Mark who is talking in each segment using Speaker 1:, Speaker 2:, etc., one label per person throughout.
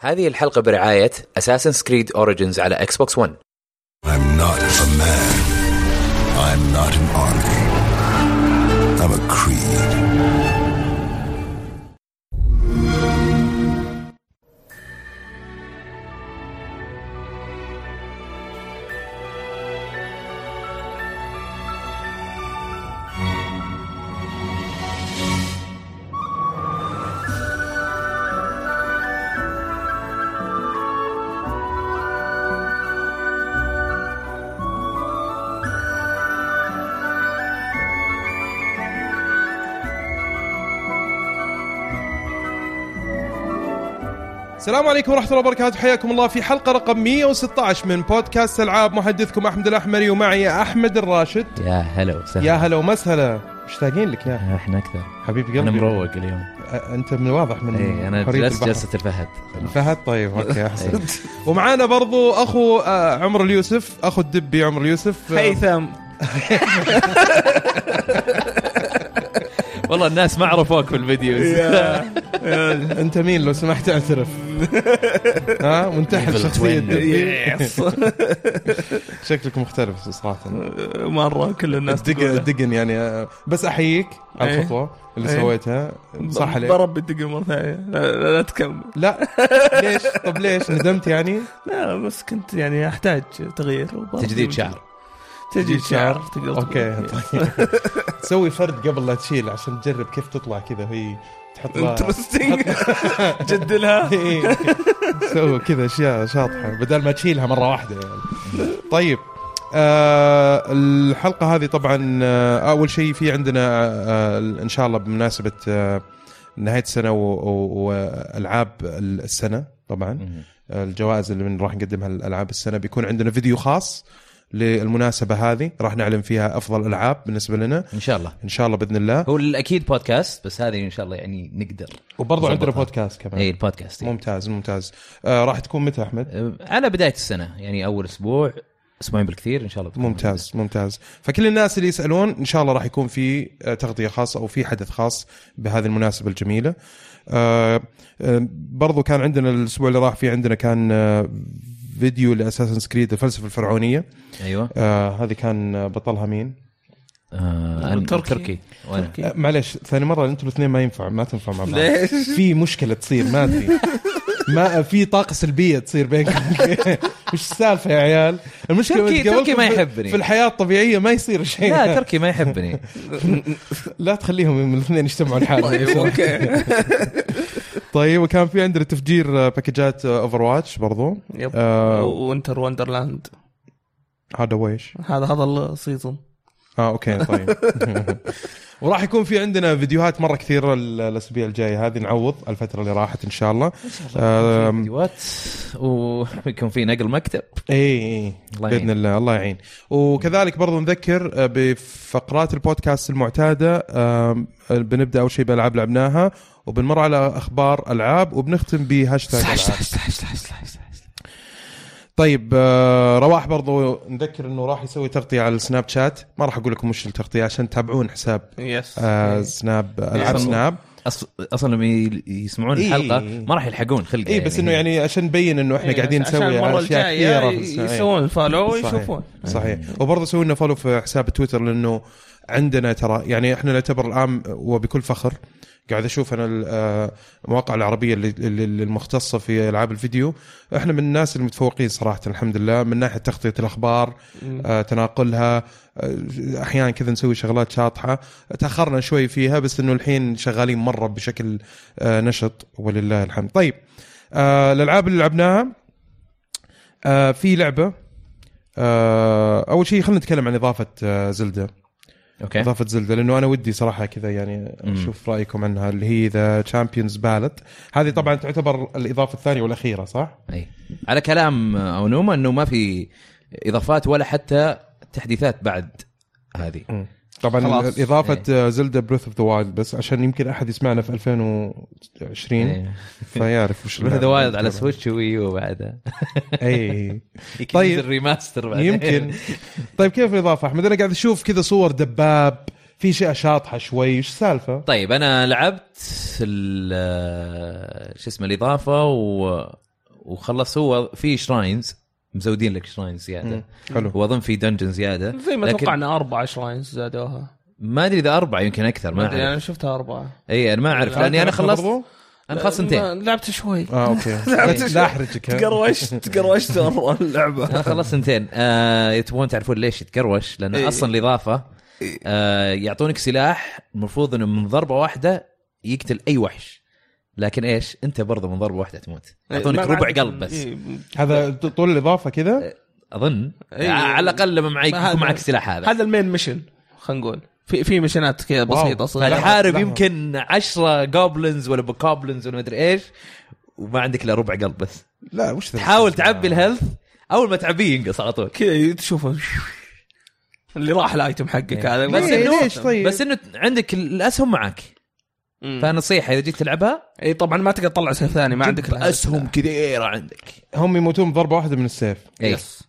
Speaker 1: هذه الحلقة برعاية Assassin's Creed Origins على Xbox One
Speaker 2: I'm not a man. I'm not an army. I'm a creed.
Speaker 3: السلام عليكم ورحمة الله وبركاته حياكم الله في حلقة رقم 116 من بودكاست ألعاب محدثكم أحمد الأحمري ومعي أحمد الراشد
Speaker 4: يا هلا وسهلا آه،
Speaker 3: يا هلا ومسهلا مشتاقين لك يا
Speaker 4: احنا اكثر
Speaker 3: حبيب قلبي
Speaker 4: انا مروق اليوم
Speaker 3: أ- أنت من واضح من
Speaker 4: اي انا
Speaker 3: حرية
Speaker 4: إيه، جلست إيه.
Speaker 3: البحر.
Speaker 4: جلسه الفهد
Speaker 3: فهد طيب اوكي احسن ومعانا برضو اخو آه، عمر اليوسف اخو الدبي عمر اليوسف آه،
Speaker 4: هيثم إيه. والله الناس ما عرفوك في الفيديو
Speaker 3: انت مين لو سمحت اعترف ها منتحل شخصية الدبي شكلك مختلف صراحة
Speaker 5: مره كل الناس
Speaker 3: الدقن
Speaker 5: تقول
Speaker 3: الدقن يعني آه، بس احييك على
Speaker 5: إيه.
Speaker 3: الخطوه اللي
Speaker 5: إيه.
Speaker 3: سويتها صح عليك
Speaker 5: ضرب بالدقن مره ثانيه لا, لا, لا تكمل
Speaker 3: لا ليش طب ليش ندمت يعني
Speaker 5: لا بس كنت يعني احتاج تغيير وبرضه-
Speaker 4: تجديد شعر
Speaker 5: تجديد شعر تقدر تقول.
Speaker 3: اوكي طيب سوي فرد قبل لا تشيل عشان تجرب كيف تطلع كذا هي تحط لها
Speaker 5: انترستنج جد لها
Speaker 3: إيه. سوي كذا اشياء شاطحه بدل ما تشيلها مره واحده يعني. طيب آه الحلقه هذه طبعا آه اول شيء في عندنا آه آه، ان شاء الله بمناسبه آه نهايه السنه و- و- والعاب السنه طبعا الجوائز اللي من راح نقدمها لالعاب السنه بيكون عندنا فيديو خاص للمناسبه هذه راح نعلن فيها افضل العاب بالنسبه لنا
Speaker 4: ان شاء الله
Speaker 3: ان شاء الله باذن الله
Speaker 4: هو الاكيد بودكاست بس هذه ان شاء الله يعني نقدر إيه،
Speaker 3: وبرضه عندنا
Speaker 4: نظبطها.
Speaker 3: بودكاست كمان
Speaker 4: اي البودكاست إي.
Speaker 3: آه. إيه، ممتاز ممتاز آه راح تكون متى احمد
Speaker 4: أه، على بدايه السنه يعني اول اسبوع اسبوعين بالكثير ان شاء الله بتكون
Speaker 3: ممتاز ممتاز فكل الناس اللي يسالون ان شاء الله راح يكون في آه، تغطيه خاصه او في حدث خاص بهذه المناسبه الجميله آه، آه، برضو كان عندنا الاسبوع اللي راح فيه عندنا كان آه، فيديو لاساسن سكريد الفلسفه الفرعونيه
Speaker 4: ايوه
Speaker 3: آه، هذه كان آه، بطلها مين
Speaker 4: آه، أنا-
Speaker 5: تركي.
Speaker 4: تركي وانا
Speaker 3: آه، معليش ثاني مره انتم الاثنين ما ينفع ما تنفع مع بعض
Speaker 5: ليش؟
Speaker 3: في مشكله تصير ما ادري ما في طاقه سلبيه تصير بينكم وش السالفه يا عيال المشكله
Speaker 4: تركي-
Speaker 3: إنت قبلكم
Speaker 4: تركي ما
Speaker 3: في-
Speaker 4: يحبني.
Speaker 3: في الحياه الطبيعيه ما يصير شيء
Speaker 4: لا تركي ما يحبني
Speaker 3: لا تخليهم الاثنين يجتمعوا لحالهم
Speaker 5: اوكي
Speaker 3: طيب وكان في عندنا تفجير آه، باكجات اوفر واتش برضو
Speaker 5: يب
Speaker 3: آه.
Speaker 5: وينتر وندرلاند
Speaker 3: هذا ويش
Speaker 5: هذا هذا السيزون
Speaker 3: اه اوكي طيب وراح يكون في عندنا فيديوهات مره كثيره ال- الاسابيع الجايه هذه نعوض الفتره اللي راحت ان شاء الله آه، آم،
Speaker 4: فيديوهات ويكون في نقل مكتب
Speaker 3: اي اي
Speaker 4: الله يعين.
Speaker 3: باذن إيه، الله الله يعين وكذلك برضو نذكر آه، بفقرات البودكاست المعتاده آم، آه، بنبدا اول شيء بالعاب لعبناها وبنمر على اخبار العاب وبنختم بهاشتاج ألعاب. طيب آه، رواح برضو نذكر انه راح يسوي تغطيه على السناب شات ما راح اقول لكم وش التغطيه عشان تتابعون حساب
Speaker 5: يس
Speaker 3: آه سناب
Speaker 5: إيه.
Speaker 3: العاب
Speaker 4: يسموه.
Speaker 3: سناب
Speaker 4: أص- اصلا لما ي- يسمعون
Speaker 3: إيه.
Speaker 4: الحلقه ما راح يلحقون خلقه
Speaker 3: اي بس انه يعني عشان نبين انه احنا
Speaker 5: إيه،
Speaker 3: قاعدين
Speaker 5: عشان
Speaker 3: نسوي
Speaker 5: المره
Speaker 3: اشياء
Speaker 5: الجايه
Speaker 3: كثيره في
Speaker 5: ي-
Speaker 3: السنة. إيه.
Speaker 5: يسوون فولو
Speaker 3: صحيح.
Speaker 5: ويشوفون
Speaker 3: صحيح وبرضه سووا لنا فولو في حساب تويتر لانه عندنا ترى يعني احنا نعتبر الان وبكل فخر قاعد اشوف انا ال- آه، المواقع العربيه اللي- اللي- اللي المختصه في العاب الفيديو احنا من الناس المتفوقين صراحه الحمد لله من ناحيه تغطيه الاخبار آه، تناقلها آه، احيانا كذا نسوي شغلات شاطحه تاخرنا شوي فيها بس انه الحين شغالين مره بشكل آه، نشط ولله الحمد طيب آه، الالعاب اللي لعبناها آه، في لعبه آه، اول شيء خلينا نتكلم عن اضافه آه، زلده
Speaker 4: اوكي
Speaker 3: اضافه زلده لانه انا ودي صراحه كذا يعني اشوف رايكم عنها اللي هي ذا تشامبيونز بالت هذه طبعا تعتبر الاضافه الثانيه والاخيره صح
Speaker 4: اي إيه. على كلام اونوما انه ما في اضافات ولا حتى تحديثات بعد هذه
Speaker 3: طبعا
Speaker 4: خلاص. إيه.
Speaker 3: اضافه آه، زلده بريث اوف ذا وايلد بس عشان يمكن احد يسمعنا في 2020
Speaker 4: إيه.
Speaker 3: فيعرف وش
Speaker 4: هذا
Speaker 3: اللعبة.
Speaker 4: وايد على سويتش ويو بعدها
Speaker 3: اي
Speaker 4: طيب الريماستر بعدين
Speaker 3: إيه، يمكن طيب كيف الاضافه احمد انا قاعد اشوف كذا صور دباب في شيء شاطحه شوي وش السالفه
Speaker 4: طيب انا لعبت ال- شو اسمه الاضافه و وخلص هو في شراينز مزودين لك شراينز زياده
Speaker 3: حلو
Speaker 4: واظن في دنجن زياده
Speaker 5: زي ما
Speaker 4: لكن-
Speaker 5: اتوقع انه اربع شراينز زادوها
Speaker 4: ما ادري اذا اربعه يمكن اكثر ما
Speaker 5: ما ادري انا
Speaker 4: اعرف
Speaker 5: شفتها اربعه
Speaker 4: اي انا إيه، ما
Speaker 5: آه،
Speaker 4: اعرف لاني انا خلصت انا خلصت
Speaker 5: ما-
Speaker 4: سنتين
Speaker 5: لعبت شوي
Speaker 3: اه اوكي لا- لا احرجك ها.
Speaker 5: تقروشت تقروشت مره اللعبه
Speaker 4: انا خلصت سنتين آه تبون تعرفون ليش يتقروش لان
Speaker 5: إيه.
Speaker 4: اصلا الاضافه آه يعطونك سلاح المفروض انه من ضربه واحده يقتل اي وحش لكن ايش انت برضه من ضربه واحده تموت يعطونك
Speaker 5: إيه، ما- ما
Speaker 4: ربع
Speaker 5: عندك-
Speaker 4: قلب بس
Speaker 5: إيه،
Speaker 3: هذا طول الاضافه كذا
Speaker 4: اظن
Speaker 5: إيه.
Speaker 4: على الاقل لما معي
Speaker 5: ما هذا-
Speaker 4: يكون معك سلاح هذا
Speaker 5: هذا المين ميشن خلينا نقول في في ميشنات كذا
Speaker 3: واو.
Speaker 5: بسيطه صغيره
Speaker 4: الحارب
Speaker 3: لحظة.
Speaker 4: يمكن عشرة جوبلنز ولا بكوبلنز ولا مدري ايش وما عندك الا ربع قلب بس
Speaker 3: لا وش ذا؟
Speaker 4: تحاول تعبي الهيلث اول ما تعبيه ينقص على طول
Speaker 5: كذا تشوفه اللي راح الايتم حقك هذا
Speaker 4: بس
Speaker 5: ليه-
Speaker 4: إنه-
Speaker 5: ليش طيب؟
Speaker 4: بس انه عندك الاسهم معك
Speaker 5: مم.
Speaker 4: فنصيحه اذا جيت تلعبها
Speaker 5: اي طبعا إيه، ما تقدر تطلع سيف ثاني ما عندك
Speaker 4: عندك
Speaker 5: الهدف.
Speaker 4: اسهم
Speaker 3: إيه،
Speaker 4: كثيره عندك
Speaker 3: هم يموتون بضربه واحده من السيف
Speaker 4: اي
Speaker 5: يس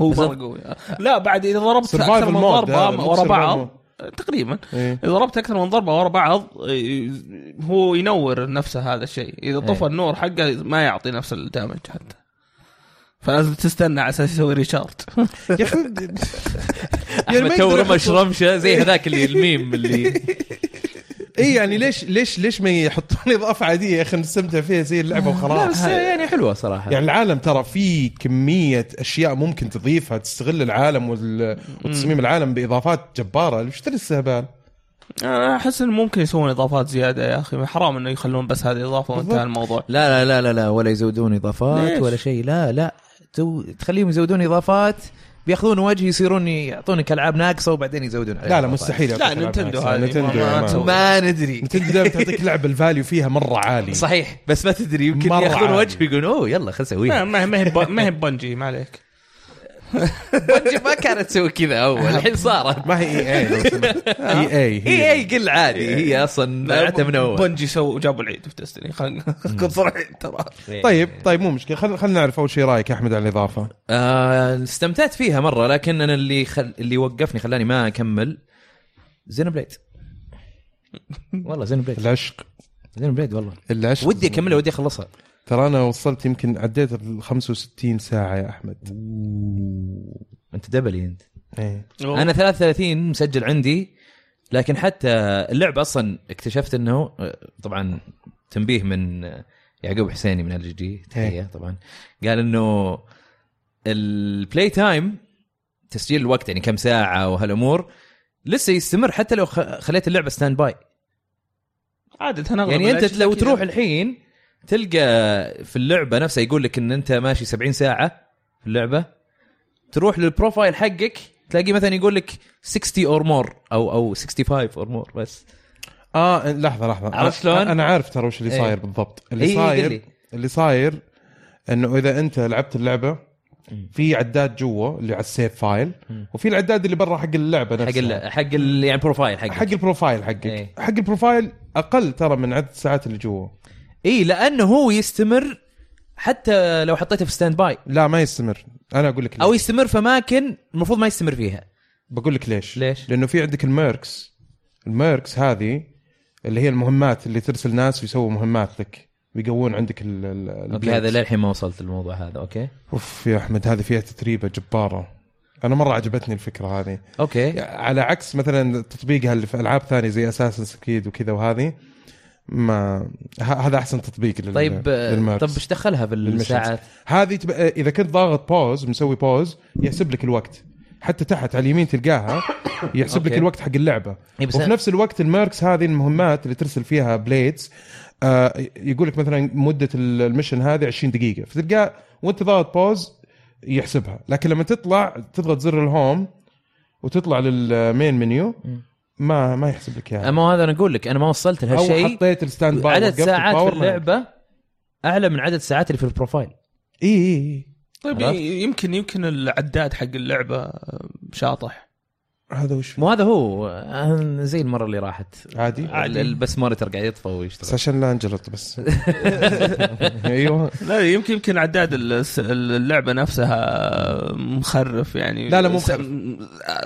Speaker 5: هو مره قوي لا بعد اذا ضربت اكثر
Speaker 3: سرفايفل
Speaker 5: من
Speaker 3: مود هذا،
Speaker 5: ضربه
Speaker 3: مو
Speaker 5: ورا بعض
Speaker 3: survival
Speaker 5: تقريبا
Speaker 3: إيه.
Speaker 5: اذا ضربت اكثر من ضربه ورا بعض إيه، هو ينور نفسه هذا الشيء اذا طفى
Speaker 4: إيه.
Speaker 5: النور حقه ما يعطي نفس الدامج حتى فلازم تستنى على اساس يسوي ريشارد
Speaker 3: يا اخي يعني ما
Speaker 4: احمد تو
Speaker 3: يقدر
Speaker 4: رمش
Speaker 3: يحطوا-
Speaker 4: رمشه زي هذاك اللي الميم اللي
Speaker 3: اي يعني ليش ليش ليش ما يحطون اضافه عاديه يا اخي نستمتع فيها زي اللعبه
Speaker 4: لا
Speaker 3: وخلاص
Speaker 4: بس يعني حلوه صراحه
Speaker 3: يعني العالم ترى في كميه اشياء ممكن تضيفها تستغل العالم وال- وتصميم العالم باضافات جباره ايش ذا الاستهبال؟
Speaker 4: إيه،
Speaker 5: انا احس انه ممكن يسوون اضافات زياده يا اخي حرام انه يخلون بس هذه اضافه وانتهى
Speaker 3: بالضبط.
Speaker 5: الموضوع
Speaker 4: لا لا لا لا لا ولا يزودون اضافات
Speaker 5: ليش؟
Speaker 4: ولا شيء لا لا تو تخليهم يزودون اضافات بياخذون وجه يصيرون يعطونك العاب ناقصه وبعدين يزودون عليها
Speaker 3: لا لا
Speaker 4: إضافات.
Speaker 3: مستحيل
Speaker 5: لا،
Speaker 3: يعطيك
Speaker 5: نينتندو
Speaker 3: العاب
Speaker 5: هذه
Speaker 3: نفسها. نينتندو
Speaker 5: ما-
Speaker 3: يا
Speaker 5: ما
Speaker 3: مان.
Speaker 5: تسوي.
Speaker 4: ما ندري
Speaker 3: نينتندو دائما تعطيك لعبه الفاليو فيها مره عالي
Speaker 4: صحيح بس ما تدري يمكن
Speaker 3: مرة
Speaker 4: ياخذون
Speaker 3: عادي.
Speaker 4: وجه يقولون اوه يلا خلينا
Speaker 5: ما
Speaker 4: نسويها
Speaker 5: ما هي ما هي ب- ما هي بنجي ما عليك
Speaker 4: بنجي ما كانت تسوي كذا اول الحين صارت
Speaker 3: ما هي اي اي لو سمحت. اي
Speaker 4: هي
Speaker 3: اي هي
Speaker 4: اي قل عادي هي اصلا لعبتها من اول
Speaker 5: بنجي سو جابوا العيد في ديستني خلينا نكون صريحين ترى
Speaker 3: طيب
Speaker 4: إيه.
Speaker 3: طيب مو مشكله خل خلينا نعرف اول شيء رايك يا احمد على الاضافه
Speaker 4: آه، استمتعت فيها مره لكن انا اللي خل... اللي وقفني خلاني ما اكمل زين بليد والله زين بليد
Speaker 3: العشق
Speaker 4: زين بليد والله
Speaker 3: العشق
Speaker 4: ودي اكملها ودي اخلصها
Speaker 3: ترى انا وصلت يمكن عديت ال 65 ساعه يا احمد
Speaker 4: انت دبلي انت
Speaker 3: ايه
Speaker 4: انا 33 مسجل عندي لكن حتى اللعبه اصلا اكتشفت انه طبعا تنبيه من يعقوب حسيني من ال جي تحيه
Speaker 3: إيه.
Speaker 4: طبعا قال انه البلاي تايم تسجيل الوقت يعني كم ساعه وهالامور لسه يستمر حتى لو خ- خليت اللعبه ستاند باي
Speaker 5: عادة اغلب
Speaker 4: يعني انت
Speaker 5: الأشياء
Speaker 4: لو
Speaker 5: كذا.
Speaker 4: تروح الحين تلقى في اللعبه نفسها يقول لك ان انت ماشي 70 ساعه في اللعبه تروح للبروفايل حقك تلاقيه مثلا يقول لك 60 اور مور او او 65 اور مور بس
Speaker 3: اه لحظه لحظه
Speaker 4: عرفت شلون؟
Speaker 3: انا عارف ترى وش اللي
Speaker 4: إيه.
Speaker 3: صاير بالضبط اللي
Speaker 4: إيه، قل لي.
Speaker 3: صاير اللي صاير انه اذا انت لعبت اللعبه في عداد جوا اللي على السيف فايل وفي العداد اللي برا حق اللعبه
Speaker 4: حق
Speaker 3: نفسها
Speaker 4: ال حق ال يعني البروفايل حقك
Speaker 3: حق البروفايل حقك
Speaker 4: إيه.
Speaker 3: حق البروفايل اقل ترى من عدد الساعات اللي جوا
Speaker 4: اي لانه هو يستمر حتى لو حطيته في ستاند باي
Speaker 3: لا ما يستمر انا اقول لك ليش.
Speaker 4: او يستمر في اماكن المفروض ما يستمر فيها
Speaker 3: بقول لك ليش
Speaker 4: ليش؟
Speaker 3: لانه في عندك الميركس الميركس هذه اللي هي المهمات اللي ترسل ناس ويسووا مهمات لك ويقوون عندك ال ال
Speaker 4: اوكي
Speaker 3: البليدز.
Speaker 4: هذا للحين ما وصلت للموضوع هذا اوكي
Speaker 3: اوف يا احمد هذه فيها تتريبه جباره انا مره عجبتني الفكره هذه
Speaker 4: اوكي
Speaker 3: على عكس مثلا تطبيقها اللي في العاب ثانيه زي اساسن سكيد وكذا وهذه ما ه- هذا احسن تطبيق لل...
Speaker 4: طيب آه،
Speaker 3: للميركس.
Speaker 4: طب ايش دخلها في
Speaker 3: للmissions.
Speaker 4: الساعات
Speaker 3: هذه تب... اذا كنت ضاغط بوز مسوي بوز يحسب لك الوقت حتى تحت على اليمين تلقاها يحسب لك
Speaker 4: أوكي.
Speaker 3: الوقت حق اللعبه
Speaker 4: إيه، بس
Speaker 3: وفي
Speaker 4: أنا-
Speaker 3: نفس الوقت الماركس هذه المهمات اللي ترسل فيها بليدز آه يقول لك مثلا مده ال- المشن هذه 20 دقيقه فتلقاه وانت ضاغط بوز يحسبها لكن لما تطلع تضغط زر الهوم وتطلع للمين منيو ما ما يحسب لك اياها
Speaker 4: اما هذا انا اقول لك انا ما وصلت
Speaker 3: او
Speaker 4: لهالشيء
Speaker 3: حطيت الستاند باي
Speaker 4: عدد
Speaker 3: وقفت
Speaker 4: ساعات
Speaker 3: الباور
Speaker 4: في
Speaker 3: ما-
Speaker 4: اللعبه اعلى من عدد ساعات اللي في البروفايل
Speaker 3: اي اي اي
Speaker 5: طيب
Speaker 4: عرفت؟
Speaker 5: يمكن يمكن العداد حق اللعبه شاطح
Speaker 3: هذا وش فيه؟
Speaker 4: مو هذا هو آه، زي المره اللي راحت
Speaker 3: عادي
Speaker 4: ال- بس مونيتر قاعد يطفى ويشتغل
Speaker 3: بس عشان لا نجلط بس ايوه
Speaker 5: لا يمكن يمكن عداد الس- اللعبه نفسها مخرف يعني
Speaker 3: لا، لا، مو
Speaker 5: س-
Speaker 3: مخرف.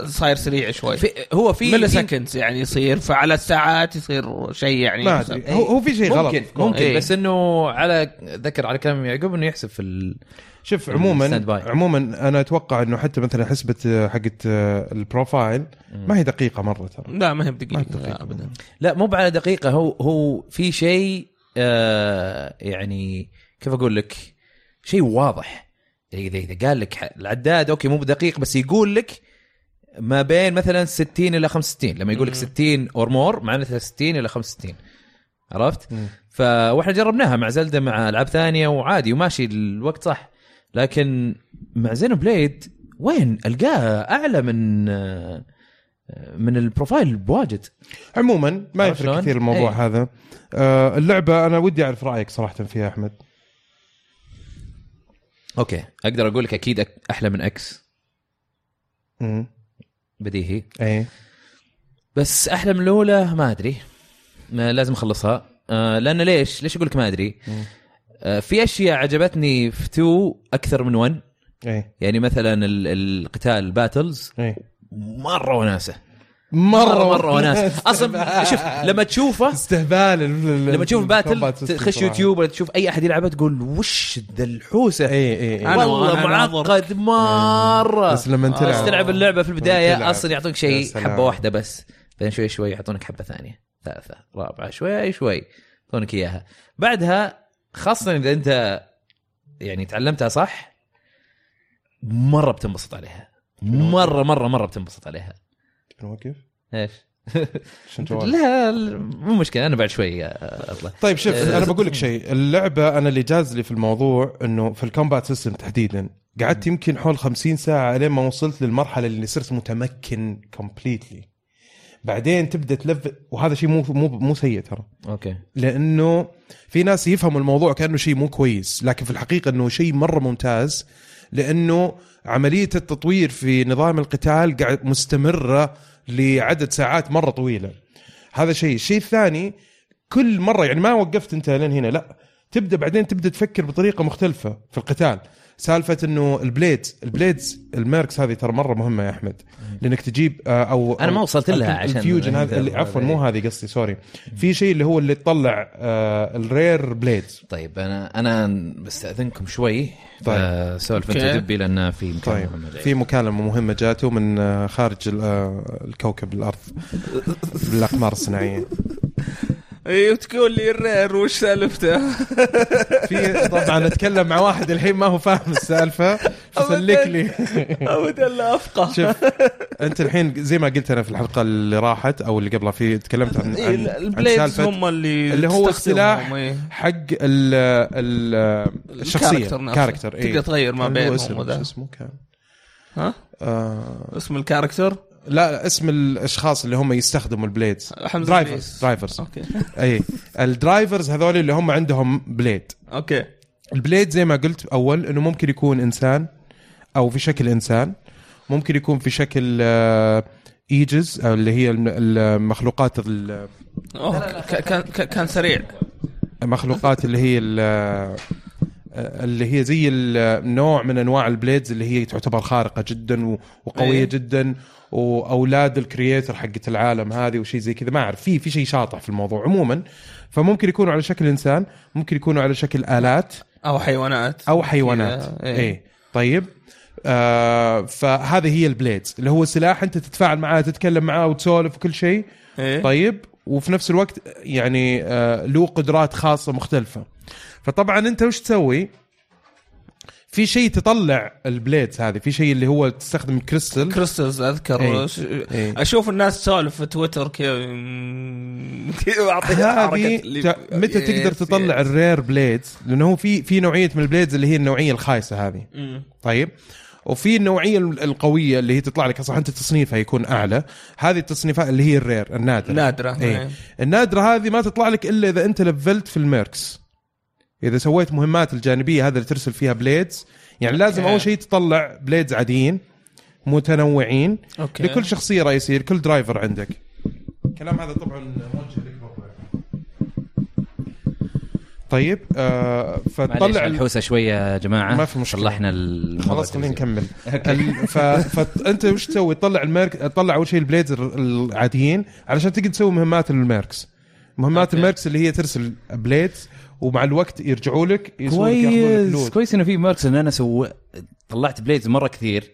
Speaker 5: صاير سريع شوي
Speaker 4: في هو في
Speaker 5: ملي سكندز يعني يصير فعلى الساعات يصير شيء يعني
Speaker 3: ما ادري هو هو في شيء غلط
Speaker 4: ممكن
Speaker 3: في كورة.
Speaker 4: ممكن
Speaker 5: إيه.
Speaker 4: بس انه على ذكر على كلام يعقوب انه يحسب في ال...
Speaker 3: شوف عموما
Speaker 4: الستاند باي.
Speaker 3: عموما انا اتوقع انه حتى مثلا حسبه آه، حقت آه، البروفايل ما هي دقيقه مره ترى
Speaker 5: لا ما هي
Speaker 3: ما هي
Speaker 5: بدقيقه
Speaker 3: بدقيقة.
Speaker 5: لا، ابدا
Speaker 4: لا مو على دقيقه هو هو في شيء آه يعني كيف اقول لك شيء واضح اذا اذا قال لك ح- العداد اوكي مو بدقيق بس يقول لك ما بين مثلا 60 الى 65 لما يقول لك 60 اور مور معناتها 60 الى 65 عرفت؟
Speaker 3: مم.
Speaker 4: فاحنا جربناها مع زلدة مع العاب ثانيه وعادي وماشي الوقت صح لكن مع زينو بليد وين القاها اعلى من آه، من البروفايل بواجد
Speaker 3: عموما ما
Speaker 4: عرفت
Speaker 3: يفرق
Speaker 4: شلون؟
Speaker 3: كثير الموضوع
Speaker 4: إيه.
Speaker 3: هذا آه، اللعبه انا ودي اعرف رايك صراحه فيها احمد
Speaker 4: اوكي اقدر اقول لك اكيد أك- احلى من اكس
Speaker 3: مم.
Speaker 4: بديهي
Speaker 3: ايه
Speaker 4: بس احلى من الاولى ما ادري ما لازم اخلصها آه لان ليش ليش اقول لك ما ادري
Speaker 3: مم.
Speaker 4: آه في اشياء عجبتني في 2 اكثر من 1
Speaker 3: ايه
Speaker 4: يعني مثلا ال- القتال الباتلز
Speaker 3: ايه
Speaker 4: مره وناسه
Speaker 3: مره
Speaker 4: مره مره وناسه اصلا شوف لما تشوفه
Speaker 3: استهبال
Speaker 4: لما تشوف باتل تخش يوتيوب ولا تشوف اي احد يلعبه تقول وش ذا الحوسه
Speaker 3: اي اي
Speaker 5: أنا-
Speaker 4: والله
Speaker 5: أنا
Speaker 4: معقد مره
Speaker 3: إيه، بس لما تلعب-
Speaker 4: بس آه، تلعب اللعبه في البدايه
Speaker 3: تلعب.
Speaker 4: اصلا يعطوك
Speaker 3: يا
Speaker 4: شيء
Speaker 3: سلام.
Speaker 4: حبه واحده بس بعدين شوي شوي يعطونك حبه ثانيه ثالثه رابعه شوي شوي يعطونك اياها بعدها خاصه اذا انت يعني تعلمتها صح مره بتنبسط عليها مره مره مره بتنبسط عليها
Speaker 3: وقف
Speaker 4: ايش
Speaker 3: عشان جوالك.
Speaker 4: لا لا، مو مشكله انا بعد شوي آه. اطلع
Speaker 3: طيب شوف انا بقول لك شيء اللعبه انا اللي جاز لي في الموضوع انه في الكومبات سيستم تحديدا قعدت يمكن حول 50 ساعه لين ما وصلت للمرحله اللي صرت متمكن كومبليتلي بعدين تبدا تلف وهذا شيء مو مو مو سيء ترى
Speaker 4: اوكي
Speaker 3: لانه في ناس يفهموا الموضوع كانه شيء مو كويس لكن في الحقيقه انه شيء مره ممتاز لانه عمليه التطوير في نظام القتال قاعد مستمره لعدد ساعات مره طويله هذا شيء الشيء الثاني كل مره يعني ما وقفت انت لين هنا لا تبدا بعدين تبدا تفكر بطريقه مختلفه في القتال سالفه انه البليدز البليدز الميركس هذه ترى مره مهمه يا احمد لانك تجيب آه، او
Speaker 4: أنا ما وصلت لها
Speaker 3: الفيوجن
Speaker 4: عشان-
Speaker 3: الفيوجن هذا اللي- عفوا مو هذه قصدي سوري في شيء اللي هو اللي تطلع آه الرير بليدز
Speaker 4: طيب انا انا بستاذنكم شوي
Speaker 3: طيب.
Speaker 4: طيب سولف انت
Speaker 5: أوكي.
Speaker 4: دبي لان في مكان
Speaker 3: طيب
Speaker 4: مهم جاي.
Speaker 3: في مكالمه مهمه جاته من آه، خارج ال- آه، الكوكب الارض بالاقمار الصناعيه
Speaker 5: اي إيه، وتقول لي الرير وش سالفته؟
Speaker 3: في طبعا اتكلم مع واحد الحين ما هو فاهم السالفه فسلك لي
Speaker 5: ابدا لا افقه
Speaker 3: شوف انت الحين زي ما قلت انا في الحلقه اللي راحت او اللي قبلها في تكلمت عن,
Speaker 5: إيه،
Speaker 3: عن, عن
Speaker 5: البليدز
Speaker 3: سالفه
Speaker 5: هم اللي
Speaker 3: اللي هو
Speaker 5: تستخدمهم،
Speaker 3: السلاح
Speaker 5: إيه.
Speaker 3: حق ال ال الشخصيه
Speaker 5: الكاركتر نفسه.
Speaker 3: كاركتر إيه.
Speaker 5: تقدر تغير ما بينهم
Speaker 3: شو
Speaker 5: وذا
Speaker 3: اسمه كان
Speaker 5: ها
Speaker 3: آه
Speaker 5: اسم الكاركتر
Speaker 3: لا لا اسم الاشخاص اللي هم يستخدموا البليدز
Speaker 5: حمزه
Speaker 3: درايفرز
Speaker 5: إدريس.
Speaker 3: درايفرز
Speaker 5: اوكي
Speaker 3: اي الدرايفرز هذول اللي هم عندهم بليد
Speaker 5: اوكي
Speaker 3: البليد زي ما قلت اول انه ممكن يكون انسان او في شكل انسان ممكن يكون في شكل آه، ايجز أو اللي هي الم- المخلوقات ال-
Speaker 5: أوه، ك- كان ك- كان سريع
Speaker 3: المخلوقات اللي هي ال- آه، اللي هي زي النوع من انواع البليدز اللي هي تعتبر خارقه جدا و- وقويه
Speaker 5: أي.
Speaker 3: جدا واولاد الكرييتر حقت العالم هذه وشي زي كذا ما اعرف في في شيء شاطح في الموضوع عموما فممكن يكونوا على شكل انسان ممكن يكونوا على شكل الات
Speaker 5: او حيوانات
Speaker 3: او حيوانات
Speaker 5: كذا،
Speaker 3: اي
Speaker 5: إيه.
Speaker 3: إيه. طيب آه فهذه هي البليدز اللي هو سلاح انت تتفاعل معاه تتكلم معاه وتسولف وكل شيء
Speaker 5: إيه.
Speaker 3: طيب وفي نفس الوقت يعني آه له قدرات خاصه مختلفه فطبعا انت وش تسوي في شيء تطلع البليدز هذه في شيء اللي هو تستخدم كريستل
Speaker 5: كريستلز اذكر
Speaker 3: إيه.
Speaker 5: ش-
Speaker 3: إيه.
Speaker 5: اشوف الناس تسولف في تويتر كذا مم، كذا اعطيها
Speaker 3: هذه ت- متى
Speaker 5: إيه.
Speaker 3: تقدر تطلع الرير بليدز لانه هو في في نوعيه من البليدز اللي هي النوعيه الخايسه هذه طيب وفي النوعيه ال- القويه اللي هي تطلع لك اصلا انت تصنيفها يكون اعلى هذه التصنيفات اللي هي الرير النادره
Speaker 5: نادرة،
Speaker 3: إيه.
Speaker 5: إيه.
Speaker 3: النادره هذه ما تطلع لك الا اذا انت لفلت في الميركس اذا سويت مهمات الجانبيه هذا اللي ترسل فيها بليدز يعني لازم
Speaker 5: إيه.
Speaker 3: اول شيء تطلع بليدز عاديين متنوعين
Speaker 5: اوكي
Speaker 3: لكل شخصيه رئيسيه لكل درايفر عندك الكلام هذا طبعا موجه لك برضو. طيب آه
Speaker 4: معليش
Speaker 3: فتطلع ال-
Speaker 4: الحوسه شويه يا جماعه
Speaker 3: ما في مشكلة.
Speaker 4: صلحنا الموضوع
Speaker 3: خلاص خلينا
Speaker 4: التلفزيوني.
Speaker 3: نكمل ال- ف... فانت وش تسوي تطلع الميرك تطلع اول شيء البليدز ال- العاديين علشان تقدر تسوي مهمات الميركس مهمات
Speaker 5: أوكي.
Speaker 3: الميركس اللي هي ترسل بليدز ومع الوقت يرجعوا لك يسوون لك- ياخذون لك
Speaker 4: كويس
Speaker 3: لود.
Speaker 4: كويس انه في ماركس ان انا سو طلعت بليدز مره كثير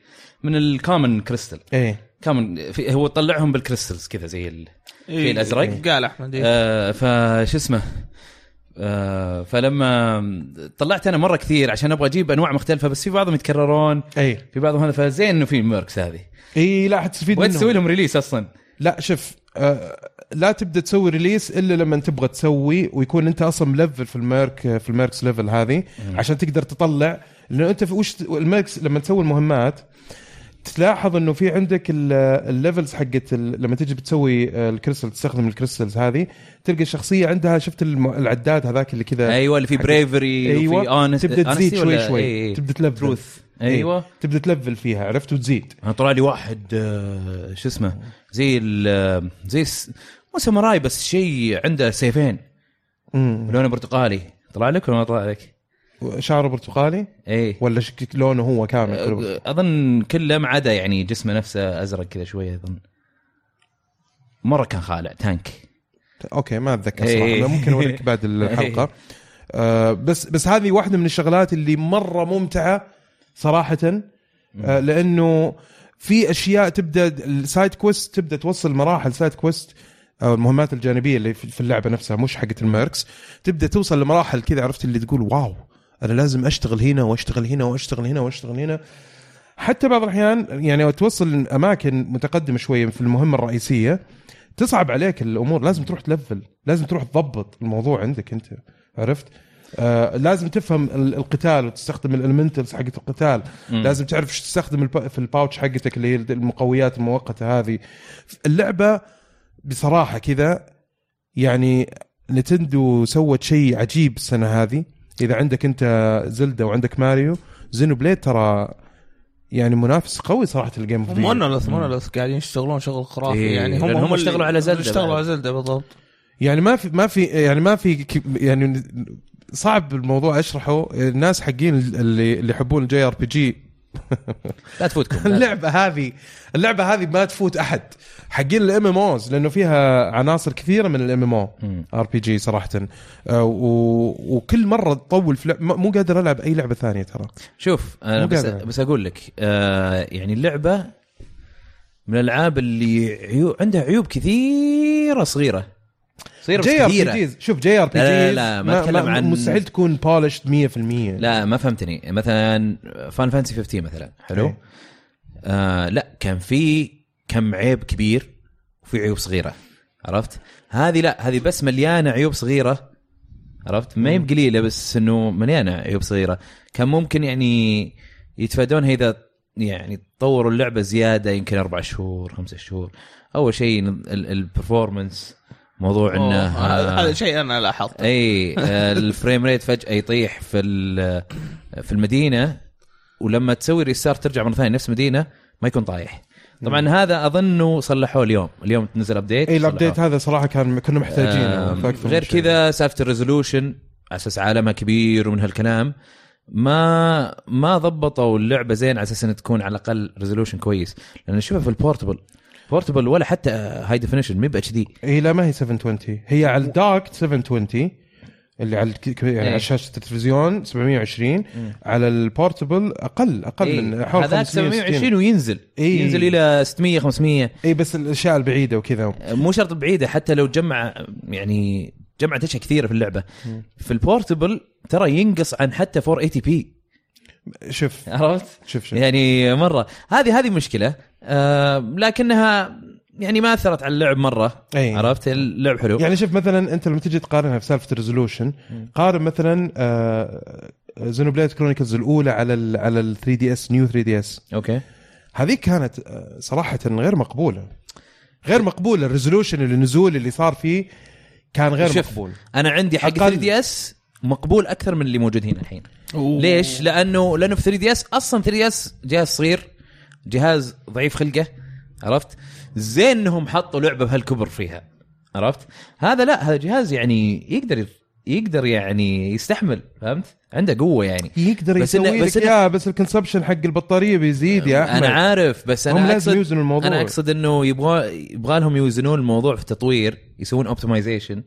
Speaker 4: من الكامن كريستل
Speaker 3: ايه
Speaker 4: كامن في هو طلعهم بالكريستلز كذا زي ال... إيه.
Speaker 3: إيه،
Speaker 4: في الازرق
Speaker 5: قال احمد إيه.
Speaker 4: آه فش اسمه آه فلما طلعت انا مره كثير عشان ابغى اجيب انواع مختلفه بس في بعضهم يتكررون
Speaker 3: ايه
Speaker 4: في بعضهم هذا فزين انه في ميركس هذه
Speaker 3: اي إيه، لا حتستفيد
Speaker 4: وين تسوي
Speaker 3: منهم
Speaker 4: لهم ريليس اصلا
Speaker 3: لا شوف آه لا تبدا تسوي ريليس الا لما تبغى تسوي ويكون انت اصلا ملفل في الميرك آه، في الميركس ليفل هذه عشان تقدر تطلع لانه انت في وش الميركس لما تسوي المهمات تلاحظ انه في عندك ال- الليفلز حقت ال- لما تجي بتسوي آه، الكريستال تستخدم الكريستالز هذه تلقى الشخصيه عندها شفت الم- العداد هذاك اللي كذا
Speaker 4: ايوه اللي في
Speaker 3: حق-
Speaker 4: بريفري وفي
Speaker 3: ايوه
Speaker 4: honest-
Speaker 3: تبدا تزيد
Speaker 4: honesty
Speaker 3: شوي
Speaker 4: ولا-
Speaker 3: شوي
Speaker 4: إيه، إيه.
Speaker 3: تبدا تلفل
Speaker 4: Truth. أيوة.
Speaker 3: تبدا تلفل فيها عرفت وتزيد
Speaker 4: انا طلع لي واحد آه، شو اسمه زي ال آه، زي س- مو ساموراي بس شيء عنده سيفين
Speaker 3: مم.
Speaker 4: لونه برتقالي طلع لك ولا ما طلع لك؟
Speaker 3: شعره برتقالي
Speaker 4: اي
Speaker 3: ولا شك- لونه هو كامل
Speaker 4: أه،
Speaker 3: كله؟
Speaker 4: اظن كله ما عدا يعني جسمه نفسه ازرق كذا شويه اظن مره كان خالع تانك
Speaker 3: اوكي ما اتذكر
Speaker 4: إيه.
Speaker 3: صراحه ممكن اوريك بعد الحلقه آه بس بس هذه واحده من الشغلات اللي مره ممتعه صراحه آه لانه في اشياء تبدا السايد كويست تبدا توصل مراحل سايد كويست او المهمات الجانبيه اللي في في اللعبه نفسها مش حقت الميركس تبدا توصل لمراحل كذا عرفت اللي تقول واو انا لازم اشتغل هنا واشتغل هنا واشتغل هنا واشتغل هنا حتى بعض الاحيان يعني توصل اماكن متقدمه شويه في المهمه الرئيسيه تصعب عليك الامور لازم تروح تلفل لازم تروح تضبط الموضوع عندك انت عرفت آه لازم تفهم ال- القتال وتستخدم الالمنتلز حقت القتال
Speaker 4: مم.
Speaker 3: لازم تعرف ايش تستخدم الب- في الباوتش حقتك اللي هي المقويات المؤقته هذه اللعبه بصراحه كذا يعني نتندو سوت شيء عجيب السنه هذه اذا عندك انت زلدا وعندك ماريو زينو بليد ترى يعني منافس قوي صراحه الجيم اوف ذا يير.
Speaker 5: مونولث مونولث قاعدين يشتغلون شغل خرافي
Speaker 4: إيه،
Speaker 5: يعني هم
Speaker 4: لأن هم
Speaker 5: اللي-
Speaker 4: اشتغلوا على زلدة
Speaker 5: اشتغلوا
Speaker 4: بعد.
Speaker 5: على زلدة بالضبط
Speaker 3: يعني ما في ما في يعني ما في ك- يعني صعب الموضوع اشرحه الناس حقين اللي اللي يحبون الجي ار بي جي
Speaker 4: لا تفوتكم لا.
Speaker 3: اللعبه هذه اللعبه هذه ما تفوت احد حقين الام ام اوز لانه فيها عناصر كثيره من الام ام او
Speaker 4: مم.
Speaker 3: ار بي جي صراحه آه، و... وكل مره تطول في لعب... م- مو قادر العب اي لعبه ثانيه ترى
Speaker 4: شوف انا
Speaker 3: مو
Speaker 4: بس,
Speaker 3: قادر.
Speaker 4: بس اقول لك آه يعني اللعبه من الالعاب اللي عيوب عندها عيوب كثيره صغيره صغيره بس
Speaker 3: جي ار بي
Speaker 4: كثيره
Speaker 3: جيز شوف جي ار بي
Speaker 4: لا، لا،
Speaker 3: جيز
Speaker 4: لا، ما أتكلم عن-
Speaker 3: مستحيل تكون بولشد 100%
Speaker 5: إيه.
Speaker 4: لا ما فهمتني مثلا فان فانسي 15 مثلا حلو
Speaker 3: إيه.
Speaker 4: آه لا كان في كم عيب كبير وفي عيوب صغيره عرفت هذه لا هذه بس مليانه عيوب صغيره عرفت ما هي بقليله بس انه مليانه عيوب صغيره كان ممكن يعني يتفادونها اذا يعني طوروا اللعبه زياده يمكن اربع شهور خمسة شهور اول شيء البرفورمنس موضوع
Speaker 5: أوه،
Speaker 4: انه
Speaker 5: هذا
Speaker 4: آه،
Speaker 5: هذا شيء انا لاحظته
Speaker 4: اي آه، الفريم ريت فجاه يطيح في ال- آه، في المدينه ولما تسوي ريستارت ترجع مره ثانيه نفس المدينه ما يكون طايح طبعا
Speaker 3: نعم.
Speaker 4: هذا اظنه صلحوه اليوم اليوم تنزل ابديت
Speaker 3: اي الابديت إيه، هذا صراحه كان كنا محتاجينه في أكثر من
Speaker 4: غير
Speaker 3: شيء.
Speaker 4: كذا سالفه الريزولوشن على اساس عالمها كبير ومن هالكلام ما ما ضبطوا اللعبه زين على اساس انها تكون على الاقل ريزولوشن كويس لان نشوفها في البورتبل بورتبل ولا حتى هاي ديفينيشن ما يبقى كذي
Speaker 3: هي لا ما هي 720 هي على الدارك 720 اللي على الك- يعني
Speaker 4: إيه.
Speaker 3: على شاشه التلفزيون 720 على البورتبل اقل اقل
Speaker 4: إيه،
Speaker 3: من حوالي
Speaker 4: هذاك 720
Speaker 3: 720
Speaker 4: وينزل
Speaker 3: إيه.
Speaker 4: ينزل الى 600 500
Speaker 3: اي إيه، بس الاشياء البعيده وكذا
Speaker 4: مو شرط بعيده حتى لو جمع يعني جمعت اشياء كثيره في اللعبه في البورتبل ترى ينقص عن حتى 480 بي
Speaker 3: شوف
Speaker 4: عرفت
Speaker 3: شوف شوف
Speaker 4: يعني مره هذه هذه مشكله آه لكنها يعني ما اثرت على اللعب مره
Speaker 3: إيه.
Speaker 4: عرفت اللعب حلو
Speaker 3: يعني شوف مثلا انت لما تجي تقارنها في سالفه الريزولوشن
Speaker 4: إيه.
Speaker 3: قارن مثلا آه زينوبليد كرونيكلز الاولى على ال على ال 3 دي اس نيو 3 دي اس
Speaker 4: اوكي
Speaker 3: هذيك كانت آه، صراحه غير مقبوله غير مقبوله الريزولوشن النزول اللي صار فيه كان غير
Speaker 4: شوف،
Speaker 3: مقبول
Speaker 4: انا عندي حق
Speaker 3: أقل.
Speaker 4: 3 دي اس مقبول اكثر من اللي موجود هنا الحين ليش؟ لانه لانه في 3 دي اس اصلا 3 دي اس جهاز صغير جهاز ضعيف خلقه عرفت زين انهم حطوا لعبه بهالكبر فيها عرفت هذا لا هذا جهاز يعني يقدر يقدر يعني يستحمل فهمت عنده قوه يعني
Speaker 3: يقدر
Speaker 4: بس إنه-
Speaker 3: يسوي لك
Speaker 4: بس إنه-
Speaker 3: اياها بس الكونسبشن حق البطاريه بيزيد يا احمد
Speaker 4: انا عارف بس
Speaker 3: هم
Speaker 4: انا
Speaker 3: لازم
Speaker 4: اقصد
Speaker 3: يوزنوا الموضوع.
Speaker 4: انا اقصد انه يبغى يبغى لهم يوزنون الموضوع في التطوير يسوون اوبتمايزيشن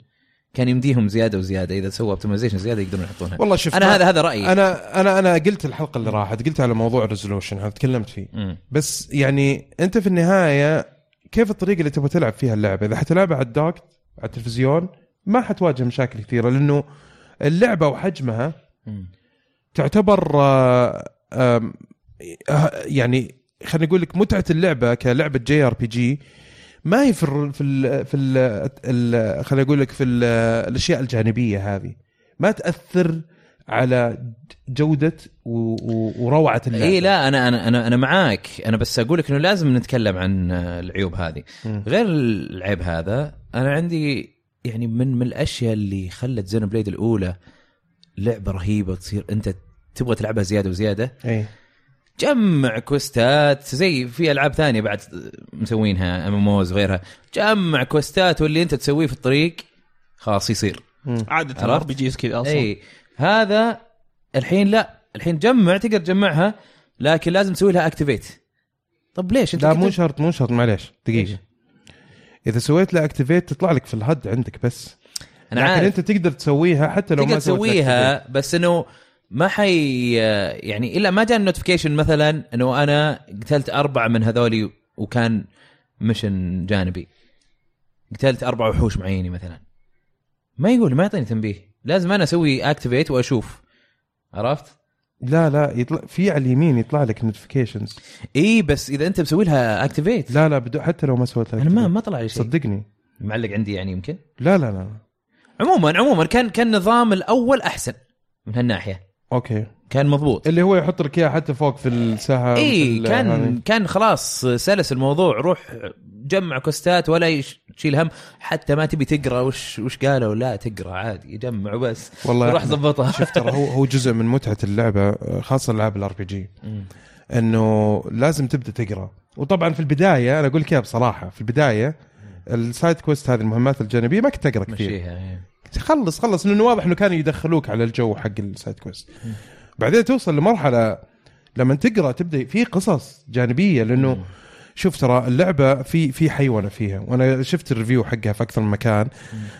Speaker 4: كان يمديهم زياده وزياده اذا سووا اوبتمايزيشن زياده يقدرون يحطونها
Speaker 3: والله شوف
Speaker 4: انا
Speaker 3: ما-
Speaker 4: هذا هذا رايي
Speaker 3: انا انا انا قلت الحلقه اللي راحت قلت على موضوع الريزولوشن هذا تكلمت فيه
Speaker 4: مم.
Speaker 3: بس يعني انت في النهايه كيف الطريقه اللي تبغى تلعب فيها اللعبه اذا حتلعبها على الدوكت على التلفزيون ما حتواجه مشاكل كثيره لانه اللعبه وحجمها
Speaker 4: مم.
Speaker 3: تعتبر آه، آم، آه، يعني خلينا نقول لك متعه اللعبه كلعبه جي ار بي جي ما هي في ال في ال في ال- ال- خلينا اقول لك في ال- الاشياء الجانبيه هذه ما تاثر على جوده و- و- وروعه اللعبه
Speaker 4: اي إيه، لا انا انا انا انا معاك انا بس اقول لك انه لازم نتكلم عن آه، العيوب هذه
Speaker 3: مم.
Speaker 4: غير العيب هذا انا عندي يعني من من الاشياء اللي خلت زين بليد الاولى لعبه رهيبه تصير انت تبغى تلعبها زياده وزياده
Speaker 3: اي
Speaker 4: جمع كوستات زي في العاب ثانيه بعد مسوينها ام ام اوز وغيرها جمع كوستات واللي انت تسويه في الطريق خلاص يصير
Speaker 5: عاده الار
Speaker 4: عرفت؟ إيه.
Speaker 5: بي جيز كذا اصلا
Speaker 4: اي هذا الحين لا الحين جمع تقدر تجمعها لكن لازم تسوي لها اكتيفيت طب ليش انت
Speaker 3: لا
Speaker 4: كنت-
Speaker 3: مو شرط مو شرط معليش دقيقه اذا سويت له اكتيفيت تطلع لك في الهد عندك بس
Speaker 4: انا
Speaker 3: لكن
Speaker 4: عارف
Speaker 3: انت تقدر تسويها حتى لو
Speaker 4: تقدر
Speaker 3: ما سويت له activate.
Speaker 4: تسويها بس انه ما حي يعني الا ما جاء النوتيفيكيشن مثلا انه انا قتلت اربعه من هذولي وكان مشن جانبي قتلت اربع وحوش معيني مثلا ما يقول ما يعطيني تنبيه لازم انا اسوي اكتيفيت واشوف عرفت؟
Speaker 3: لا لا يطلع في على اليمين يطلع لك نوتيفيكيشنز
Speaker 4: اي بس اذا انت مسوي لها اكتيفيت
Speaker 3: لا لا بدو حتى لو ما سويت له
Speaker 4: انا ما
Speaker 3: activate.
Speaker 4: ما طلع لي شيء
Speaker 3: صدقني
Speaker 4: معلق عندي يعني يمكن
Speaker 3: لا لا لا
Speaker 4: عموما عموما كان كان النظام الاول احسن من هالناحيه
Speaker 3: اوكي
Speaker 4: كان مضبوط
Speaker 3: اللي هو يحط لك اياها حتى فوق في الساحه
Speaker 4: اي
Speaker 3: وفي ال-
Speaker 4: إيه، كان
Speaker 3: هذه.
Speaker 4: كان خلاص سلس الموضوع روح جمع كوستات ولا يش- تشيل هم حتى ما تبي تقرا وش وش قالوا لا تقرا عادي جمع وبس
Speaker 3: والله
Speaker 4: روح
Speaker 3: أحمد،
Speaker 4: ظبطها
Speaker 3: شوف ترى هو هو جزء من متعه اللعبه خاصه العاب الار بي جي انه لازم تبدا تقرا وطبعا في البدايه انا اقول لك اياها بصراحه في البدايه السايد كويست هذه المهمات الجانبيه ما كنت اقرا كثير
Speaker 4: مشيها إيه.
Speaker 3: خلص خلص لانه واضح انه كانوا يدخلوك على الجو حق السايد كويست بعدين توصل لمرحله لما تقرا تبدا في قصص جانبيه لانه شوف ترى اللعبه في في حيوانه فيها وانا شفت الريفيو حقها في اكثر من مكان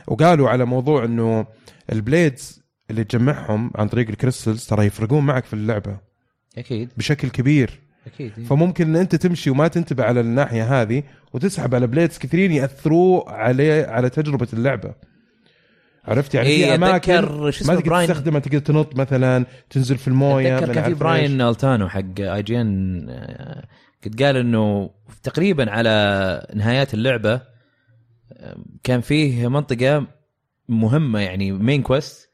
Speaker 3: وقالوا على موضوع انه البليدز اللي تجمعهم عن طريق الكريستلز ترى يفرقون معك في اللعبه
Speaker 4: اكيد
Speaker 3: بشكل كبير
Speaker 4: اكيد إيه.
Speaker 3: فممكن ان انت تمشي وما تنتبه على الناحيه هذه وتسحب على بليدز كثيرين ياثروا عليه على تجربه اللعبه عرفت يعني
Speaker 4: إيه،
Speaker 3: في اماكن
Speaker 4: أتذكر شو اسمه
Speaker 3: ما تقدر
Speaker 4: براين.
Speaker 3: تستخدمها تقدر تنط مثلا تنزل في المويه
Speaker 4: اتذكر كان
Speaker 3: من
Speaker 4: في
Speaker 3: عارف إيش.
Speaker 4: براين التانو حق اي جي ان قد قال انه تقريبا على نهايات اللعبه آه، كان فيه منطقه مهمه يعني مين كويست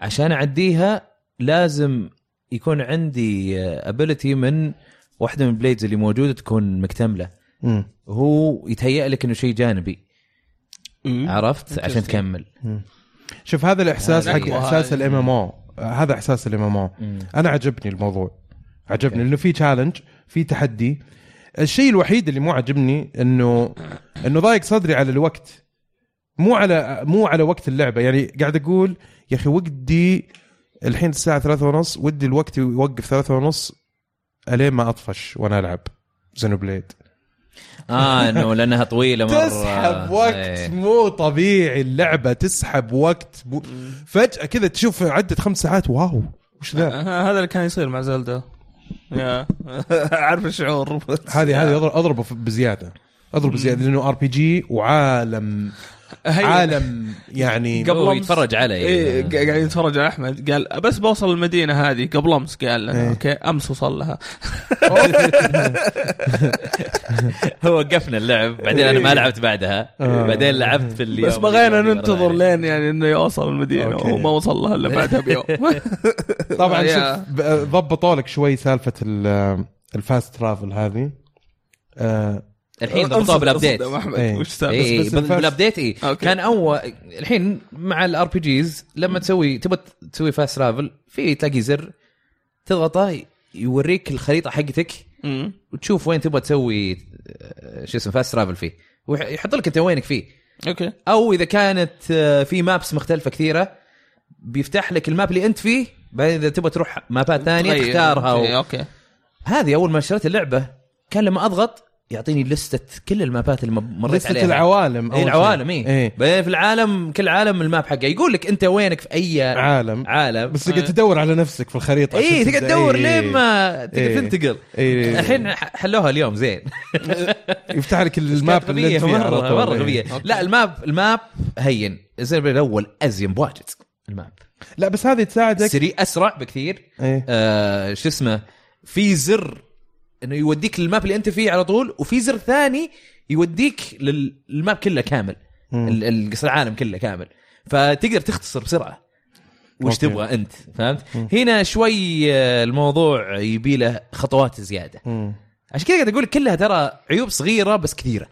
Speaker 4: عشان اعديها لازم يكون عندي ابيلتي من واحده من البليدز اللي موجوده تكون مكتمله
Speaker 3: مم.
Speaker 4: هو يتهيأ لك انه شيء جانبي عرفت عشان
Speaker 5: Interesting.
Speaker 4: تكمل
Speaker 3: شوف هذا الاحساس
Speaker 4: هذا أيوة.
Speaker 3: حق
Speaker 5: أقوى
Speaker 3: احساس
Speaker 5: هذا.
Speaker 3: الام ام او هذا احساس الام ام او انا عجبني الموضوع عجبني لانه في تشالنج في تحدي الشيء الوحيد اللي مو عجبني انه انه ضايق صدري على الوقت مو على مو على وقت اللعبه يعني قاعد اقول يا اخي ودي الحين الساعه ثلاثة ونص ودي الوقت يوقف ثلاثة ونص الين ما اطفش وانا العب زينو بليد
Speaker 4: اه انه لانها طويله مره
Speaker 3: تسحب وقت
Speaker 4: إيه.
Speaker 3: مو طبيعي اللعبه تسحب وقت مو فجاه كذا تشوف عدت خمس ساعات واو وش ذا
Speaker 5: آه، هذا اللي كان يصير مع زلدا يا عارف الشعور
Speaker 3: هذه هذه أضر- اضربه في- بزياده اضرب بزياده لانه ار بي جي وعالم
Speaker 5: هي-
Speaker 3: عالم يعني
Speaker 4: قبل
Speaker 5: أمس-
Speaker 4: يتفرج علي
Speaker 5: ايه قا- قاعد يتفرج على احمد قال بس بوصل المدينه هذه قبل امس قال لنا
Speaker 3: إيه.
Speaker 5: اوكي امس وصل لها
Speaker 4: هو وقفنا اللعب بعدين انا ما لعبت بعدها
Speaker 3: آه.
Speaker 4: بعدين لعبت في اليوم
Speaker 5: بس بغينا
Speaker 4: اللي
Speaker 5: ننتظر
Speaker 4: ورا
Speaker 5: لين يعني انه يوصل المدينه
Speaker 3: أوكي.
Speaker 5: وما وصل لها الا بعدها بيوم
Speaker 3: طبعا
Speaker 5: يا.
Speaker 3: شوف ب- ضبطوا لك شوي سالفه ال- الفاست ترافل هذه آه،
Speaker 4: الحين ضبطوها
Speaker 5: أنصدم-
Speaker 4: بالابديت
Speaker 5: أنصدم احمد
Speaker 3: إيه.
Speaker 5: وش
Speaker 4: إيه،
Speaker 5: سالفه
Speaker 4: إيه،
Speaker 3: بس
Speaker 4: بال-
Speaker 3: الفاست-
Speaker 4: بالابديت اي
Speaker 5: أوكي.
Speaker 4: كان اول الحين مع الار بي جيز لما تسوي تبغى تسوي فاست ترافل في تلاقي زر تضغطه يوريك الخريطه حقتك
Speaker 5: مم.
Speaker 4: وتشوف وين تبغى تسوي آه، شو اسمه فاست ترافل فيه ويحط لك انت وينك فيه
Speaker 5: اوكي
Speaker 4: او اذا كانت آه، في مابس مختلفه كثيره بيفتح لك الماب اللي انت فيه بعدين اذا تبغى تروح مابات ثانيه
Speaker 5: تغير.
Speaker 4: تختارها
Speaker 5: إيه،
Speaker 4: و...
Speaker 5: اوكي
Speaker 4: هذه اول ما شريت اللعبه كان لما اضغط يعطيني لستة كل المابات اللي مريت
Speaker 3: لستة
Speaker 4: عليها
Speaker 3: العوالم
Speaker 4: اي
Speaker 3: أول
Speaker 4: العوالم إيه.
Speaker 3: شيء. إيه،
Speaker 4: اي بعدين في العالم كل عالم الماب حقه يقول لك انت وينك في اي
Speaker 3: عالم
Speaker 4: عالم
Speaker 3: بس تقعد تدور على نفسك في الخريطه
Speaker 4: اي
Speaker 3: عشان
Speaker 4: تقعد
Speaker 3: تبدأ-
Speaker 4: تدور
Speaker 3: إي.
Speaker 4: لين ما
Speaker 3: إيه.
Speaker 4: تقدر تنتقل
Speaker 3: إي.
Speaker 4: الحين ح- حلوها اليوم زين
Speaker 3: يفتح لك الماب اللي
Speaker 4: غبيه
Speaker 3: انت فيه على
Speaker 4: مره
Speaker 3: طول. إيه.
Speaker 4: مره
Speaker 3: إي.
Speaker 4: غبيه لا الماب الماب هين الزين الاول ازين بواجد الماب
Speaker 3: لا بس هذه تساعدك
Speaker 4: سريع اسرع بكثير
Speaker 3: إيه.
Speaker 4: آه شو اسمه في زر انه يوديك للماب اللي انت فيه على طول وفي زر ثاني يوديك لل- للماب كله كامل ال- ال- قصر العالم كله كامل فتقدر تختصر بسرعه وش
Speaker 3: أوكي.
Speaker 4: تبغى انت فهمت؟ هنا شوي آه، الموضوع يبي له خطوات زياده
Speaker 3: مم.
Speaker 4: عشان كذا قاعد اقول لك كلها ترى عيوب صغيره بس كثيره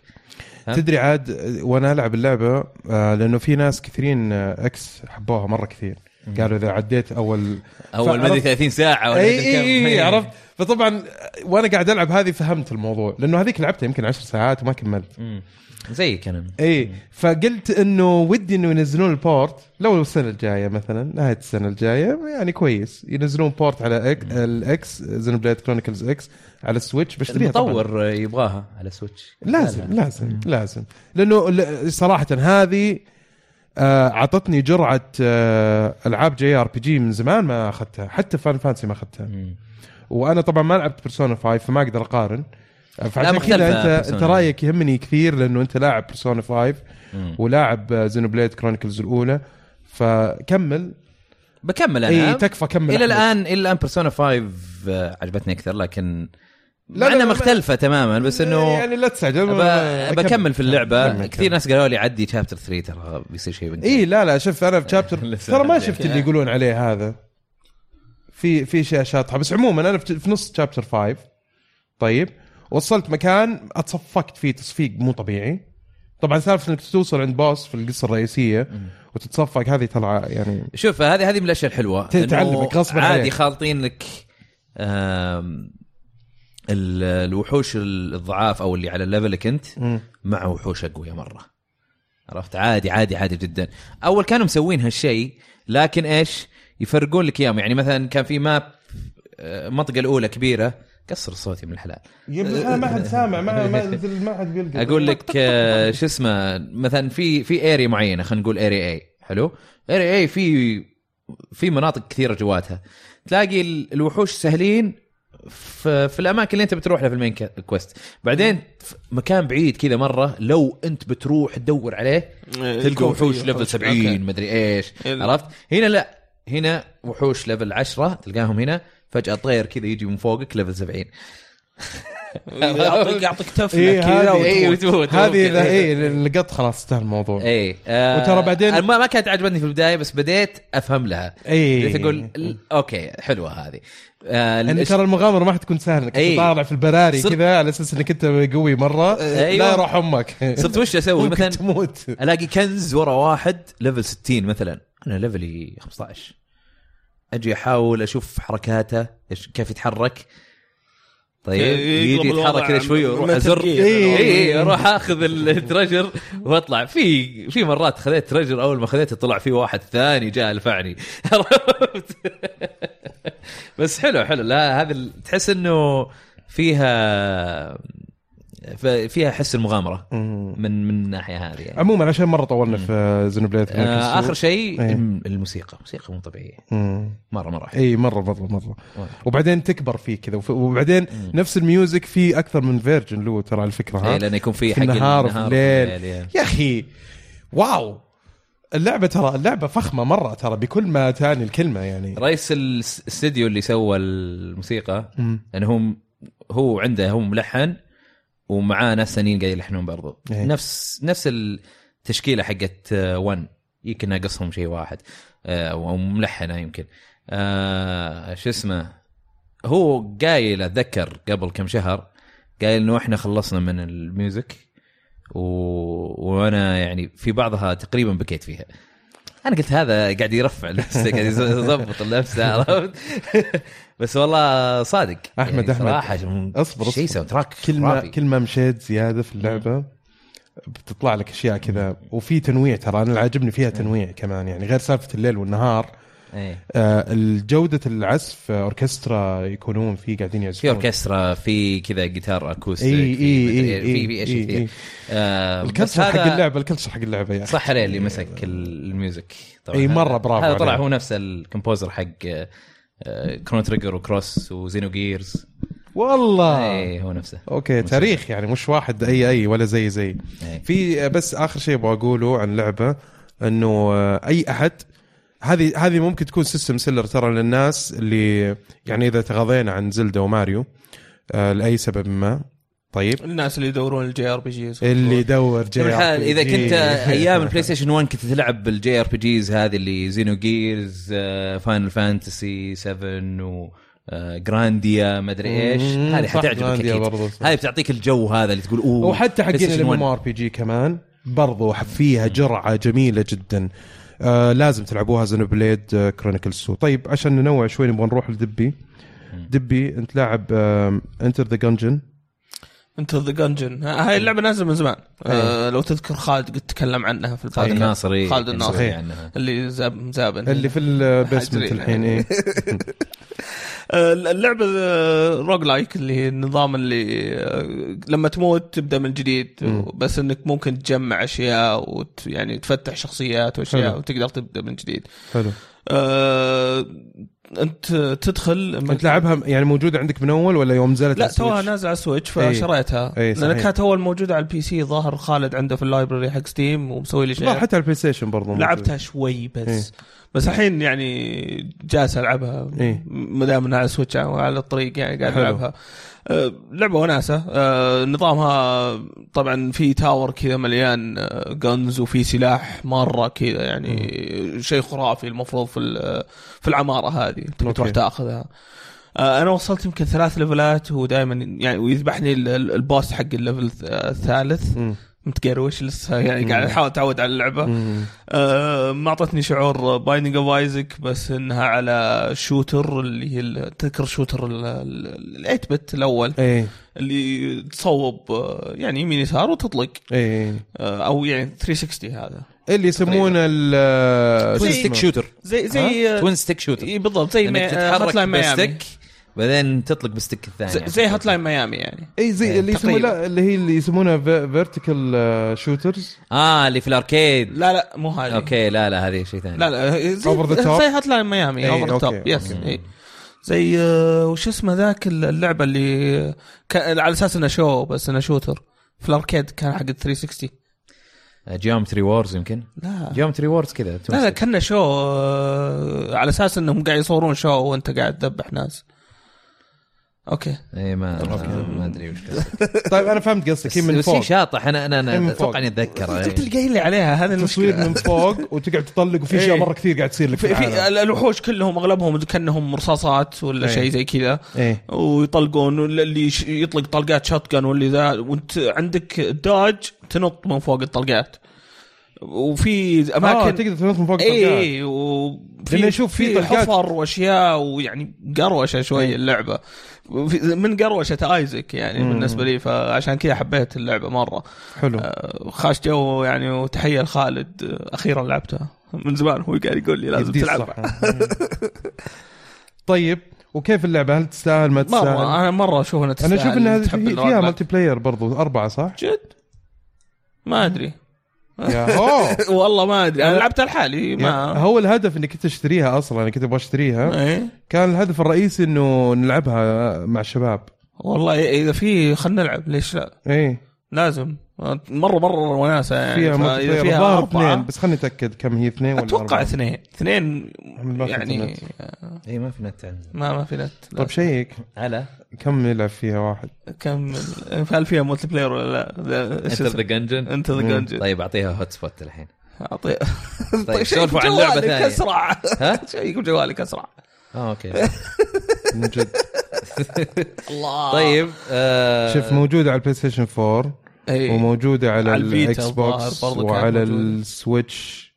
Speaker 3: تدري عاد وانا العب اللعبه آه، لانه في ناس كثيرين آه، اكس حبوها مره كثير قالوا اذا عديت اول
Speaker 4: اول ما ادري 30 ساعه ولا
Speaker 3: اي
Speaker 4: مدري كم.
Speaker 3: اي اي عرفت فطبعا وانا قاعد العب هذه فهمت الموضوع لانه هذيك لعبتها يمكن عشر ساعات وما كملت
Speaker 4: مم. زيك انا
Speaker 3: اي فقلت انه ودي انه ينزلون البورت لو السنه الجايه مثلا نهايه السنه الجايه يعني كويس ينزلون بورت على إك... الاكس زين بليد كرونيكلز اكس على السويتش بشتريها طبعاً.
Speaker 4: المطور يبغاها على سويتش
Speaker 3: لازم لازم لازم لانه ل- صراحه هذه آه، اعطتني جرعه آه، العاب جي ار بي جي من زمان ما اخذتها حتى فان فانسي ما اخذتها وانا طبعا ما لعبت بيرسونا 5 فما اقدر اقارن آه، فعشان
Speaker 4: مختلفة
Speaker 3: كذا انت
Speaker 4: Persona.
Speaker 3: انت رايك يهمني كثير لانه انت لاعب بيرسونا 5 ولاعب زينو بليد كرونيكلز الاولى فكمل
Speaker 4: بكمل انا
Speaker 3: اي تكفى كمل
Speaker 4: الى
Speaker 3: أحمد.
Speaker 4: الان الى الان بيرسونا 5 آه، عجبتني اكثر لكن
Speaker 3: لا،
Speaker 4: مع
Speaker 3: لا،
Speaker 4: انها
Speaker 3: لا،
Speaker 4: مختلفه تماما بس انه
Speaker 3: يعني لا تستعجل
Speaker 4: ب- بكمل في اللعبه
Speaker 3: كمل،
Speaker 4: كثير ناس قالوا لي عدي شابتر 3 ترى بيصير شيء بنت
Speaker 3: اي إيه، لا لا شوف انا في شابتر
Speaker 4: لسه
Speaker 3: ترى ما
Speaker 4: عندي.
Speaker 3: شفت اللي يقولون عليه هذا في في اشياء شاطحه بس عموما انا في في نص شابتر 5 طيب وصلت مكان اتصفقت فيه تصفيق مو طبيعي طبعا سالفه انك توصل عند بوس في القصه الرئيسيه وتتصفق هذه ترى يعني
Speaker 4: شوف هذه هذه من الاشياء الحلوه إنه
Speaker 3: تعلمك غصباً
Speaker 4: عادي
Speaker 3: عليك.
Speaker 4: خالطين لك آم، ال- الوحوش الضعاف او اللي على ليفلك انت مع وحوش اقوياء مره عرفت عادي عادي عادي جدا اول كانوا مسوين هالشيء لكن ايش يفرقون لك اياهم يعني مثلا كان في ماب آه، المنطقه الاولى كبيره قصر صوتي من الحلال
Speaker 3: ما حد سامع ما ما حد بيلقى
Speaker 4: اقول لك آه، شو اسمه مثلا في في اريا معينه خلينا نقول اريا اي حلو اريا اي في في مناطق كثيره جواتها تلاقي ال- الوحوش سهلين في, في الاماكن اللي انت بتروح لها في المين كا- كويست بعدين في مكان بعيد كذا مره لو انت بتروح تدور عليه
Speaker 5: إيه،
Speaker 4: تلقى
Speaker 5: تلقى
Speaker 4: وحوش
Speaker 5: فيه
Speaker 4: ليفل
Speaker 5: وحوش. إيه.
Speaker 4: 70
Speaker 5: أوكي.
Speaker 4: مدري ايش
Speaker 5: ال-
Speaker 4: عرفت هنا لا هنا وحوش ليفل 10 تلقاهم هنا فجاه طير كذا يجي من فوقك ليفل 70
Speaker 5: يعطيك يعطيك
Speaker 3: إيه،
Speaker 5: تفله
Speaker 3: هذه-
Speaker 5: كذا
Speaker 4: إيه،
Speaker 5: وتموت.
Speaker 4: وتموت.
Speaker 3: هذه اذا
Speaker 4: ممكن.
Speaker 3: اي لقط خلاص انتهى الموضوع
Speaker 4: ايه آه
Speaker 3: وترى بعدين-
Speaker 4: أنا ما ما كانت عجبتني في البدايه بس بديت افهم لها
Speaker 3: إيه.
Speaker 4: بديت اقول ال- اوكي حلوه هذه آه
Speaker 3: لان
Speaker 4: الإش-
Speaker 3: ترى المغامره ما حتكون سهله انك
Speaker 4: إيه.
Speaker 3: تطالع في البراري
Speaker 4: صرت-
Speaker 3: كذا على اساس انك انت قوي مره
Speaker 4: أيوة.
Speaker 3: لا يروح امك
Speaker 4: صرت وش اسوي
Speaker 3: ممكن
Speaker 4: مثلا
Speaker 3: تموت
Speaker 4: الاقي كنز ورا واحد ليفل 60 مثلا انا ليفلي 15 اجي احاول اشوف حركاته إيش- كيف يتحرك طيب
Speaker 5: إيه، يقلب
Speaker 4: يجي يتحرك
Speaker 5: الوضع
Speaker 4: كذا شوي
Speaker 5: عن-
Speaker 4: واروح
Speaker 5: من
Speaker 4: ازر
Speaker 5: تفكير.
Speaker 4: اي
Speaker 3: إيه.
Speaker 4: إيه، اروح اخذ التريجر واطلع في في مرات خذيت تريجر اول ما خذيته طلع في واحد ثاني جاء لفعني عرفت بس حلو حلو لا هذا ال- تحس انه فيها ف- فيها حس المغامره من من الناحيه هذه يعني.
Speaker 3: عموما عشان مره طولنا في زينوبليد
Speaker 4: آه اخر شيء
Speaker 3: إيه.
Speaker 4: الم- الموسيقى موسيقى مو طبيعيه مره مره حلوة.
Speaker 3: اي مره مره مره وبعدين تكبر فيه كذا وف- وبعدين نفس الميوزك في اكثر من فيرجن له ترى على الفكره ها
Speaker 4: إيه لانه يكون في
Speaker 3: في
Speaker 4: حق
Speaker 3: النهار وفي الليل
Speaker 4: إيه.
Speaker 3: يا اخي واو اللعبه ترى اللعبه فخمه مره ترى بكل ما تعني الكلمه يعني
Speaker 4: رئيس الاس- الاستديو اللي سوى الموسيقى لانه هو هو عنده هو ملحن ومعاه ناس ثانيين قاعد يلحنون برضو
Speaker 3: إيه.
Speaker 4: نفس نفس التشكيله حقت آه، ون يمكن ناقصهم شيء واحد آه، او ملحنه يمكن آه، شو اسمه هو قايل اتذكر قبل كم شهر قايل انه احنا خلصنا من الميوزك و... وانا يعني في بعضها تقريبا بكيت فيها انا قلت هذا قاعد يرفع نفسه قاعد يظبط نفسه عرفت بس والله صادق يعني
Speaker 3: أحمد، أحمد.
Speaker 4: صراحه
Speaker 3: اصبر
Speaker 4: شيء
Speaker 3: اصبر
Speaker 4: ساوند تراك
Speaker 3: كل ما
Speaker 4: خرافي.
Speaker 3: كل ما مشيت زياده في اللعبه بتطلع لك اشياء كذا وفي تنويع ترى انا اللي عاجبني فيها تنويع كمان يعني غير سالفه الليل والنهار
Speaker 4: إيه.
Speaker 3: آه، الجوده العزف آه، اوركسترا يكونون فيه قاعدين
Speaker 4: في
Speaker 3: يعزفون
Speaker 4: اوركسترا في كذا جيتار اكوستيك
Speaker 3: إي-
Speaker 4: في
Speaker 3: إي-
Speaker 4: مدري-
Speaker 3: إي-
Speaker 4: في في اشياء
Speaker 3: إي-
Speaker 4: كثير
Speaker 3: إي.
Speaker 4: آه، بس
Speaker 3: الكلتشر حق
Speaker 4: هذا-
Speaker 3: اللعبه الكلتشر حق اللعبه يعني
Speaker 4: صح عليه اللي مسك الميوزك طبعا
Speaker 3: إي، مرة
Speaker 4: هذا-
Speaker 3: برافو
Speaker 4: هذا طلع
Speaker 3: عليه.
Speaker 4: هو نفسه الكومبوزر حق آه، كرون تريجر وكروس وزينو جيرز
Speaker 3: والله
Speaker 4: اي هو نفسه
Speaker 3: اوكي
Speaker 4: موسيقى.
Speaker 3: تاريخ يعني مش واحد اي اي ولا زي زي
Speaker 4: إيه.
Speaker 3: في بس اخر شيء ابغى اقوله عن لعبه انه آه، اي احد هذه هذه ممكن تكون سيستم سيلر ترى للناس اللي يعني اذا تغاضينا عن زلدا وماريو آه، لاي سبب ما طيب
Speaker 5: الناس اللي يدورون الجي ار بي جيز
Speaker 3: اللي
Speaker 4: طيب.
Speaker 3: يدور
Speaker 4: شوف
Speaker 3: جاي
Speaker 4: الحال اذا كنت آه، ايام البلاي ستيشن 1 كنت تلعب بالجي ار بي جيز هذه اللي آه، زينو جيرز فاينل فانتسي 7 و آه، جرانديا ما ادري ايش
Speaker 3: مم،
Speaker 4: هذه
Speaker 3: صح،
Speaker 4: حتعجبك
Speaker 3: جرانديا
Speaker 4: اكيد
Speaker 3: برضو.
Speaker 4: هذه بتعطيك الجو هذا اللي تقول اوه
Speaker 3: وحتى حقين
Speaker 4: PlayStation 1.
Speaker 3: الام ار بي جي كمان برضو فيها جرعه جميله جدا آه لازم تلعبوها زينو بليد آه كرونيكلز 2 طيب عشان ننوع شوي نبغى نروح لدبي دبي انت لاعب انتر ذا جنجن
Speaker 5: انت ذا جنجن
Speaker 4: إيه.
Speaker 5: هاي اللعبه نازله من زمان آه لو تذكر خالد قد تكلم عنها في
Speaker 4: خالد
Speaker 5: البودكاست
Speaker 4: الناصر إيه،
Speaker 5: خالد
Speaker 4: كان
Speaker 5: الناصر
Speaker 4: مسوي عنها.
Speaker 5: اللي زاب مزابن
Speaker 3: اللي في البيسمنت
Speaker 5: حجري.
Speaker 3: الحين ايه
Speaker 5: آه، اللعبه آه، روج لايك اللي هي النظام اللي آه، لما تموت تبدا من جديد بس انك ممكن تجمع اشياء وت يعني تفتح شخصيات واشياء
Speaker 3: حلو.
Speaker 5: وتقدر تبدا من جديد
Speaker 3: حلو
Speaker 5: آه، انت تدخل
Speaker 3: انت لعبها يعني موجوده عندك من اول ولا يوم نزلت
Speaker 5: لا
Speaker 3: على السويتش؟
Speaker 5: توها نازله على السويتش
Speaker 3: إيه.
Speaker 5: فشريتها
Speaker 3: إيه،
Speaker 5: لان
Speaker 3: صحيح.
Speaker 5: كانت اول موجوده على البي سي ظاهر خالد عنده في اللايبرري حق ستيم ومسوي لي
Speaker 3: لا
Speaker 5: شيء
Speaker 3: حتى على البلاي ستيشن برضو موجود.
Speaker 5: لعبتها شوي بس
Speaker 3: إيه.
Speaker 5: بس الحين يعني جالس العبها
Speaker 3: إيه.
Speaker 5: ما دام انها على سويتش وعلى الطريق يعني قاعد
Speaker 3: حلو.
Speaker 5: العبها أه، لعبه وناسه أه، نظامها طبعا في تاور كذا مليان جنز وفي سلاح مره كذا يعني شيء خرافي المفروض في ال- أه، في العماره هذه تبي تروح
Speaker 3: أوكي.
Speaker 5: تاخذها آه، انا وصلت يمكن ثلاث ليفلات ودائما يعني ويذبحني ال- ال- البوس حق الليفل الث- أه، الثالث
Speaker 3: مم.
Speaker 5: متقروش لسه يعني قاعد احاول اتعود على اللعبه
Speaker 3: مم.
Speaker 5: آه، ما اعطتني شعور بايندينج اوف ايزك بس انها على شوتر اللي هي ال- تذكر شوتر الايت بت الاول
Speaker 3: ايه
Speaker 5: اللي تصوب آه، يعني يمين يسار وتطلق
Speaker 3: ايه
Speaker 5: آه، او يعني 360 هذا
Speaker 3: اللي يسمونه ال
Speaker 4: توين
Speaker 3: شو
Speaker 4: ستيك
Speaker 3: اسمه؟
Speaker 4: شوتر
Speaker 5: زي
Speaker 4: ها؟
Speaker 3: آه.
Speaker 5: زي آه،
Speaker 4: توين ستيك شوتر
Speaker 5: إي بالضبط زي
Speaker 4: انك
Speaker 5: ما هوت
Speaker 4: تتحرك
Speaker 5: لاين آه، ميامي
Speaker 4: بستيك بعدين تطلق بالستيك الثاني يعني
Speaker 5: زي- زي هوت لاين ميامي يعني
Speaker 3: اي إيه، زي اللي يسمونه
Speaker 5: تقريباً.
Speaker 3: لا، اللي هي اللي يسمونها آه، فيرتيكال شوترز
Speaker 4: اه اللي في الاركيد
Speaker 5: لا لا مو هذه
Speaker 4: اوكي لا لا هذه شيء ثاني
Speaker 5: لا لا زي
Speaker 3: Over the top؟
Speaker 5: زي هات لاين ميامي
Speaker 3: إيه،
Speaker 5: اوفر ذا توب
Speaker 3: أوكي،
Speaker 5: يس إيه. زي آه، وش اسمه ذاك اللعبه اللي كان على اساس انه شو بس انه شوتر في الاركيد كان حق ال 360
Speaker 4: جيومتري وورز آه، يمكن
Speaker 5: لا
Speaker 4: جيومتري وورز كذا
Speaker 5: لا لا كنا شو آه، على اساس انهم قاعد يصورون شو وانت قاعد تذبح ناس اوكي
Speaker 4: اي إيه، ما ما ادري وش قصدك.
Speaker 3: طيب انا فهمت قصدك هي من
Speaker 4: بس شيء
Speaker 3: فوق
Speaker 4: شاطح انا انا
Speaker 3: هي
Speaker 4: انا
Speaker 3: من فوق.
Speaker 4: اتوقع اني اتذكر
Speaker 5: انت
Speaker 4: إي.
Speaker 5: اللي قايل لي عليها هذا
Speaker 3: تصوير
Speaker 5: المشكله
Speaker 3: من فوق وتقعد تطلق وفي اشياء
Speaker 5: إيه.
Speaker 3: مره كثير قاعد تصير لك
Speaker 5: في,
Speaker 3: في,
Speaker 5: في
Speaker 3: العالم.
Speaker 5: الوحوش كلهم اغلبهم كانهم رصاصات ولا
Speaker 3: إيه.
Speaker 5: شيء زي كذا
Speaker 3: ايه
Speaker 5: ويطلقون اللي يش- يطلق طلقات شوتجن واللي ذا وانت عندك داج تنط من فوق الطلقات وفي
Speaker 3: آه
Speaker 5: اماكن
Speaker 3: تقدر تنط من فوق
Speaker 5: اي
Speaker 3: اي
Speaker 5: اي وفي
Speaker 3: لأن أشوف في
Speaker 5: في
Speaker 3: طلقات- إيه.
Speaker 5: حفر واشياء ويعني قروشه شوي اللعبه وفي- من قروشه ايزك يعني مم. بالنسبه لي فعشان كذا حبيت اللعبه مره
Speaker 3: حلو
Speaker 5: آه، خاش جو يعني وتحيه لخالد آه، اخيرا لعبتها من زمان هو قاعد يقول لي لازم
Speaker 3: يديه
Speaker 5: تلعبها
Speaker 3: الصراحة. طيب وكيف اللعبه هل تستاهل ما تستاهل
Speaker 5: مره انا مره اشوف انها
Speaker 3: انا
Speaker 5: تستاهل
Speaker 3: اشوف انها
Speaker 5: يعني تحب
Speaker 3: في-
Speaker 5: الرعب.
Speaker 3: فيها ملتي بلاير برضو اربعه صح؟
Speaker 5: جد ما ادري
Speaker 3: يا اوه
Speaker 5: والله ما ادري انا لعبتها لحالي
Speaker 3: يا-
Speaker 5: ما
Speaker 3: هو الهدف اني كنت اشتريها اصلا انا كنت ابغى اشتريها
Speaker 5: إيه.
Speaker 3: كان الهدف الرئيسي انه نلعبها مع الشباب
Speaker 5: والله اذا في خلينا نلعب ليش لا
Speaker 3: ايه
Speaker 5: لازم مره مره وناسه يعني
Speaker 3: فيها
Speaker 5: فإذا
Speaker 3: ملتي بلاير
Speaker 5: إيه، فيها
Speaker 3: الظاهر
Speaker 5: أربعة،
Speaker 3: اثنين بس خليني اتاكد كم هي اثنين ولا
Speaker 5: اتوقع
Speaker 3: أربعة.
Speaker 5: اثنين اثنين
Speaker 3: ما في
Speaker 5: يعني
Speaker 3: نت.
Speaker 4: اي إيه، ما في نت عندي
Speaker 5: ما ما في نت لا.
Speaker 3: طيب شيك
Speaker 4: على
Speaker 3: كم يلعب فيها واحد
Speaker 5: كم هل فيها ملتي بلاير ولا لا؟ لا؟ إيش
Speaker 4: انتر ذا
Speaker 5: اسمه؟
Speaker 4: جنجن
Speaker 5: انت ذا جنجن
Speaker 4: طيب اعطيها هوت سبوت الحين
Speaker 5: اعطيه
Speaker 4: طيب،
Speaker 5: شيك
Speaker 4: سولفوا عن لعبة
Speaker 5: جوالك
Speaker 4: ثانية.
Speaker 5: اسرع
Speaker 4: ها؟
Speaker 5: شيك جوالك اسرع
Speaker 4: اه اوكي
Speaker 3: من جد
Speaker 5: الله
Speaker 4: طيب آه،
Speaker 3: شوف موجوده على البلاي ستيشن 4
Speaker 5: إيه.
Speaker 3: وموجوده على
Speaker 5: على الفيتا
Speaker 3: الاكس بوكس
Speaker 5: الظاهر برضو كانت
Speaker 3: وعلى
Speaker 5: موجودة.
Speaker 3: السويتش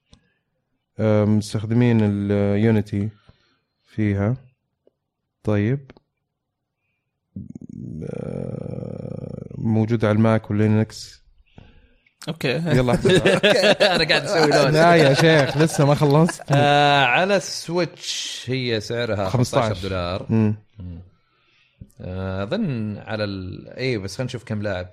Speaker 3: آه، مستخدمين اليونيتي فيها طيب آه، موجودة على الماك واللينكس
Speaker 5: اوكي
Speaker 3: يلا أحسن.
Speaker 4: انا قاعد اسوي لون
Speaker 3: لا يا شيخ لسه ما خلصت
Speaker 4: آه على السويتش هي سعرها 15
Speaker 3: 15
Speaker 4: دولار
Speaker 3: مم.
Speaker 4: آه، اظن على ال... اي بس خلينا نشوف كم لاعب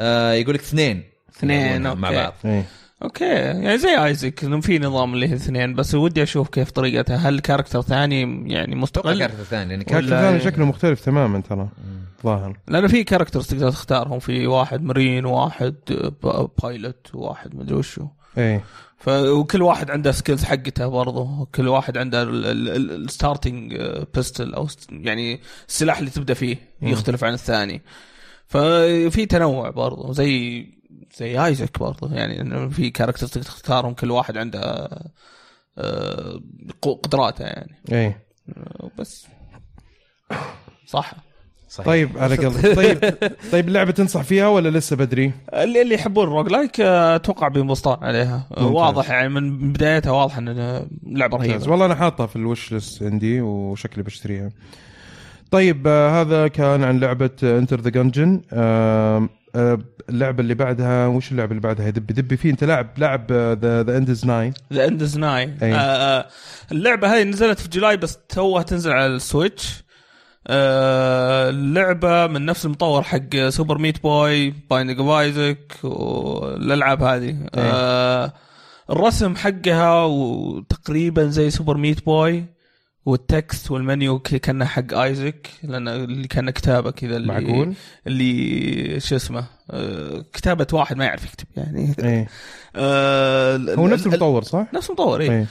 Speaker 4: آه يقول لك اثنين
Speaker 5: اثنين،
Speaker 4: يلعبونها مع
Speaker 5: أوكي.
Speaker 4: بعض
Speaker 3: إيه.
Speaker 5: اوكي يعني زي ايزك إنه في نظام اللي هي اثنين بس ودي اشوف كيف طريقتها هل كاركتر ثاني يعني
Speaker 4: اتوقع
Speaker 5: مستقل
Speaker 4: كارت ثاني لان
Speaker 3: كان
Speaker 4: كارت
Speaker 5: ولا-
Speaker 3: كان شكله مختلف تماما ترى ظاهر
Speaker 5: لانه في كاركترز تقدر تختارهم في واحد مرين واحد آه، ب- بايلوت واحد مدري وشو
Speaker 3: ايه
Speaker 5: ف... وكل واحد عنده سكيلز حقته برضه كل واحد عنده الستارتنج بيستل او uh, st- يعني السلاح اللي تبدا فيه يختلف عن الثاني ففي تنوع برضه زي زي ايزك برضه يعني إنه في كاركتر تقدر تختارهم كل واحد عنده آه، قو- قدراته يعني
Speaker 3: ايه
Speaker 5: بس صح
Speaker 4: صحيح
Speaker 3: طيب على قلبي طيب طيب اللعبه تنصح فيها ولا لسه بدري؟
Speaker 5: اللي اللي يحبون الروج لايك آه، اتوقع بينبسطون عليها آه،
Speaker 3: ممتاز.
Speaker 5: واضح يعني من بدايتها واضح ان آه، لعبه
Speaker 3: ممتاز.
Speaker 5: رهيبه
Speaker 3: طيب، والله انا حاطها في الوش ليست عندي وشكلي بشتريها. طيب آه، هذا كان عن لعبه انتر ذا جنجن اللعبه آه، اللي بعدها وش اللعبه اللي بعدها يا دبي دبي في انت لاعب لاعب آه، ذا ذا اند از ناين
Speaker 5: ذا اند از ناي
Speaker 3: أي.
Speaker 5: اللعبه هذه آه، نزلت في جولاي بس توها تنزل على السويتش آه، اللعبه من نفس المطور حق سوبر ميت بوي بايندينج اوف ايزك والالعاب هذه آه، الرسم حقها وتقريبا زي سوبر ميت بوي والتكست والمنيو ك- كانه حق ايزك لان اللي كان كتابه كذا اللي
Speaker 3: معقول؟
Speaker 5: اللي شو اسمه آه، كتابه واحد ما يعرف يكتب يعني
Speaker 3: ايه
Speaker 5: آه، ال-
Speaker 3: هو
Speaker 5: ال-
Speaker 3: نفس
Speaker 5: ال- نعم.
Speaker 3: المطور صح؟
Speaker 5: نفس مطور اي
Speaker 3: إيه.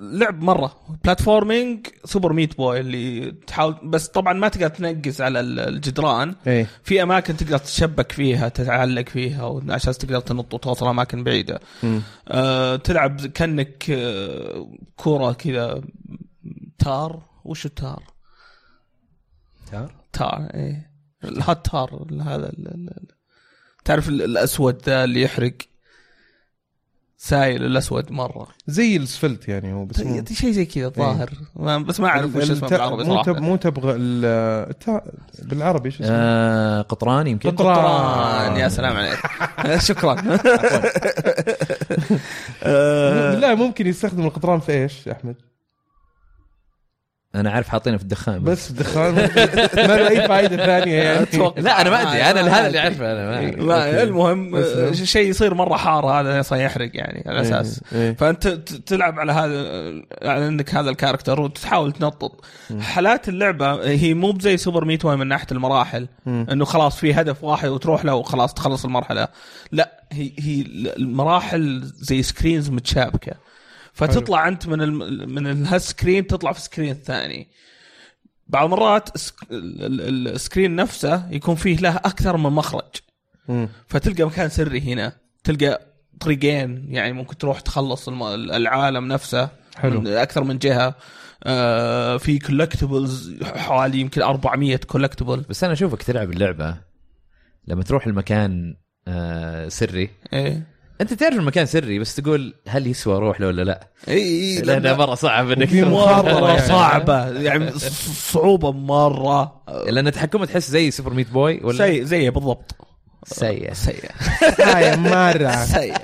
Speaker 5: اللعب مره بلاتفورمينج سوبر ميت بوي اللي تحاول بس طبعا ما تقدر تنقز على ال- الجدران
Speaker 3: ايه
Speaker 5: في اماكن تقدر تشبك فيها تتعلق فيها وعشان تقدر تنط وتوصل اماكن بعيده
Speaker 3: مم.
Speaker 5: أه تلعب ز- كانك آه، كره كذا تار وش التار؟
Speaker 4: تار؟
Speaker 5: تار ايه الهوت تار هذا ال- ال- ال- تعرف ال- الاسود ذا اللي يحرق سايل الاسود مره
Speaker 3: زي السفلت يعني هو بس مو-
Speaker 5: ت- طيب، شيء زي كذا الظاهر ما- بس ما اعرف وش اسمه
Speaker 3: الت-
Speaker 5: بالعربي
Speaker 3: مو تب-
Speaker 5: صراحه
Speaker 3: مو تبغى ال- الت- بالعربي شو اسمه؟
Speaker 4: آه قطران يمكن
Speaker 3: قطران.
Speaker 5: قطران طيب. يا سلام عليك إيه، شكرا
Speaker 3: لا ممكن يستخدم القطران في ايش يا احمد؟
Speaker 4: انا عارف حاطينه في الدخان بس
Speaker 3: بس دخان ما له اي فائده ثانيه يعني
Speaker 5: أتوقع.
Speaker 4: لا انا ما ادري انا
Speaker 5: آه، إيه.
Speaker 4: هذا اللي اعرفه انا ما أعرف.
Speaker 5: لا المهم آه،
Speaker 3: أسلم.
Speaker 5: شيء يصير مره حار هذا يصير يحرق يعني على اساس
Speaker 3: إيه.
Speaker 5: فانت ت- تلعب على هذا على انك هذا الكاركتر وتحاول تنطط حالات اللعبه هي مو زي سوبر ميت واي من ناحيه المراحل انه خلاص في هدف واحد وتروح له وخلاص تخلص المرحله لا هي هي المراحل زي سكرينز متشابكه فتطلع انت من الم... من ال- هالسكرين تطلع في سكرين ثاني بعض المرات السك... ال- ال- السكرين نفسه يكون فيه له اكثر من مخرج
Speaker 3: مم.
Speaker 5: فتلقى مكان سري هنا تلقى طريقين يعني ممكن تروح تخلص الم- العالم نفسه
Speaker 3: حلو.
Speaker 5: من اكثر من جهه آه في كولكتبلز حوالي يمكن 400 كولكتبل
Speaker 4: بس انا اشوفك تلعب اللعبه لما تروح المكان آه سري
Speaker 5: ايه
Speaker 4: انت تعرف المكان سري بس تقول هل يسوى اروح له ولا لا؟
Speaker 5: اي
Speaker 4: لانها مره صعب انك
Speaker 3: وفي
Speaker 4: تروح.
Speaker 3: مخاطرة
Speaker 5: مره
Speaker 3: يعني.
Speaker 5: صعبه يعني ص- صعوبه مره
Speaker 4: لان تحكمه تحس زي سوبر ميت بوي ولا
Speaker 5: سيء زي بالضبط
Speaker 4: سيء
Speaker 5: سيء
Speaker 3: هاي مره
Speaker 5: سيء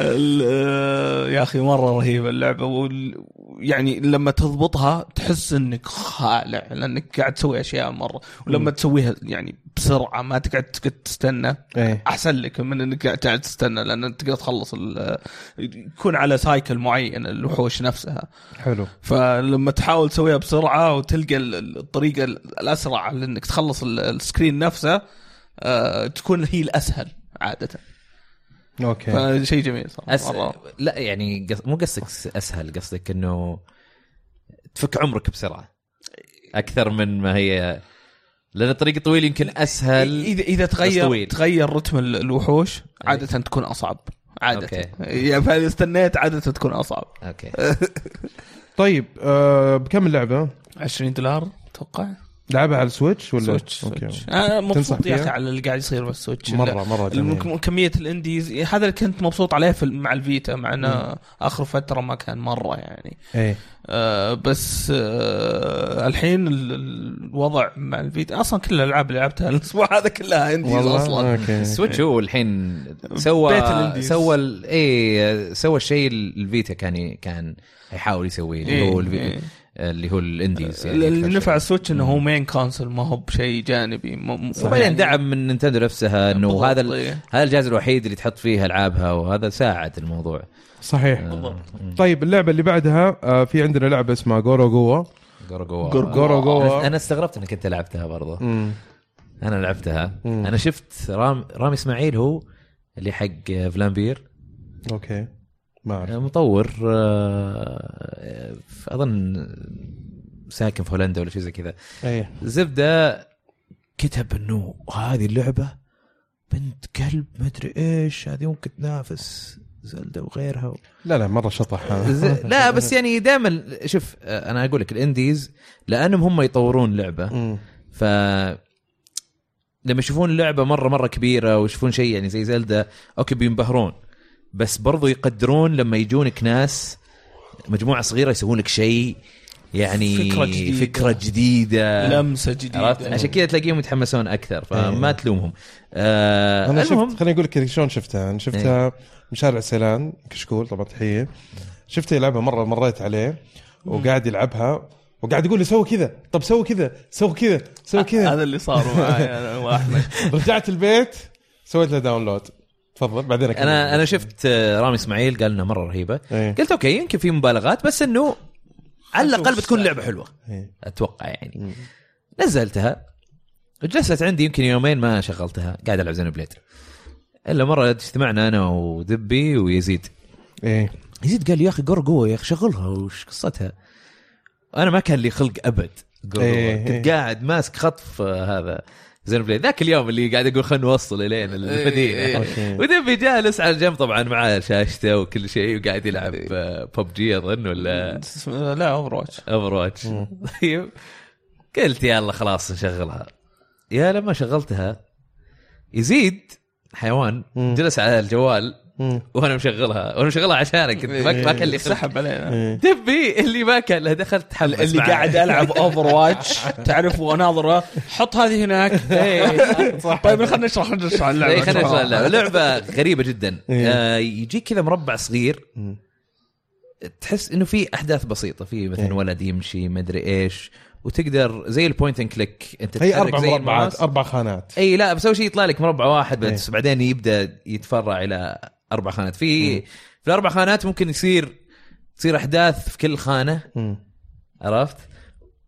Speaker 5: ال- آه، يا اخي مره رهيبه اللعبه وال- يعني لما تضبطها تحس انك خالع لانك قاعد تسوي اشياء مره ولما تسويها يعني بسرعه ما تقعد تقعد تستنى
Speaker 3: ايه
Speaker 5: احسن لك من انك قاعد قاعد تستنى لان تقدر تخلص ال- يكون على سايكل معين الوحوش نفسها
Speaker 3: حلو
Speaker 5: فلما تحاول تسويها بسرعه وتلقى ال- ال- الطريقه ال- الاسرع لانك تخلص ال- السكرين نفسه آه، تكون هي الاسهل عاده
Speaker 3: اوكي
Speaker 5: فشيء جميل صراحه
Speaker 4: أس...
Speaker 5: مره
Speaker 4: لا يعني قص... مو قصدك س- اسهل قصدك انه تفك عمرك بسرعه اكثر من ما هي لان الطريق طويل يمكن اسهل
Speaker 5: اذا اذا
Speaker 4: بس
Speaker 5: تغير
Speaker 4: طويل.
Speaker 5: تغير رتم ال- الوحوش عاده تكون اصعب عاده
Speaker 4: أوكي.
Speaker 5: يعني فاذا استنيت عاده تكون اصعب
Speaker 4: اوكي
Speaker 3: طيب آه بكم اللعبه؟
Speaker 5: 20 دولار اتوقع
Speaker 3: لعبها على السويتش ولا
Speaker 5: سويتش
Speaker 3: أوكي.
Speaker 5: سويتش انا
Speaker 3: تنصح
Speaker 5: مبسوط يا
Speaker 3: فيها؟
Speaker 5: اخي على اللي قاعد يصير بالسويتش
Speaker 3: مره مره جميل
Speaker 5: الم- كميه الانديز هذا اللي كنت مبسوط عليه في مع الفيتا مع انه اخر فتره ما كان مره يعني
Speaker 3: ايه
Speaker 5: آه بس آه الحين ال- الوضع مع الفيتا اصلا كل الالعاب اللي لعبتها الاسبوع هذا كلها انديز
Speaker 3: والله
Speaker 5: اصلا
Speaker 3: اوكي
Speaker 4: سويتش هو الحين سوى
Speaker 5: بيت الإنديز.
Speaker 4: سوى ال- ايه سوى الشيء ال- الفيتا كان ي- كان يحاول يسويه اللي هو الفي-
Speaker 5: إيه.
Speaker 4: اللي هو الانديز يعني
Speaker 5: اللي
Speaker 4: أكثر
Speaker 5: نفع
Speaker 4: شيء.
Speaker 5: السويتش انه هو مين كونسل ما هو بشيء جانبي
Speaker 4: وبعدين دعم من نينتندو نفسها انه
Speaker 5: بالضبط،
Speaker 4: هذا ال-
Speaker 5: إيه.
Speaker 4: هذا الجهاز الوحيد اللي تحط فيه العابها وهذا ساعد الموضوع
Speaker 3: صحيح
Speaker 4: آه.
Speaker 5: بالضبط.
Speaker 3: طيب اللعبه اللي بعدها آه في عندنا لعبه اسمها جورو جوا
Speaker 4: جورجوا
Speaker 3: جورو
Speaker 4: أنا-
Speaker 3: جوا
Speaker 4: انا استغربت انك انت لعبتها برضه
Speaker 3: مم.
Speaker 4: انا لعبتها
Speaker 3: مم.
Speaker 4: انا شفت رام رامي اسماعيل هو اللي حق فلامبير
Speaker 3: اوكي ما اعرف
Speaker 4: مطور آه، اظن ساكن في هولندا ولا شيء زي كذا
Speaker 3: ايه
Speaker 4: زبده كتب انه هذه اللعبه بنت كلب مدري ايش هذه ممكن تنافس زلده وغيرها
Speaker 3: لا لا مره شطح
Speaker 4: ز... لا بس يعني دائما شوف آه، انا اقول لك الانديز لانهم هم يطورون لعبه
Speaker 3: مم.
Speaker 4: ف لما يشوفون لعبه مره مره كبيره ويشوفون شيء يعني زي زلدة اوكي بينبهرون بس برضو يقدرون لما يجونك ناس مجموعه صغيره يسوون لك شيء يعني
Speaker 5: فكرة جديدة.
Speaker 4: فكره جديده
Speaker 5: لمسه جديده
Speaker 4: آه، عرفت عشان كذا تلاقيهم يتحمسون اكثر
Speaker 3: إيه.
Speaker 4: فما تلومهم آه
Speaker 3: انا شفت
Speaker 4: المهم إيه.
Speaker 3: خليني اقول لك شلون شفتها انا شفتها مشارع سيلان كشكول طبعا تحيه شفته يلعبها مره مريت عليه وقاعد يلعبها وقاعد يقول لي سوي كذا طب سوي كذا سوي كذا سوي كذا
Speaker 5: هذا اللي صار معي انا واحمد
Speaker 3: رجعت البيت سويت له داونلود تفضل بعدين أكمل.
Speaker 4: انا انا شفت آه، رامي اسماعيل قال انها مره رهيبه
Speaker 3: إيه.
Speaker 4: قلت اوكي يمكن في مبالغات بس انه على الاقل
Speaker 5: نشوف
Speaker 4: بتكون
Speaker 5: الساعة.
Speaker 4: لعبه حلوه
Speaker 3: إيه.
Speaker 4: اتوقع يعني نزلتها جلست عندي يمكن يومين ما شغلتها قاعد العب زين بليد الا مره اجتمعنا انا ودبي ويزيد
Speaker 3: ايه
Speaker 4: يزيد قال لي يا اخي قرقوه يا اخي شغلها وش قصتها انا ما كان لي خلق ابد قرقوه
Speaker 3: إيه،
Speaker 4: كنت
Speaker 3: إيه.
Speaker 4: قاعد ماسك خطف آه، هذا زين بليد ذاك اليوم اللي قاعد اقول خلينا نوصل الين
Speaker 5: إيه.
Speaker 4: المدينه
Speaker 3: أوكي.
Speaker 4: ودبي جالس على جنب طبعا معاه شاشته وكل شيء وقاعد يلعب
Speaker 3: إيه.
Speaker 4: آه، ببجي اظن ولا
Speaker 5: لا اوفر واتش
Speaker 3: إيه.
Speaker 4: اوفر واتش طيب قلت يلا خلاص نشغلها يا لما شغلتها يزيد حيوان
Speaker 3: مم.
Speaker 4: جلس على الجوال
Speaker 3: مم.
Speaker 4: وانا مشغلها وانا مشغلها عشانك كنت ما ما كان لي خلق.
Speaker 5: سحب علينا
Speaker 3: إيه.
Speaker 4: دبي اللي ما كان له دخل تحمس
Speaker 5: اللي
Speaker 4: معاه.
Speaker 5: قاعد العب اوفر واتش تعرف واناظره حط هذه هناك طيب خلينا نشرح نشرح اللعبه
Speaker 4: إيه، خلينا نشرح اللعبة. لعبه غريبه جدا
Speaker 3: إيه.
Speaker 4: آه، يجيك كذا مربع صغير
Speaker 3: مم.
Speaker 4: تحس انه في احداث بسيطه في
Speaker 3: إيه.
Speaker 4: مثلا ولد يمشي مدري ايش وتقدر زي البوينت اند كليك انت
Speaker 3: هي
Speaker 4: تتحرك
Speaker 3: اربع
Speaker 4: زي
Speaker 3: مربعات
Speaker 4: الماوس.
Speaker 3: اربع خانات
Speaker 4: اي لا بس اول شيء يطلع لك مربع واحد بس
Speaker 3: إيه.
Speaker 4: بعدين يبدا يتفرع الى اربع خانات في
Speaker 3: إيه.
Speaker 4: في الاربع خانات ممكن يصير تصير احداث في كل خانه
Speaker 3: مم.
Speaker 4: عرفت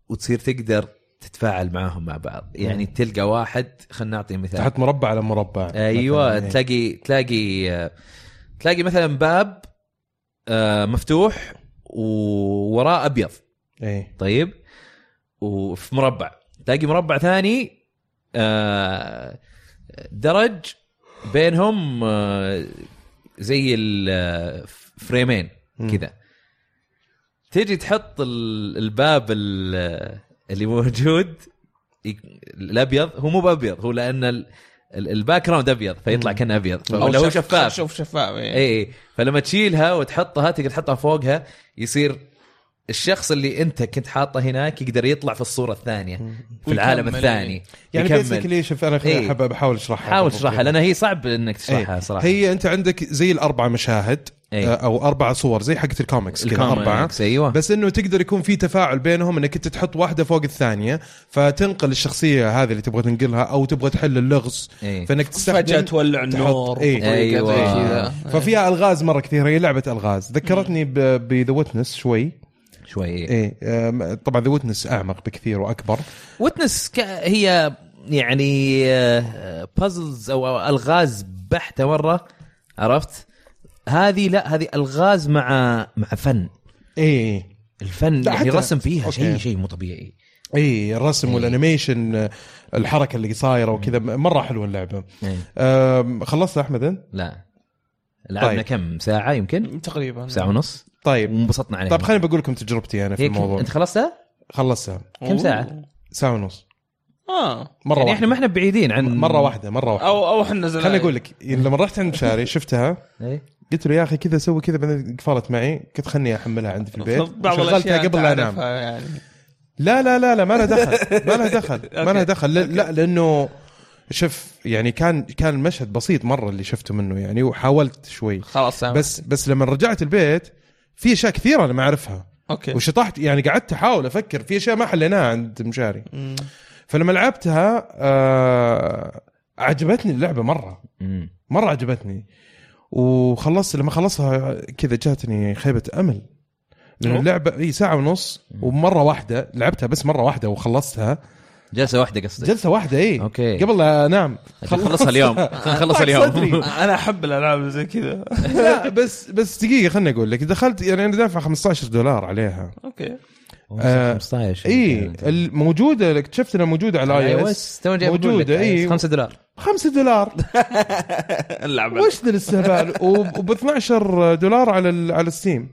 Speaker 4: وتصير تقدر تتفاعل معاهم مع بعض
Speaker 3: إيه.
Speaker 4: يعني تلقى واحد خلينا نعطي مثال
Speaker 3: تحط مربع على مربع
Speaker 4: ايوه
Speaker 3: مثلاً. إيه.
Speaker 4: تلاقي تلاقي آه، تلاقي مثلا باب آه، مفتوح ووراه ابيض
Speaker 3: ايه
Speaker 4: طيب وفي مربع تلاقي مربع ثاني آه، درج بينهم آه، زي الفريمين كذا تجي تحط ال- الباب ال- اللي موجود ي- الابيض هو مو بابيض هو لان ال- ال- الباك جراوند ابيض فيطلع كانه ابيض ولا هو شفاف
Speaker 5: شوف شفاف إيه.
Speaker 4: اي إي. فلما تشيلها وتحطها تقدر تحطها فوقها يصير الشخص اللي انت كنت حاطه هناك يقدر يطلع في الصوره الثانيه في العالم
Speaker 5: ويكمل،
Speaker 4: الثاني
Speaker 3: يعني
Speaker 4: يكمل.
Speaker 3: بيسكلي شوف انا
Speaker 4: إيه.
Speaker 3: خليني احب بحاول اشرحها
Speaker 4: حاول تشرحها لان هي صعب انك تشرحها
Speaker 3: إيه.
Speaker 4: صراحه
Speaker 3: هي انت عندك زي الاربع مشاهد
Speaker 4: إيه.
Speaker 3: آه، او اربع صور زي حقت الكوميكس كذا
Speaker 4: الكوميكس،
Speaker 3: اربعه
Speaker 4: أيوة.
Speaker 3: بس انه تقدر يكون في تفاعل بينهم انك انت تحط واحده فوق الثانيه فتنقل الشخصيه هذه اللي تبغى تنقلها او تبغى تحل اللغز
Speaker 4: إيه.
Speaker 3: فانك تستخدم
Speaker 5: فجاه تولع النور
Speaker 3: إيه.
Speaker 5: بطريقة زي
Speaker 4: أيوة.
Speaker 5: كذا.
Speaker 3: ففيها الغاز مره كثيره هي لعبه الغاز ذكرتني بذا ويتنس شوي
Speaker 4: شوي إيه.
Speaker 3: ايه آم، طبعا ذا ويتنس اعمق بكثير واكبر
Speaker 4: وتنس ك... هي يعني بازلز او أو الغاز بحته مره عرفت هذه لا هذه الغاز مع مع فن
Speaker 3: ايه
Speaker 4: الفن
Speaker 3: لا،
Speaker 4: يعني
Speaker 3: حتى-
Speaker 4: رسم فيها
Speaker 3: أوكي.
Speaker 4: شيء شيء مو طبيعي
Speaker 3: اي إيه. الرسم
Speaker 4: إيه.
Speaker 3: والانيميشن آه، الحركه اللي صايره وكذا مره حلوه اللعبه
Speaker 4: إيه.
Speaker 3: آم، خلصت يا احمد انت؟
Speaker 4: لا لعبنا
Speaker 3: طيب.
Speaker 4: كم ساعه يمكن
Speaker 5: تقريبا
Speaker 4: ساعه ونص
Speaker 3: طيب
Speaker 4: وانبسطنا عليها
Speaker 3: طيب خليني بقول لكم تجربتي انا في
Speaker 4: هي كم-
Speaker 3: الموضوع
Speaker 4: انت خلصتها؟
Speaker 3: خلصتها
Speaker 4: كم ساعة؟
Speaker 3: ساعه ونص
Speaker 5: اه
Speaker 3: مره
Speaker 4: يعني
Speaker 3: واحده
Speaker 4: احنا ما احنا بعيدين عن
Speaker 3: مره واحده مره واحده
Speaker 5: او او احنا نزلنا
Speaker 3: خليني اقول لك لما رحت عند شاري شفتها
Speaker 4: إيه؟
Speaker 3: قلت له يا اخي كذا سوي كذا بعدين قفلت معي قلت خلني احملها عندي في البيت
Speaker 5: بعض
Speaker 3: شغلتها
Speaker 5: الاشياء
Speaker 3: قبل لا انام
Speaker 5: يعني
Speaker 3: لا لا لا لا ما لها دخل ما لها دخل ما لها دخل لا, لا لانه شوف يعني كان كان المشهد بسيط مره اللي شفته منه يعني وحاولت شوي
Speaker 5: خلاص
Speaker 4: آه.
Speaker 5: سامح.
Speaker 3: بس بس لما رجعت البيت في اشياء كثيره انا ما اعرفها
Speaker 5: اوكي
Speaker 3: وشطحت يعني قعدت احاول افكر في اشياء ما حليناها عند مشاري
Speaker 5: مم.
Speaker 3: فلما لعبتها آه عجبتني اللعبه مره
Speaker 4: مم.
Speaker 3: مره عجبتني وخلصت لما خلصها كذا جاتني خيبه امل لان
Speaker 5: أوه.
Speaker 3: اللعبه اي ساعه ونص ومره واحده لعبتها بس مره واحده وخلصتها
Speaker 4: جلسه واحده قصدي
Speaker 3: جلسه واحده اي
Speaker 4: أوكي.
Speaker 3: قبل لا انام
Speaker 1: خلصها اليوم خلصها اليوم
Speaker 3: صدري.
Speaker 5: انا احب الالعاب اللي زي كذا
Speaker 3: لا بس بس دقيقه خليني اقول لك دخلت يعني انا دافع 15 دولار عليها
Speaker 5: اوكي
Speaker 3: آه،
Speaker 4: 15
Speaker 3: اي الموجوده اكتشفت انها موجوده على اي او اس
Speaker 4: تو جاي بقول لك
Speaker 3: موجودة، إيه.
Speaker 4: 5 دولار
Speaker 3: 5 دولار
Speaker 5: اللعبه
Speaker 3: وش ذا الاستهبال وب 12 دولار على ال- على الستيم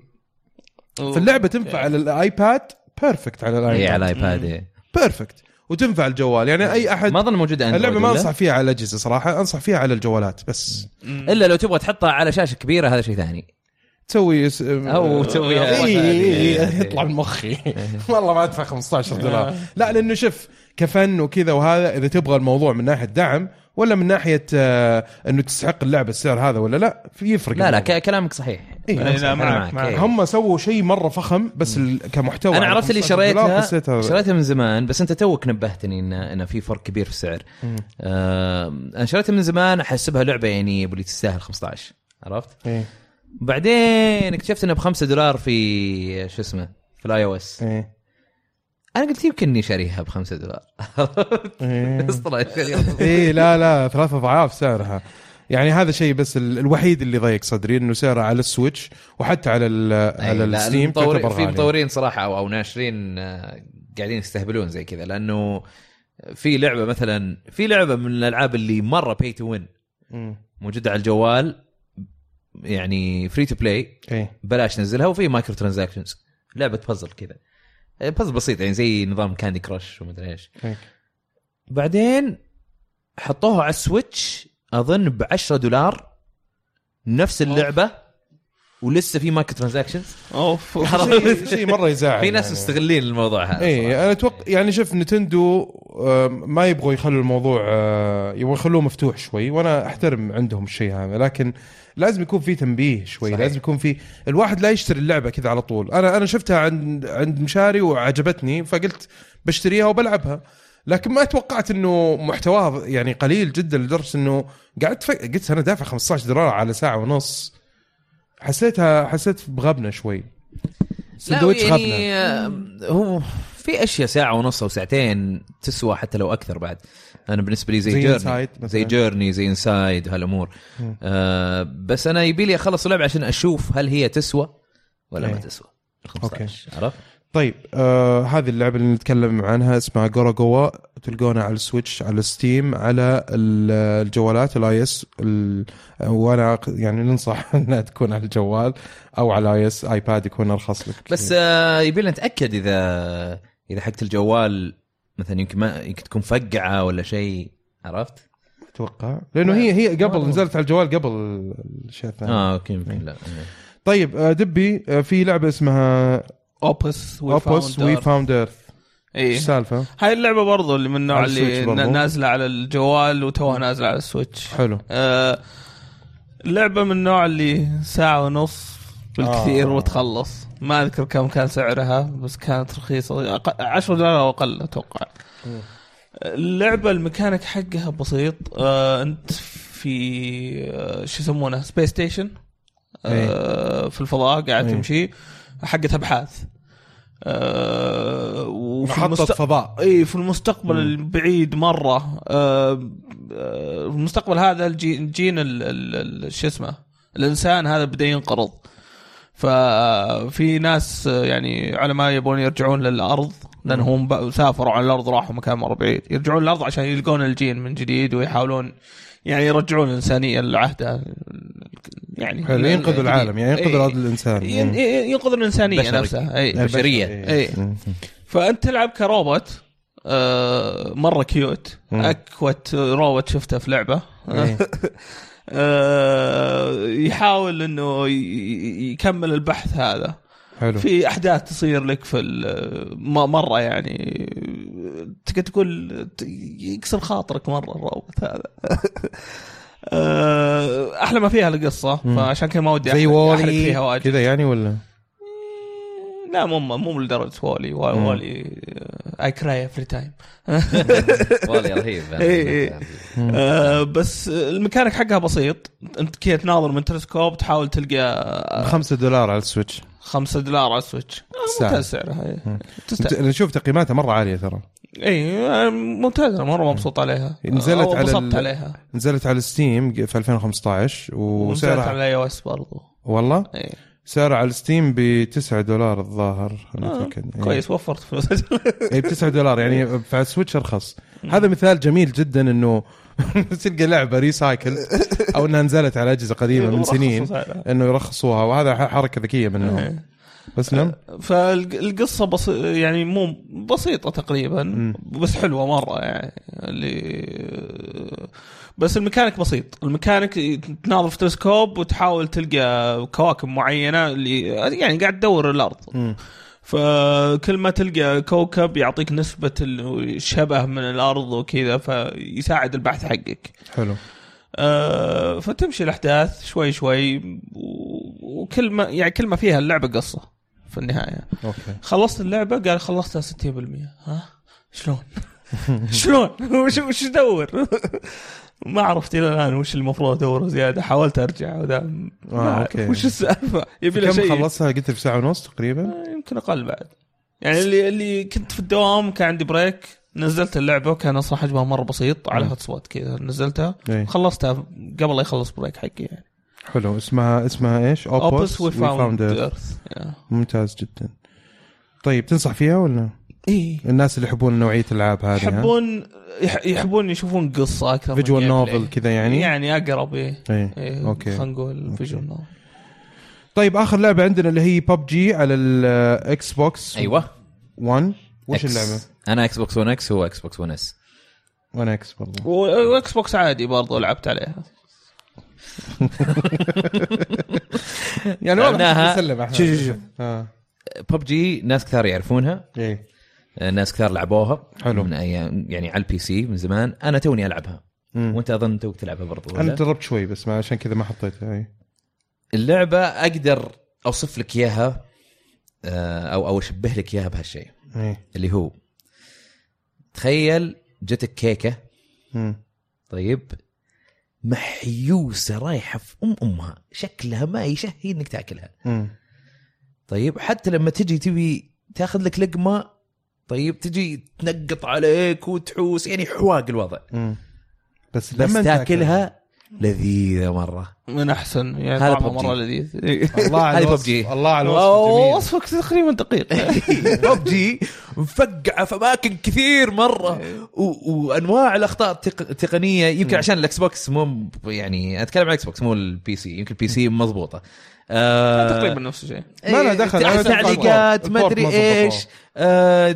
Speaker 3: فاللعبه تنفع على الايباد بيرفكت على
Speaker 4: اي
Speaker 3: الايباد
Speaker 4: على الايباد إيه.
Speaker 3: بيرفكت وتنفع الجوال يعني اي احد
Speaker 4: ما اظن موجوده عند
Speaker 3: اللعبه ما انصح فيها على الاجهزه صراحه انصح فيها على الجوالات بس
Speaker 4: الا لو تبغى تحطها على شاشه كبيره هذا شيء ثاني
Speaker 3: تسوي س... او
Speaker 4: او تسويها
Speaker 3: اي إي- إي، يطلع من مخي والله ما ادفع 15 دولار لا لانه شوف كفن وكذا وهذا اذا تبغى الموضوع من ناحيه دعم ولا من ناحيه آه انه تستحق اللعبه السعر هذا ولا لا في يفرق
Speaker 4: لا لا
Speaker 3: الموضوع.
Speaker 4: ك- كلامك صحيح
Speaker 3: إيه،
Speaker 4: كلامك
Speaker 3: لا،
Speaker 4: صحيح. أنا
Speaker 5: معك،
Speaker 4: معك،
Speaker 5: معك.
Speaker 4: إيه.
Speaker 3: هم سووا شيء مره فخم بس ال... كمحتوى يعني،
Speaker 4: انا
Speaker 3: على
Speaker 4: عرفت اللي
Speaker 3: 15 دولار،
Speaker 4: شريتها
Speaker 3: حسيت هذا.
Speaker 4: شريتها من زمان بس انت توك نبهتني ان ان في فرق كبير في السعر آه انا شريتها من زمان احسبها لعبه يعني اللي تستاهل 15 عرفت؟
Speaker 3: إيه،
Speaker 4: بعدين اكتشفت انها ب 5 دولار في شو اسمه في الاي او اس
Speaker 3: إيه،
Speaker 4: انا قلت يمكن اني شاريها ب 5 دولار
Speaker 3: إيه.
Speaker 4: بس طلعت شاريها
Speaker 3: اي إيه، لا لا ثلاث اضعاف سعرها يعني هذا شيء بس ال- الوحيد اللي ضيق صدري انه سعره على السويتش وحتى على ال على
Speaker 4: أي، إيه، لا،
Speaker 3: الستيم
Speaker 4: المطور-
Speaker 3: تعتبر
Speaker 4: في
Speaker 3: غالية.
Speaker 4: مطورين صراحه او او ناشرين آه، قاعدين يستهبلون زي كذا لانه في لعبه مثلا في لعبه من الالعاب اللي مره باي تو وين
Speaker 3: مم.
Speaker 4: موجوده على الجوال يعني فري تو بلاي
Speaker 3: اي
Speaker 4: بلاش نزلها وفي مايكرو ترانزاكشنز لعبه بازل كذا بازل بسيط يعني زي نظام كاندي كراش ومدري ايش
Speaker 3: هيك.
Speaker 4: بعدين حطوها على السويتش اظن ب 10 دولار نفس اللعبه ولسه في مايكرو ترانزاكشنز
Speaker 5: اوف
Speaker 3: شيء شي مره يزعل
Speaker 4: في ناس
Speaker 3: يعني.
Speaker 4: مستغلين الموضوع هذا
Speaker 3: اي
Speaker 4: صراحة.
Speaker 3: انا اتوقع يعني شوف نتندو آه، ما يبغوا يخلوا الموضوع آه، يبغوا يخلوه مفتوح شوي وانا احترم عندهم الشيء هذا لكن لازم يكون في تنبيه شوي
Speaker 4: صحيح.
Speaker 3: صحيح. لازم يكون في الواحد لا يشتري اللعبه كذا على طول انا انا شفتها عند عند مشاري وعجبتني فقلت بشتريها وبلعبها لكن ما توقعت انه محتواها يعني قليل جدا لدرجه انه قعدت فك... قلت انا دافع 15 دولار على ساعه ونص حسيتها حسيت بغبنه شوي سندوتش
Speaker 4: لا
Speaker 3: غبنه
Speaker 4: يعني آه، هو في اشياء ساعه ونص او ساعتين تسوى حتى لو اكثر بعد انا بالنسبه لي زي,
Speaker 3: زي
Speaker 4: جيرني
Speaker 3: Inside مثلاً.
Speaker 4: زي جيرني زي انسايد وهالامور
Speaker 3: مم.
Speaker 4: آه بس انا يبي لي اخلص اللعبه عشان اشوف هل هي تسوى ولا ما
Speaker 3: إيه.
Speaker 4: تسوى ال 15 عرفت؟
Speaker 3: طيب آه هذه اللعبه اللي نتكلم عنها اسمها جوراجوا تلقونها على السويتش على الستيم على ال- الجوالات الاي اس وانا أق- يعني ننصح انها تكون على الجوال او على اي اس ايباد يكون ارخص لك
Speaker 4: بس آه يبي لنا نتاكد اذا اذا حقت الجوال مثلا يمكن ما يمكن تكون فقعه ولا شيء عرفت؟
Speaker 3: اتوقع لانه هي هي قبل نزلت على الجوال قبل الاشياء الثانيه آه.
Speaker 4: اه اوكي يمكن لا
Speaker 3: طيب آه دبي آه في لعبه اسمها
Speaker 5: اوبس وي
Speaker 3: اوبوس وي
Speaker 5: فاوند
Speaker 3: فاوند ايرث
Speaker 5: ايه
Speaker 3: ايش السالفه؟
Speaker 5: هاي اللعبه برضو اللي من النوع
Speaker 3: على السويتش
Speaker 5: اللي
Speaker 3: برضو.
Speaker 5: نا- نازله على الجوال وتوها نازله على السويتش
Speaker 3: حلو
Speaker 5: آه، لعبه من النوع اللي ساعه ونص بالكثير
Speaker 3: آه.
Speaker 5: وتخلص ما اذكر كم كان سعرها بس كانت رخيصه أق- 10 دولار او اقل اتوقع اللعبه الميكانيك حقها بسيط آه، انت في آه، شو يسمونه سبيس ستيشن آه، في الفضاء قاعد
Speaker 3: إيه.
Speaker 5: تمشي حقت ابحاث آه، وفي
Speaker 3: محطه
Speaker 5: المست-
Speaker 3: فضاء
Speaker 5: اي في المستقبل البعيد مره آه، آه، المستقبل هذا الجي- الجين ال- ال- ال- شو اسمه الانسان هذا بدا ينقرض ففي ناس آه، يعني علماء يبون يرجعون للارض لانهم ب- سافروا على الارض راحوا مكان مره بعيد يرجعون للارض عشان يلقون الجين من جديد ويحاولون يعني يرجعون الانسانيه لعهدها يعني
Speaker 3: حلو ينقذوا العالم يعني
Speaker 5: إيه.
Speaker 3: ينقذوا الارض الانسان
Speaker 5: ين-
Speaker 3: يعني.
Speaker 5: ين- ينقذوا الانسانيه
Speaker 4: بشري.
Speaker 5: نفسها اي
Speaker 4: البشريه
Speaker 3: إيه.
Speaker 5: إيه. فانت تلعب كروبوت آه، مره كيوت
Speaker 3: مم.
Speaker 5: اكوت روت شفتها في لعبه
Speaker 3: إيه.
Speaker 5: آه، يحاول انه ي- ي- يكمل البحث هذا
Speaker 3: حلو
Speaker 5: في احداث تصير لك في ال- م- مره يعني تقدر تقول ت- يكسر خاطرك مره الروبوت هذا آه، احلى ما فيها القصه فعشان كذا ما ودي
Speaker 3: زي
Speaker 5: أحرق-
Speaker 3: وولي
Speaker 5: أحرق فيها واجد
Speaker 3: كذا يعني ولا
Speaker 5: لا مو مو لدرجه وولي وا-
Speaker 3: مم.
Speaker 5: وولي آه، اي كراي افري تايم
Speaker 4: والله رهيب
Speaker 5: إيه، إيه. آه، بس الميكانيك حقها بسيط انت كذا تناظر من تلسكوب تحاول تلقى
Speaker 3: خمسة دولار على السويتش
Speaker 5: خمسة دولار على السويتش آه، ممتاز سعرها إيه.
Speaker 3: أنت-
Speaker 5: تستاهل
Speaker 3: انا اشوف تقييماتها مره عاليه ترى
Speaker 5: اي آه، ممتازه مره مبسوط عليها
Speaker 3: إيه، نزلت
Speaker 5: أو
Speaker 3: على
Speaker 5: انبسطت
Speaker 3: ال-
Speaker 5: عليها
Speaker 3: نزلت على الستيم في 2015
Speaker 5: ونزلت
Speaker 3: وسعرها
Speaker 5: على اي او اس برضو
Speaker 3: والله
Speaker 5: إيه.
Speaker 3: سعره على الستيم ب 9 دولار الظاهر انا
Speaker 5: آه،
Speaker 3: اتاكد إيه.
Speaker 5: كويس وفرت فلوس
Speaker 3: اي ب 9 دولار يعني فعلى السويتش ارخص هذا مثال جميل جدا انه تلقى لعبه ريسايكل او انها نزلت على اجهزه قديمه إيوه، من
Speaker 5: ورخصوا
Speaker 3: سنين
Speaker 5: سعرها.
Speaker 3: انه يرخصوها وهذا ح- حركه ذكيه منهم بس نعم
Speaker 5: فالقصه بس يعني مو بسيطه تقريبا بس حلوه مره يعني اللي بس الميكانيك بسيط الميكانيك تناظر في تلسكوب وتحاول تلقى كواكب معينه اللي يعني قاعد تدور الارض فكل ما تلقى كوكب يعطيك نسبه الشبه من الارض وكذا فيساعد البحث حقك
Speaker 3: حلو
Speaker 5: آه، فتمشي الاحداث شوي شوي و- وكل ما يعني كل ما فيها اللعبه قصه في النهايه
Speaker 3: اوكي
Speaker 5: خلصت اللعبه قال خلصتها 60% ها شلون شلون وش وش ادور ما عرفت الى الان وش المفروض ادوره زياده حاولت ارجع وذا ما
Speaker 3: آه،
Speaker 5: أعرف
Speaker 3: أوكي.
Speaker 5: وش السالفه يبي له
Speaker 3: كم
Speaker 5: شيء
Speaker 3: خلصها قلت في ساعه ونص تقريبا
Speaker 5: آه، يمكن اقل بعد يعني اللي اللي كنت في الدوام كان عندي بريك نزلت اللعبه وكان اصلا حجمها مره بسيط على هوت سبوت كذا نزلتها
Speaker 3: إيه.
Speaker 5: خلصتها قبل لا يخلص بريك حقي يعني
Speaker 3: حلو اسمها اسمها ايش؟
Speaker 5: اوبس وي فاوند
Speaker 3: Earth.
Speaker 5: ايرث
Speaker 3: ممتاز جدا طيب تنصح فيها ولا
Speaker 5: ايه
Speaker 3: الناس اللي يحبون نوعيه الالعاب هذه ها؟
Speaker 5: يحبون يح- يحبون يشوفون قصه اكثر من
Speaker 3: فيجوال
Speaker 5: gameplay.
Speaker 3: نوفل كذا يعني
Speaker 5: يعني اقرب ايه
Speaker 3: إيه،
Speaker 5: إيه،
Speaker 3: أوكي.
Speaker 5: خلينا نقول فيجوال نوفل
Speaker 3: طيب اخر لعبه عندنا اللي هي ببجي على الاكس بوكس
Speaker 4: ايوه
Speaker 3: 1 وش
Speaker 4: X.
Speaker 3: اللعبه؟
Speaker 4: انا اكس بوكس 1 اكس هو اكس بوكس 1 اس
Speaker 3: 1 اكس برضه
Speaker 5: واكس بوكس عادي برضو لعبت عليها
Speaker 3: يعني
Speaker 4: لعبناها.
Speaker 3: نسلم احنا
Speaker 4: شو- شو- شو.
Speaker 3: اه
Speaker 4: ببجي ناس كثار يعرفونها
Speaker 3: ايه
Speaker 4: ناس كثار لعبوها
Speaker 3: حلو.
Speaker 4: من ايام يعني على البي سي من زمان انا توني العبها
Speaker 3: مم.
Speaker 4: وانت اظن توك تلعبها برضو
Speaker 3: انا
Speaker 4: ولا؟
Speaker 3: جربت شوي بس ما عشان كذا ما حطيتها إيه. اي
Speaker 4: اللعبه اقدر اوصف لك اياها آه، او او اشبه لك اياها بهالشيء
Speaker 3: ايه
Speaker 4: اللي هو تخيل جتك كيكه
Speaker 3: مم.
Speaker 4: طيب محيوسه رايحه في ام امها شكلها ما يشهي انك تاكلها
Speaker 3: مم.
Speaker 4: طيب حتى لما تجي تبي تاخذ لك لقمه طيب تجي تنقط عليك وتحوس يعني حواق الوضع
Speaker 3: مم. بس
Speaker 4: بس
Speaker 3: لما
Speaker 4: تاكلها لذيذه مره
Speaker 5: من احسن يعني
Speaker 4: هذا
Speaker 5: طعمه
Speaker 4: PUBG.
Speaker 5: مره لذيذ إيه.
Speaker 3: الله على
Speaker 4: هذه
Speaker 3: الوصف
Speaker 4: PUBG.
Speaker 3: الله على الوصف
Speaker 5: أوه،
Speaker 3: الجميل
Speaker 5: وصفك تقريبا دقيق
Speaker 4: ببجي مفقعه في اماكن كثير مره و... وانواع الاخطاء التق... التقنيه يمكن عشان الاكس بوكس مو م- يعني اتكلم عن الاكس بوكس مو البي سي يمكن البي سي مضبوطه آه...
Speaker 5: تقريبا نفس الشيء
Speaker 3: ما لها دخل، أنا
Speaker 4: إيه،
Speaker 3: أتوقع
Speaker 4: تعليقات
Speaker 3: البورت-
Speaker 4: ما ادري
Speaker 3: البورت ما
Speaker 4: ايش
Speaker 3: ضبطوه.
Speaker 4: آه...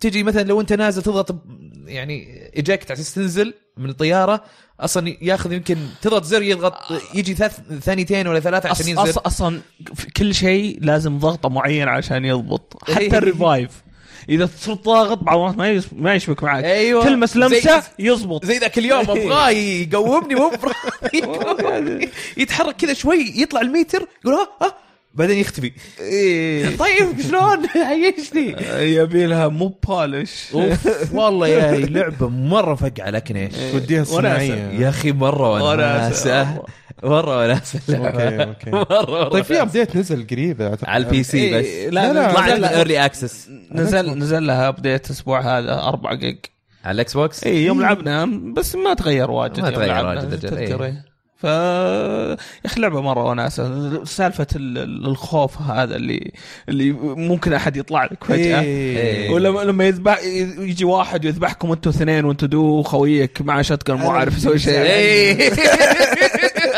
Speaker 4: تجي مثلا لو انت نازل تضغط ب- يعني ايجكت عشان تنزل من الطياره اصلا ياخذ يمكن تضغط زر يضغط يجي ثلاث ثانيتين ولا ثلاثه عشان
Speaker 5: أص-
Speaker 4: ينزل
Speaker 5: أص- اصلا في كل شيء لازم ضغطه معين عشان يضبط
Speaker 4: إيه.
Speaker 5: حتى الريفايف اذا صرت ضاغط بعض المرات ما يس- ما يشبك معك
Speaker 4: أيوة.
Speaker 5: تلمس
Speaker 4: زي-
Speaker 5: لمسه يضبط
Speaker 4: زي ذاك اليوم
Speaker 3: إيه.
Speaker 4: ابغاه يقومني مو براضي يقومني. يتحرك كذا شوي يطلع الميتر يقول ها ها بعدين يختفي
Speaker 3: إيه.
Speaker 4: طيب شلون عيشني
Speaker 5: يبي لها مو بالش
Speaker 4: اوف والله طيب يا هي لعبه مره فقعه لكن ايش
Speaker 3: وديها
Speaker 5: وناسة.
Speaker 3: الصناعيه
Speaker 4: يا اخي مره وناسه
Speaker 5: وناسة.
Speaker 4: مره وناسه
Speaker 3: اوكي
Speaker 4: اللعبة.
Speaker 3: اوكي
Speaker 4: مره
Speaker 3: طيب في
Speaker 4: وناسة.
Speaker 3: ابديت نزل قريب اعتقد
Speaker 4: على البي سي
Speaker 5: إيه،
Speaker 4: بس
Speaker 5: لا، لا،
Speaker 4: طلعت
Speaker 5: نزل-
Speaker 4: من ايرلي اكسس
Speaker 5: نزل نزل لها ابديت الاسبوع هذا 4 جيج
Speaker 4: على الاكس بوكس
Speaker 5: اي يوم لعبنا بس ما تغير واجد
Speaker 4: ما
Speaker 5: يوم
Speaker 4: تغير
Speaker 5: لعبنا،
Speaker 4: واجد، أجل،
Speaker 5: تذكر
Speaker 4: إي.
Speaker 5: إيه. ف يا اخي لعبه مره وناسه سالفه ال- ال- الخوف هذا اللي اللي ممكن احد يطلع لك فجاه
Speaker 3: إيه.
Speaker 5: ولما لما يذبح يجي واحد يذبحكم انتوا اثنين وانتوا دو خويك مع شتقر مو عارف يسوي شيء
Speaker 4: إيه.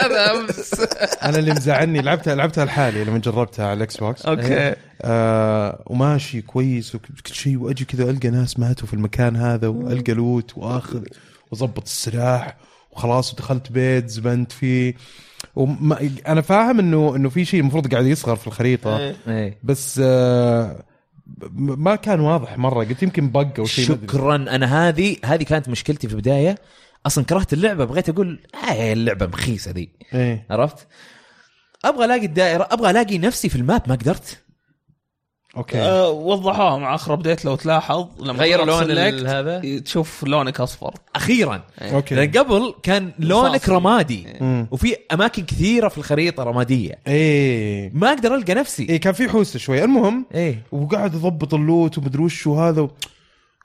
Speaker 4: هذا امس
Speaker 3: انا اللي مزعلني لعبتها لعبتها لحالي لما جربتها على الاكس بوكس
Speaker 5: اوكي
Speaker 3: آه وماشي كويس وكل شيء واجي كذا القى ناس ماتوا في المكان هذا والقى لوت واخذ واظبط السلاح وخلاص ودخلت بيت زبنت فيه وما انا فاهم انه انه في شيء المفروض قاعد يصغر في الخريطه
Speaker 4: إيه.
Speaker 3: بس آه م- ما كان واضح مره قلت يمكن بق او شيء ما أدري.
Speaker 4: شكرا انا هذه هذه كانت مشكلتي في البدايه اصلا كرهت اللعبه بغيت اقول هاي اللعبه مخيسه ذي
Speaker 3: ايه
Speaker 4: عرفت ابغى الاقي الدائره ابغى الاقي نفسي في الماب ما قدرت
Speaker 3: اوكي
Speaker 5: آه، وضحوها مع اخر ابديت لو تلاحظ لما
Speaker 4: غير
Speaker 5: تروح
Speaker 4: لون
Speaker 5: select،
Speaker 4: ال- هذا
Speaker 5: تشوف لونك اصفر
Speaker 4: اخيرا
Speaker 3: اوكي
Speaker 4: لان قبل كان لونك
Speaker 5: رصاصي.
Speaker 4: رمادي
Speaker 3: مم.
Speaker 4: وفي اماكن كثيره في الخريطه رماديه
Speaker 3: ايه
Speaker 4: ما اقدر القى نفسي
Speaker 3: ايه كان في حوسه شوي المهم
Speaker 4: ايه
Speaker 3: وقاعد اضبط اللوت ومدري وش وهذا و-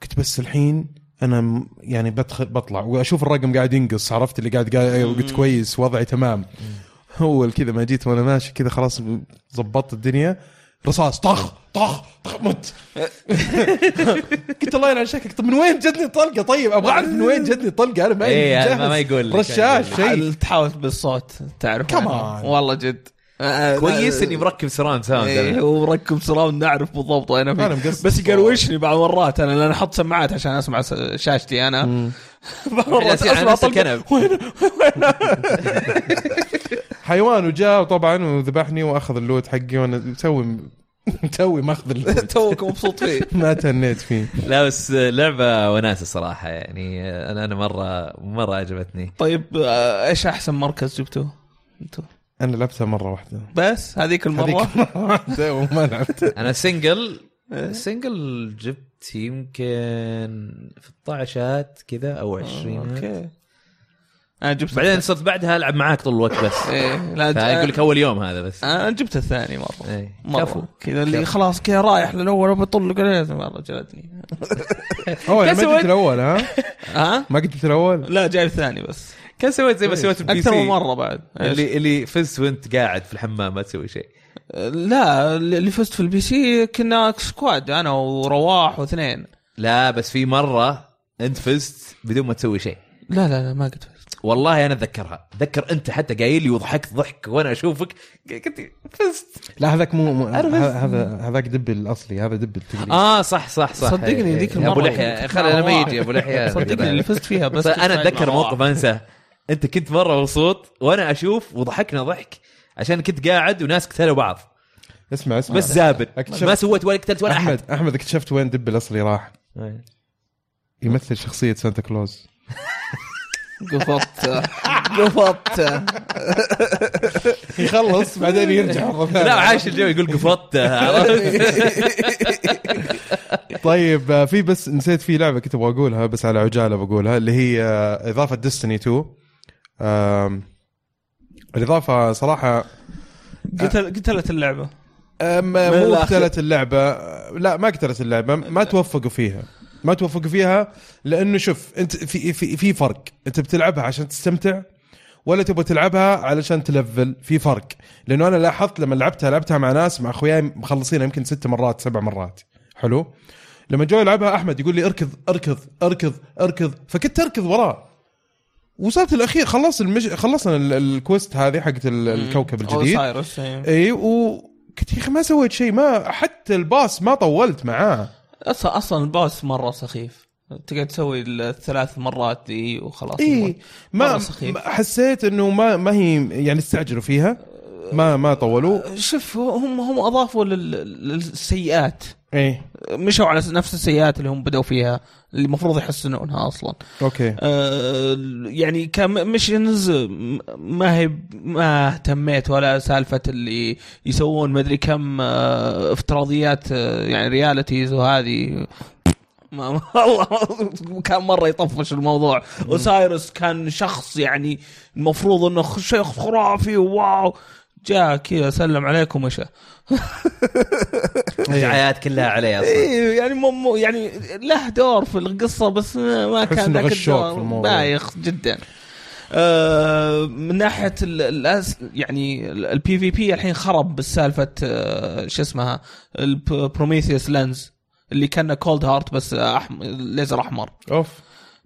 Speaker 3: قلت بس الحين انا م- يعني بدخل بطلع واشوف الرقم قاعد ينقص عرفت اللي قاعد قاعد أيوة، قلت كويس وضعي تمام اول كذا ما جيت وانا ماشي كذا خلاص ظبطت الدنيا رصاص طخ طخ طخ مت قلت الله يلعن شكلك طب من وين جتني الطلقه طيب ابغى اعرف من وين جتني الطلقه انا ما
Speaker 4: إيه، هذا
Speaker 3: جاهز.
Speaker 4: ما- ما يقول لك.
Speaker 3: رشاش شيء
Speaker 5: عاد تحاول بالصوت تعرف
Speaker 3: Come
Speaker 5: وين.
Speaker 3: on.
Speaker 5: والله جد آه،
Speaker 4: كويس
Speaker 5: آه،
Speaker 4: اني مركب سراوند ساوند
Speaker 5: إيه،
Speaker 4: أنا.
Speaker 5: وركب سراوند نعرف بالضبط وين
Speaker 3: أنا
Speaker 5: أنا
Speaker 3: مقصر.
Speaker 5: فيه. بس يقروشني بعض مرات انا لان احط سماعات عشان اسمع س- شاشتي انا بعض مرات
Speaker 4: على
Speaker 5: اسمع
Speaker 4: نفس
Speaker 5: طلقه
Speaker 4: الكنب
Speaker 3: حيوان وجاء طبعا وذبحني واخذ اللوت حقي وانا توي توي ماخذ اللوت
Speaker 5: توك مبسوط فيه
Speaker 3: ما تهنيت فيه
Speaker 4: لا بس لعبه وناسه صراحه يعني انا انا مره مره عجبتني
Speaker 5: طيب آه، ايش احسن مركز جبتوه؟ انتوا
Speaker 3: انا لعبتها مره واحده
Speaker 5: بس هذيك المره
Speaker 3: هذيك مره واحده وما لعبت
Speaker 4: انا سنجل
Speaker 5: إيه.
Speaker 4: سنجل جبت يمكن 16 كذا
Speaker 5: آه،
Speaker 4: او 20
Speaker 5: اوكي انا جبت
Speaker 4: بعدين صرت بعدها العب معاك طول الوقت بس
Speaker 5: إيه، آه، لا
Speaker 4: فاقول لك اول يوم هذا بس
Speaker 5: انا جبت الثاني مره
Speaker 4: إيه. كفو.
Speaker 5: مره كذا اللي خلاص كذا رايح للاول بطلق عليه والله جلدني
Speaker 3: اوه يعني ما
Speaker 4: كسوت.
Speaker 3: جبت الاول ها
Speaker 5: ها
Speaker 3: ما جبت الاول
Speaker 5: لا جايب الثاني بس
Speaker 4: كان سويت زي ما سويت البي
Speaker 5: اكثر من
Speaker 4: سي
Speaker 5: مره بعد اللي
Speaker 4: اللي اللي فزت وانت قاعد في الحمام ما تسوي شيء
Speaker 5: لا اللي فزت في البي سي كنا سكواد انا ورواح واثنين
Speaker 4: لا بس في مره انت فزت بدون ما تسوي شيء
Speaker 5: لا لا لا ما قد فزت
Speaker 4: والله انا اتذكرها اتذكر انت حتى قايل لي وضحكت ضحك وانا اشوفك قلت لي فزت
Speaker 3: لا هذاك مو مو-
Speaker 4: أنا بس-
Speaker 3: ه- هذا هذاك دب الاصلي هذا دب التقليدي
Speaker 4: اه صح صح صح
Speaker 5: صدقني
Speaker 4: إيه،
Speaker 5: ذيك
Speaker 4: إيه، ابو
Speaker 5: المرة
Speaker 4: لحيه
Speaker 5: كنت
Speaker 4: خلي انا ما
Speaker 5: مع
Speaker 4: يجي ابو لحيه
Speaker 5: صدقني اللي فزت فيها
Speaker 4: بس
Speaker 5: بس كنت
Speaker 4: انا
Speaker 5: قاعد
Speaker 4: اتذكر
Speaker 5: مع
Speaker 4: موقف
Speaker 5: رواح.
Speaker 4: ما انساه انت كنت مره مبسوط وانا اشوف وضحكنا ضحك عشان كنت قاعد وناس قتلوا بعض
Speaker 3: اسمع اسمع
Speaker 4: بس زابل
Speaker 3: اكتشفت-
Speaker 4: ما سويت ولا قتلت ولا احد
Speaker 3: احمد احمد اكتشفت وين دب الاصلي راح يمثل شخصيه سانتا كلوز
Speaker 5: قفطت قفطت
Speaker 3: يخلص بعدين يرجع مره ثانيه
Speaker 4: لا عايش الجو يقول قفطت عرفت؟
Speaker 3: طيب آه، في بس نسيت في لعبه كنت ابغى اقولها بس على عجاله بقولها اللي هي آه، اضافه ديستني 2 آم، الاضافه صراحه
Speaker 5: قتل قتلت اللعبه
Speaker 3: أم-
Speaker 5: من
Speaker 3: مو
Speaker 5: الآخر.
Speaker 3: قتلت اللعبة لا ما قتلت اللعبة ما توفقوا فيها ما توفقوا فيها لانه شوف انت في في في فرق انت بتلعبها عشان تستمتع ولا تبغى تلعبها علشان تلفل في فرق لانه انا لاحظت لما لعبتها لعبتها مع ناس مع اخوياي مخلصينها يمكن ست مرات سبع مرات حلو لما جو يلعبها احمد يقول لي اركض اركض اركض اركض فكنت اركض وراه وصلت الاخير خلصت المج... خلصنا ال- الكوست هذه حقت ال- الكوكب الجديد
Speaker 5: اوسايرس إيه.
Speaker 3: اي وكنت يا اخي ما سويت شيء ما حتى الباص ما طولت معاه
Speaker 5: اصلا اصلا الباص مره سخيف تقعد تسوي الثلاث مرات دي وخلاص
Speaker 3: اي
Speaker 4: إيه.
Speaker 5: يموت. مرة
Speaker 3: ما
Speaker 5: سخيف.
Speaker 3: ما- حسيت انه ما ما هي يعني استعجلوا فيها ما ما طولوا
Speaker 5: شوف هم هم اضافوا لل- للسيئات
Speaker 3: اي
Speaker 5: مشوا على نفس السيئات اللي هم بدوا فيها اللي المفروض يحسنونها اصلا
Speaker 3: اوكي
Speaker 5: آه، يعني كمشنز ما هي ما اهتميت ولا سالفه اللي يسوون مدري كم آه، افتراضيات آه، يعني رياليتيز وهذه ما ما- والله كان مره يطفش الموضوع اوسايرس كان شخص يعني المفروض انه خ- شيخ خرافي واو جاء كذا سلم عليكم ومشى
Speaker 4: دعايات كلها علي اصلا
Speaker 5: ايه يعني مو مو يعني له دور في القصه بس ما ما
Speaker 3: تحس
Speaker 5: كان
Speaker 3: إنه
Speaker 5: ذاك
Speaker 3: غشوك
Speaker 5: الدور
Speaker 3: في الموضوع.
Speaker 5: بايخ جدا آه، من ناحيه ال- الأس يعني البي في بي الحين خرب بالسالفه آه، شو اسمها البروميثيوس لينز اللي كان كولد هارت بس أحم... ليزر احمر
Speaker 3: اوف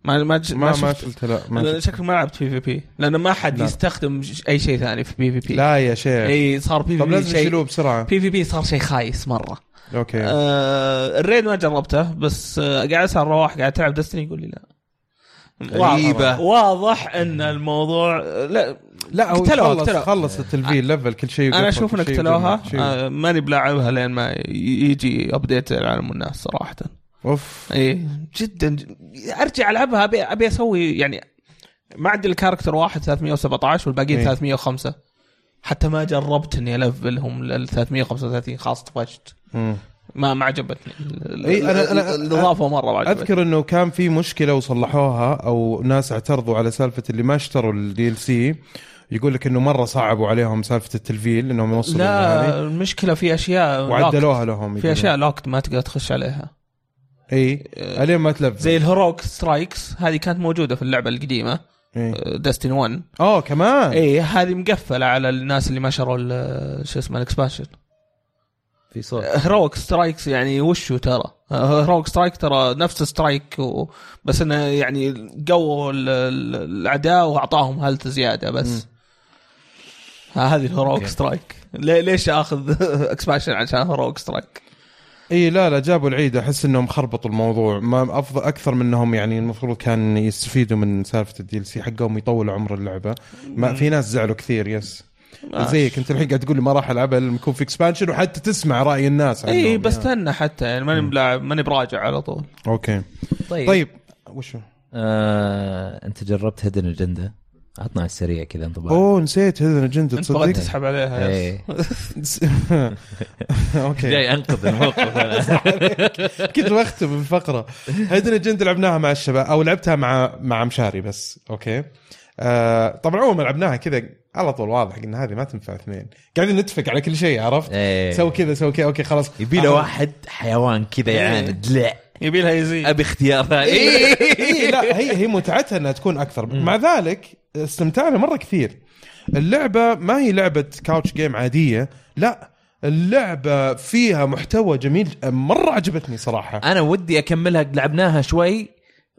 Speaker 5: ما ما ج-
Speaker 3: ما ما
Speaker 5: شفت.
Speaker 3: شفت لا ما
Speaker 5: انا
Speaker 3: شفت.
Speaker 5: شكلي ما لعبت بي في بي لانه ما حد
Speaker 3: لا.
Speaker 5: يستخدم ش- اي شيء ثاني في بي في بي
Speaker 3: لا يا شيخ
Speaker 5: اي إيه، صار بي في
Speaker 3: طب
Speaker 5: بي
Speaker 3: لازم
Speaker 5: شيء
Speaker 3: يشيلوه بسرعه
Speaker 5: بي في بي صار شيء خايس مره
Speaker 3: اوكي
Speaker 5: آه الريد ما جربته بس آه قاعد اسال رواح قاعد تلعب دستني يقول لي لا
Speaker 4: غريبة.
Speaker 5: واضح- واضح ان الموضوع لا
Speaker 3: لا هو
Speaker 5: اقتلوها-
Speaker 3: خلص
Speaker 5: اقتلوها. آه،
Speaker 3: خلص التلفيل ليفل كل شيء
Speaker 5: انا
Speaker 3: وقفل،
Speaker 5: اشوف
Speaker 3: كل
Speaker 5: ان
Speaker 3: شيء
Speaker 5: اقتلوها
Speaker 3: وجمع، شيء.
Speaker 5: آه ماني بلاعبها لين ما ي- يجي ابديت العالم والناس صراحه
Speaker 3: اوف
Speaker 5: اي جدا ارجع العبها ابي ابي اسوي يعني ما عندي الكاركتر واحد 317 والباقيين
Speaker 3: إيه.
Speaker 5: 305 حتى ما جربت اني الفلهم لل 335 خلاص طفشت
Speaker 3: مم.
Speaker 5: ما ما عجبتني
Speaker 3: إي، أنا- أنا-
Speaker 5: الاضافه مره ما عجبتني
Speaker 3: اذكر انه كان في مشكله وصلحوها او ناس اعترضوا على سالفه اللي ما اشتروا الدي ال سي يقول لك انه مره صعبوا عليهم سالفه التلفيل انهم يوصلوا هذه
Speaker 5: لا المشكله في اشياء لوكت.
Speaker 3: وعدلوها يعني لهم
Speaker 5: في
Speaker 3: يقولون.
Speaker 5: اشياء لوكت ما تقدر تخش عليها
Speaker 3: اي الين ما تلفل
Speaker 5: آه، زي الهروك سترايكس هذه كانت موجوده في آه، اللعبه القديمه
Speaker 3: إيه.
Speaker 5: داستين 1
Speaker 3: اه كمان
Speaker 5: اي هذه مقفله على الناس اللي ما شروا ال- شو اسمه الاكسبانشن
Speaker 4: في صوت
Speaker 5: هروك سترايكس يعني وشو ترى هروك سترايك ترى نفس سترايك و... بس انه يعني قووا ال- ال- الاعداء واعطاهم هلت زياده بس ها هذه الهروك سترايك لي- ليش اخذ اكسبانشن عشان هروك سترايك
Speaker 3: اي لا لا جابوا العيد احس انهم خربطوا الموضوع ما افضل اكثر منهم يعني المفروض كان يستفيدوا من سالفه الدي ال سي حقهم يطول عمر اللعبه ما في ناس زعلوا كثير يس زيك انت الحين قاعد تقول لي ما راح العبها الا لما يكون في اكسبانشن وحتى تسمع راي الناس عنهم
Speaker 5: اي بس
Speaker 3: يعني.
Speaker 5: استنى حتى يعني ماني بلاعب ماني براجع على طول
Speaker 3: اوكي
Speaker 4: طيب,
Speaker 3: طيب وشو
Speaker 4: آه، انت جربت هيدن اجنده عطنا على السريع كذا انطباع
Speaker 3: اوه نسيت هذا الاجنده
Speaker 5: انت بغيت
Speaker 3: تصدق
Speaker 5: تسحب عليها يس.
Speaker 4: إيه.
Speaker 3: اوكي
Speaker 4: جاي انقذ الموقف أنا.
Speaker 3: كنت بختم الفقره هيدن اجنده لعبناها مع الشباب او لعبتها مع مع مشاري بس اوكي آه طبعا اول ما لعبناها كذا على طول واضح ان هذه ما تنفع اثنين قاعدين نتفق على كل شيء عرفت
Speaker 4: إيه.
Speaker 3: سوي كذا سوي كذا اوكي خلاص آه،
Speaker 4: يبي له واحد حيوان كذا يعني دلع
Speaker 5: يبي لها يزيد
Speaker 4: ابي اختيار ثاني
Speaker 3: إيه لا هي هي متعتها انها تكون اكثر مع ذلك استمتعنا مره كثير اللعبه ما هي لعبه كاوتش جيم عاديه لا اللعبه فيها محتوى جميل مره عجبتني صراحه
Speaker 4: انا ودي اكملها لعبناها شوي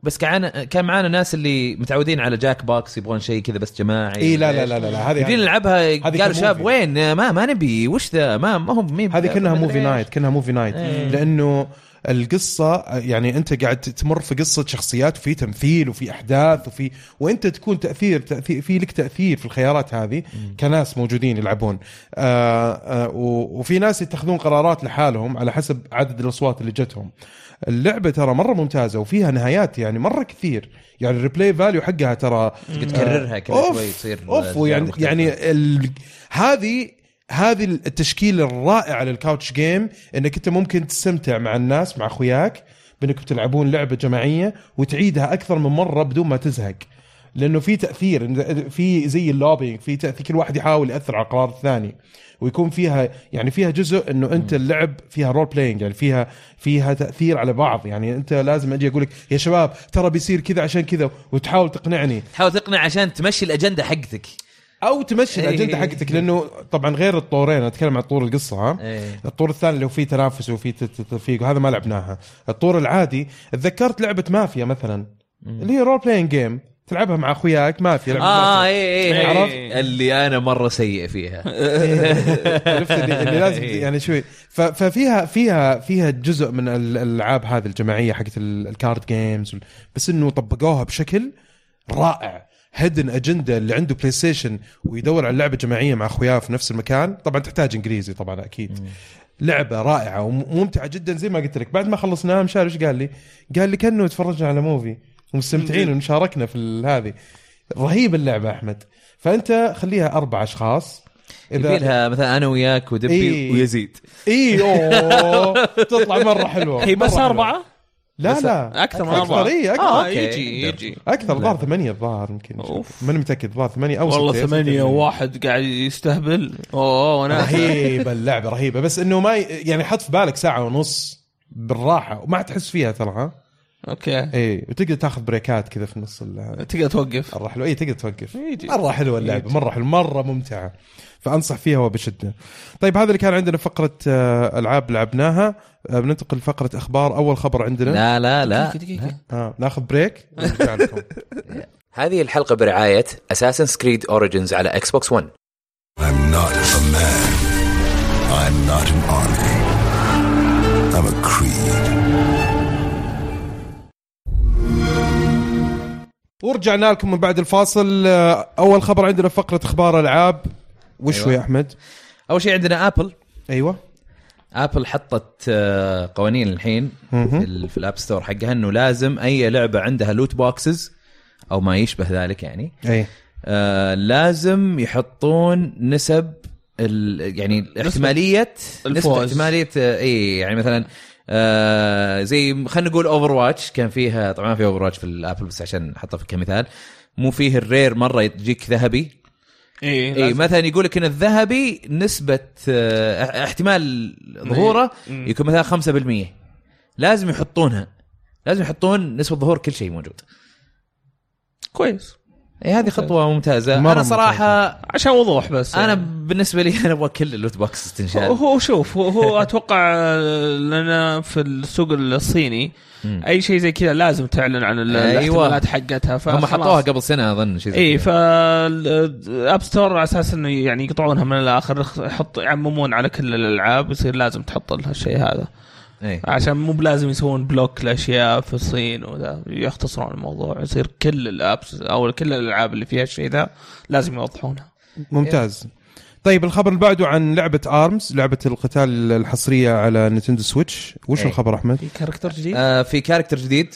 Speaker 4: بس كان كان معانا ناس اللي متعودين على جاك باكس يبغون شيء كذا بس جماعي
Speaker 3: اي إيه، لا لا لا لا, لا هذه
Speaker 4: جينا
Speaker 3: هذه-
Speaker 4: نلعبها قالوا
Speaker 3: كان
Speaker 4: شاب
Speaker 3: movie.
Speaker 4: وين ما ما نبي وش ذا ما ما هم مين إيه.
Speaker 3: هذه كانها موفي نايت كانها موفي نايت لانه القصه يعني انت قاعد تمر في قصه شخصيات وفي تمثيل وفي احداث وفي وانت تكون تاثير تاثير في لك تاثير في الخيارات هذه كناس موجودين يلعبون آه آه و- وفي ناس يتخذون قرارات لحالهم على حسب عدد الاصوات اللي جتهم اللعبه ترى مره ممتازه وفيها نهايات يعني مره كثير يعني الريبلاي فاليو حقها ترى
Speaker 4: تكررها كذا
Speaker 3: أوف،
Speaker 4: شوي تصير
Speaker 3: اوف ويعني
Speaker 4: مختلفة.
Speaker 3: يعني ال... هذه هذه التشكيل الرائع للكاوتش جيم انك انت ممكن تستمتع مع الناس مع اخوياك بانكم تلعبون لعبه جماعيه وتعيدها اكثر من مره بدون ما تزهق لانه في تاثير إن- في زي اللوبينج في تاثير كل واحد يحاول ياثر على القرار الثاني ويكون فيها يعني فيها جزء انه انت اللعب فيها رول بلاينج يعني فيها فيها تاثير على بعض يعني انت لازم اجي اقول لك يا شباب ترى بيصير كذا عشان كذا وتحاول تقنعني
Speaker 4: تحاول تقنع عشان تمشي الاجنده حقتك
Speaker 3: او تمشي الاجنده
Speaker 4: إيه.
Speaker 3: حقتك لانه طبعا غير الطورين اتكلم عن طور القصه ها
Speaker 4: إيه.
Speaker 3: الطور الثاني لو في تنافس وفي ت- ت- تفيق وهذا ما لعبناها الطور العادي تذكرت لعبه مافيا مثلا اللي هي رول بلاين جيم تلعبها مع اخوياك مافيا لعبة
Speaker 4: اه
Speaker 3: مافيا.
Speaker 4: اي
Speaker 3: إيه.
Speaker 4: اي
Speaker 5: عرفت؟
Speaker 4: عرفت اللي انا مره سيء فيها
Speaker 3: عرفت اللي اللي لازم يعني شوي ف- ففيها فيها فيها جزء من ال- الالعاب هذه الجماعيه حقت ال- الكارد جيمز وال- بس انه طبقوها بشكل رائع هيدن اجنده اللي عنده بلاي ستيشن ويدور على لعبه جماعيه مع اخوياه في نفس المكان طبعا تحتاج انجليزي طبعا اكيد لعبه رائعه وممتعه جدا زي ما قلت لك بعد ما خلصناها مشاري ايش قال لي؟ قال لي كانه تفرجنا على موفي ومستمتعين ومشاركنا في ال- هذه رهيب اللعبه احمد فانت خليها اربع اشخاص
Speaker 4: يبي لها مثلا انا وياك ودبي
Speaker 3: إيه.
Speaker 4: ويزيد
Speaker 3: اي اوه تطلع مره حلوه
Speaker 5: هي بس
Speaker 3: مرة حلوة.
Speaker 5: اربعه
Speaker 3: لا لا
Speaker 5: اكثر من
Speaker 3: اكثر
Speaker 5: اربعه
Speaker 3: اي اكثر
Speaker 5: اه
Speaker 4: أوكي.
Speaker 5: يجي يجي
Speaker 3: اكثر الظاهر ثمانيه الظاهر يمكن
Speaker 5: أوف.
Speaker 3: ماني متاكد الظاهر ثمانيه او
Speaker 5: والله
Speaker 3: ستة،
Speaker 5: ثمانية
Speaker 3: ستة.
Speaker 5: وواحد قاعد يستهبل اوه انا
Speaker 3: رهيبه اللعبه رهيبه بس انه ما ي- يعني حط في بالك ساعه ونص بالراحه وما تحس فيها ترى ها
Speaker 5: اوكي
Speaker 3: اي وتقدر تاخذ بريكات كذا في نص ال-
Speaker 5: تقدر توقف
Speaker 3: مره حلوه اي إيه، تقدر توقف
Speaker 5: يجي.
Speaker 3: مره حلوه اللعبه مره حلوه مره ممتعه فانصح فيها وبشده طيب هذا اللي كان عندنا فقره آه، العاب لعبناها آه، بننتقل لفقره اخبار اول خبر عندنا
Speaker 4: لا لا لا
Speaker 5: دقيقه
Speaker 3: آه، ناخذ بريك ونرجع لكم.
Speaker 1: هذه الحلقة برعاية Assassin's Creed Origins على اكس بوكس 1
Speaker 2: I'm not a man. I'm not an army. I'm a creed.
Speaker 3: ورجعنا لكم من بعد الفاصل آه، اول خبر عندنا فقره اخبار العاب وش هو
Speaker 4: أيوة.
Speaker 3: يا احمد
Speaker 4: اول شيء عندنا ابل
Speaker 3: ايوه
Speaker 4: ابل حطت آه، قوانين الحين في, ال- في الاب ستور حقها انه لازم اي لعبه عندها لوت بوكسز او ما يشبه ذلك يعني
Speaker 3: اي
Speaker 4: آه، لازم يحطون نسب ال يعني احتماليه نسبة
Speaker 5: الفوز.
Speaker 4: احتماليه آه، اي يعني مثلا آه زي خلينا نقول اوفر واتش كان فيها طبعا ما في اوفر واتش في الابل بس عشان احطه في كمثال مو فيه الرير مره تجيك ذهبي
Speaker 5: اي
Speaker 4: اي مثلا إيه، يقول لك ان الذهبي نسبه آه، احتمال ظهوره
Speaker 5: إيه. مم.
Speaker 4: يكون مثلا 5% لازم يحطونها لازم يحطون نسبه ظهور كل شيء موجود
Speaker 5: كويس
Speaker 4: اي هذه خطوه ممتازه
Speaker 3: مرة
Speaker 4: انا صراحه
Speaker 5: عشان وضوح بس
Speaker 4: انا
Speaker 5: يعني.
Speaker 4: بالنسبه لي انا ابغى كل اللوت بوكس
Speaker 5: هو-
Speaker 4: تنشال
Speaker 5: هو شوف هو, هو اتوقع آه، لنا في السوق الصيني
Speaker 4: مم.
Speaker 5: اي شيء زي كذا لازم تعلن عن ال-
Speaker 4: أيوة.
Speaker 5: الاحتمالات حقتها
Speaker 4: هم
Speaker 5: فخلاص. إيه،
Speaker 4: حطوها قبل سنه اظن شيء زي
Speaker 5: اي
Speaker 4: كذا.
Speaker 5: فالاب ستور على اساس انه يعني يقطعونها من الاخر يخ- يحط يعممون على كل الالعاب يصير لازم تحط لها الشيء هذا
Speaker 4: إي.
Speaker 5: عشان مو بلازم يسوون بلوك لاشياء في الصين وذا يختصرون الموضوع يصير كل الابس او كل الالعاب اللي فيها الشيء ذا لازم يوضحونها
Speaker 3: ممتاز طيب الخبر اللي بعده عن لعبه ارمز لعبه القتال الحصريه على نينتندو سويتش وش
Speaker 4: إيه.
Speaker 3: الخبر احمد
Speaker 5: في كاركتر جديد
Speaker 4: آه في كاركتر جديد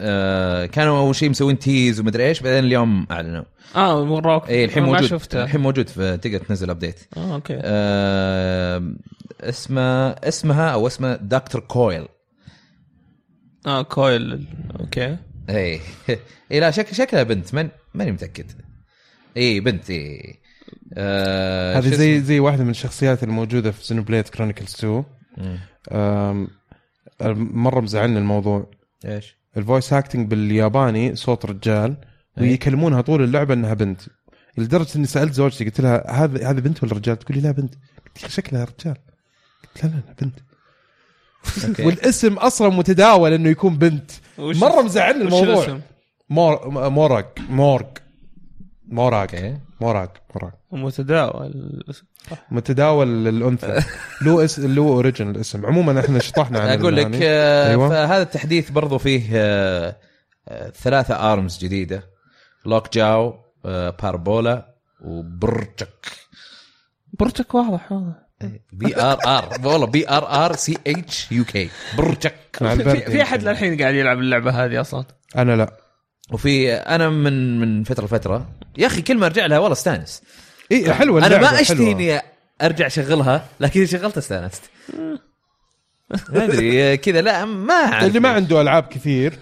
Speaker 4: آه كانوا اول شيء مسوين تيز ومدري ايش بعدين اليوم اعلنوا
Speaker 5: اه وراك
Speaker 4: اي إيه، الحين
Speaker 5: ما
Speaker 4: موجود
Speaker 5: شفته
Speaker 4: الحين موجود في تقدر تنزل ابديت
Speaker 5: اه اوكي
Speaker 4: آه اسمه اسمها او اسمه دكتور كويل
Speaker 5: اه كويل اوكي
Speaker 4: اي اي إيه. لا شك شكلها بنت من ماني متاكد اي بنت اي آه
Speaker 3: هذه
Speaker 4: شو
Speaker 3: زي زي واحده من الشخصيات الموجوده في زينوبليد كرونيكلز 2
Speaker 4: مم.
Speaker 3: أم، أم، مره آه، مزعلني الموضوع
Speaker 4: اسمه؟ ايش
Speaker 3: الفويس اكتنج بالياباني صوت رجال
Speaker 4: إيه.
Speaker 3: ويكلمونها طول اللعبه انها بنت لدرجه اني سالت زوجتي قلت لها هذا هذا بنت ولا رجال؟ تقول لي لا بنت قلت لها شكلها رجال قلت لها لا لا بنت
Speaker 4: أوكي.
Speaker 3: والاسم اصلا متداول انه يكون بنت
Speaker 5: وش-
Speaker 3: مره مزعلني
Speaker 5: وش
Speaker 3: الموضوع
Speaker 5: الاسم؟
Speaker 3: مور مورق مورق مورق
Speaker 4: اوكي
Speaker 3: مورق مورق
Speaker 5: متداول
Speaker 3: متداول الانثى له اس... له اوريجنال اسم عموما احنا شطحنا عن
Speaker 4: اقول لك
Speaker 3: المعاني.
Speaker 4: آه،
Speaker 3: أيوة.
Speaker 4: فهذا التحديث برضو فيه آه، آه، ثلاثه ارمز جديده لوك جاو آه، باربولا وبرجك
Speaker 5: برجك واضح واضح
Speaker 4: بي ار ار والله بي ار ار سي اتش يو كي برجك
Speaker 3: مع البرد
Speaker 5: في في احد
Speaker 4: يعني.
Speaker 5: للحين قاعد يلعب اللعبه هذه اصلا
Speaker 3: انا لا
Speaker 4: وفي انا من من فتره لفتره يا اخي كل ما ارجع لها والله استانس
Speaker 3: اي حلوه
Speaker 4: انا
Speaker 3: اللعبة،
Speaker 4: ما اشتهي
Speaker 3: إيه، حلوة.
Speaker 4: اني ارجع اشغلها لكن اذا شغلت استانست ما ادري آه، كذا لا ما أعرف. إيه،
Speaker 3: اللي ما عنده العاب كثير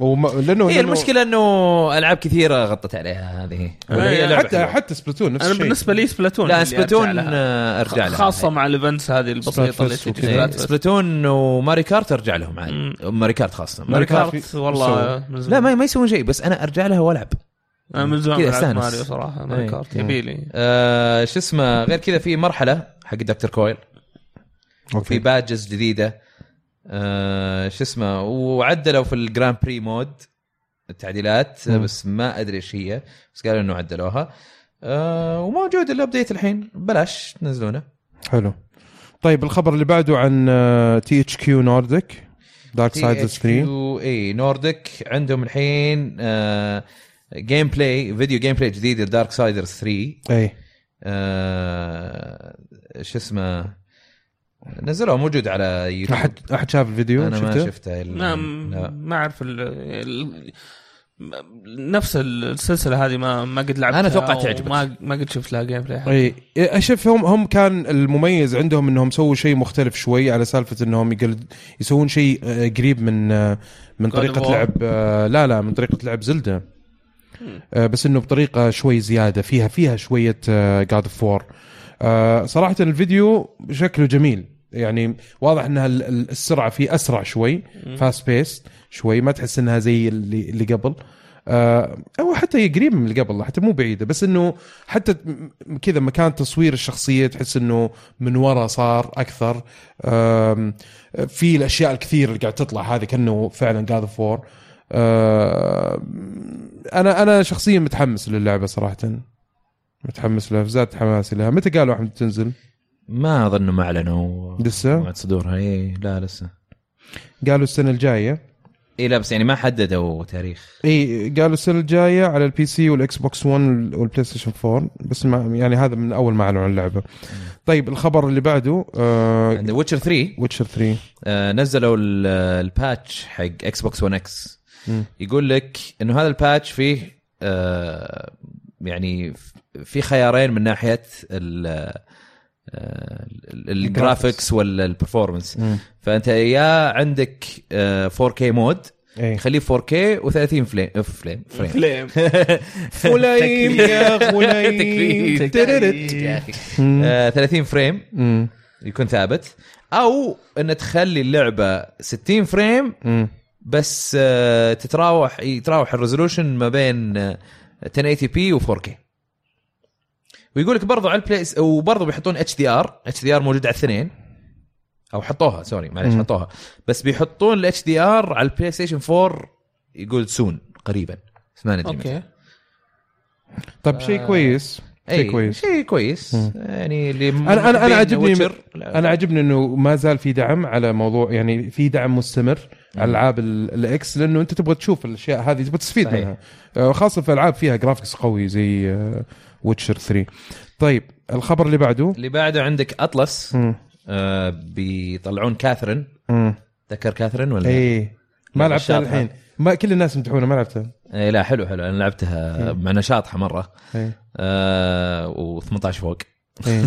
Speaker 3: وما... لانه
Speaker 4: هي
Speaker 3: لأنه-
Speaker 4: المشكله انه العاب كثيره غطت عليها هذه
Speaker 3: ولا
Speaker 5: أي،
Speaker 3: هي
Speaker 5: لعبة
Speaker 3: حتى
Speaker 5: حلوة.
Speaker 3: حتى سبلاتون نفس
Speaker 5: انا
Speaker 3: الشيء
Speaker 5: بالنسبه لي سبلاتون
Speaker 4: لا
Speaker 5: اللي أرجع
Speaker 4: سبلاتون
Speaker 5: لها.
Speaker 4: آه، ارجع لها إيه،
Speaker 5: خاصه مع الايفنتس هذه البسيطه اللي
Speaker 3: فيست
Speaker 5: تجي
Speaker 3: وكذا.
Speaker 5: سبلات فيست.
Speaker 4: سبلاتون وماري كارت ارجع لهم عادي ماري كارت خاصه
Speaker 5: ماري
Speaker 4: ماري كارت
Speaker 3: كارت
Speaker 5: كارت
Speaker 3: في-
Speaker 5: والله
Speaker 3: في
Speaker 5: من زمان.
Speaker 4: لا ما ما يسوون شيء بس انا ارجع لها والعب
Speaker 5: انا من زمان
Speaker 4: كذا
Speaker 5: ألعب
Speaker 4: أستانس.
Speaker 5: ماريو صراحه ماري
Speaker 4: إيه.
Speaker 5: كارت يبيلي
Speaker 4: آه شو اسمه غير كذا في مرحله حق دكتور كويل في
Speaker 3: أوكي.
Speaker 4: بادجز جديده آه شو اسمه وعدلوا في الجراند بري مود التعديلات آه،
Speaker 3: مم.
Speaker 4: بس ما ادري ايش هي بس قالوا انه عدلوها آه وموجود الابديت الحين بلاش تنزلونه
Speaker 3: حلو طيب الخبر اللي بعده عن آه، تي اتش كيو نورديك دارك سايد 3
Speaker 4: اي نورديك عندهم الحين آه جيم بلاي فيديو جيم بلاي جديد لدارك سايدرز 3
Speaker 3: اي
Speaker 4: آه شو اسمه نزلوه موجود على يوتيوب
Speaker 3: احد احد شاف الفيديو
Speaker 4: انا ما
Speaker 3: شفته؟
Speaker 4: شفته ال-
Speaker 5: ما
Speaker 4: لا.
Speaker 5: ما اعرف ال... ال... نفس السلسله هذه ما ما قد لعبتها
Speaker 4: أنا أتوقع
Speaker 5: أو
Speaker 4: تعجبك. إيه.
Speaker 5: ما ما قد شفت لها جيم بلاي
Speaker 3: اي اشوف إيه. هم هم كان المميز عندهم انهم سووا شيء مختلف شوي على سالفه انهم يقلد يسوون شيء آه، قريب من آه، من
Speaker 5: God
Speaker 3: طريقه
Speaker 5: of War. Hmm.
Speaker 3: لعب آه، لا لا من طريقه لعب زلدة آه، بس انه بطريقه شوي زياده آه، فيها فيها شويه جاد اوف وور صراحه الفيديو آه، شكله جميل يعني واضح انها ال- ال- السرعه فيه اسرع شوي
Speaker 5: Hmm.
Speaker 3: فاست بيس شوي ما تحس انها زي اللي اللي قبل آه، او حتى هي قريبه من اللي قبل حتى مو بعيده بس انه حتى م- كذا مكان تصوير الشخصيه تحس انه من ورا صار اكثر آم، في الاشياء الكثير اللي قاعد تطلع هذه كانه فعلا جاد اوف وور آه، انا انا شخصيا متحمس للعبه صراحه متحمس لها زاد حماسي لها متى قالوا احمد تنزل
Speaker 4: ما اظن ما اعلنوا
Speaker 3: لسه
Speaker 4: وقت صدورها اي إيه، لا لسه
Speaker 3: قالوا السنه الجايه
Speaker 4: اي لا بس يعني ما حددوا تاريخ
Speaker 3: اي قالوا السنه الجايه على البي سي والاكس بوكس 1 والبلاي ستيشن 4 بس ما يعني هذا من اول ما اعلنوا عن اللعبه طيب الخبر اللي بعده آه
Speaker 4: عند ويتشر 3
Speaker 3: ويتشر 3
Speaker 4: آه، نزلوا ال- الباتش حق اكس بوكس 1 اكس
Speaker 3: مم.
Speaker 4: يقول لك انه هذا الباتش فيه آه، يعني ف- في خيارين من ناحيه ال- آه، ال- ال- الجرافيكس ولا البرفورمانس
Speaker 3: مم.
Speaker 4: فانت يا عندك آه، 4K مود
Speaker 3: اي
Speaker 4: يخليه 4K و30 فليم فليم فريم
Speaker 5: فليم
Speaker 3: فليم يا
Speaker 4: تكريم.
Speaker 3: فليم ترررت.
Speaker 4: يا أخي.
Speaker 3: مم.
Speaker 4: آه، 30 فريم
Speaker 3: مم.
Speaker 4: يكون ثابت او ان تخلي اللعبه 60 فريم
Speaker 3: مم.
Speaker 4: بس آه، تتراوح يتراوح الريزولوشن ما بين آه، 1080 بي و4K ويقول لك برضه على البلاي وبرضه بيحطون اتش دي ار اتش دي ار موجود على الاثنين او حطوها سوري معلش
Speaker 3: مم.
Speaker 4: حطوها بس بيحطون الاتش دي ار على البلاي ستيشن 4 يقول سون قريبا بس ما ندري متى.
Speaker 5: اوكي
Speaker 3: طيب شيء كويس شيء
Speaker 4: اي
Speaker 3: كويس
Speaker 4: شيء كويس
Speaker 3: مم.
Speaker 4: يعني اللي
Speaker 3: أنا- أنا عجبني- انا
Speaker 4: انا
Speaker 3: عجبني انه ما زال في دعم على موضوع يعني في دعم مستمر على العاب ال- الاكس لانه انت تبغى تشوف الاشياء هذه تبغى تستفيد
Speaker 4: صحيح.
Speaker 3: منها آه، خاصه في العاب فيها جرافيكس قوي زي ويتشر 3 طيب الخبر اللي بعده
Speaker 4: اللي بعده عندك اطلس
Speaker 3: مم.
Speaker 4: آه بيطلعون كاثرين
Speaker 3: مم.
Speaker 4: تذكر كاثرين ولا؟
Speaker 3: اي إيه. ما
Speaker 4: لا،
Speaker 3: لعبتها
Speaker 4: الشاطحة.
Speaker 3: الحين ما كل الناس مدحونه ما لعبتها
Speaker 4: اي إيه، لا حلو حلو انا لعبتها مع انها شاطحه مره
Speaker 3: إيه.
Speaker 4: آه و18 فوق
Speaker 3: إيه.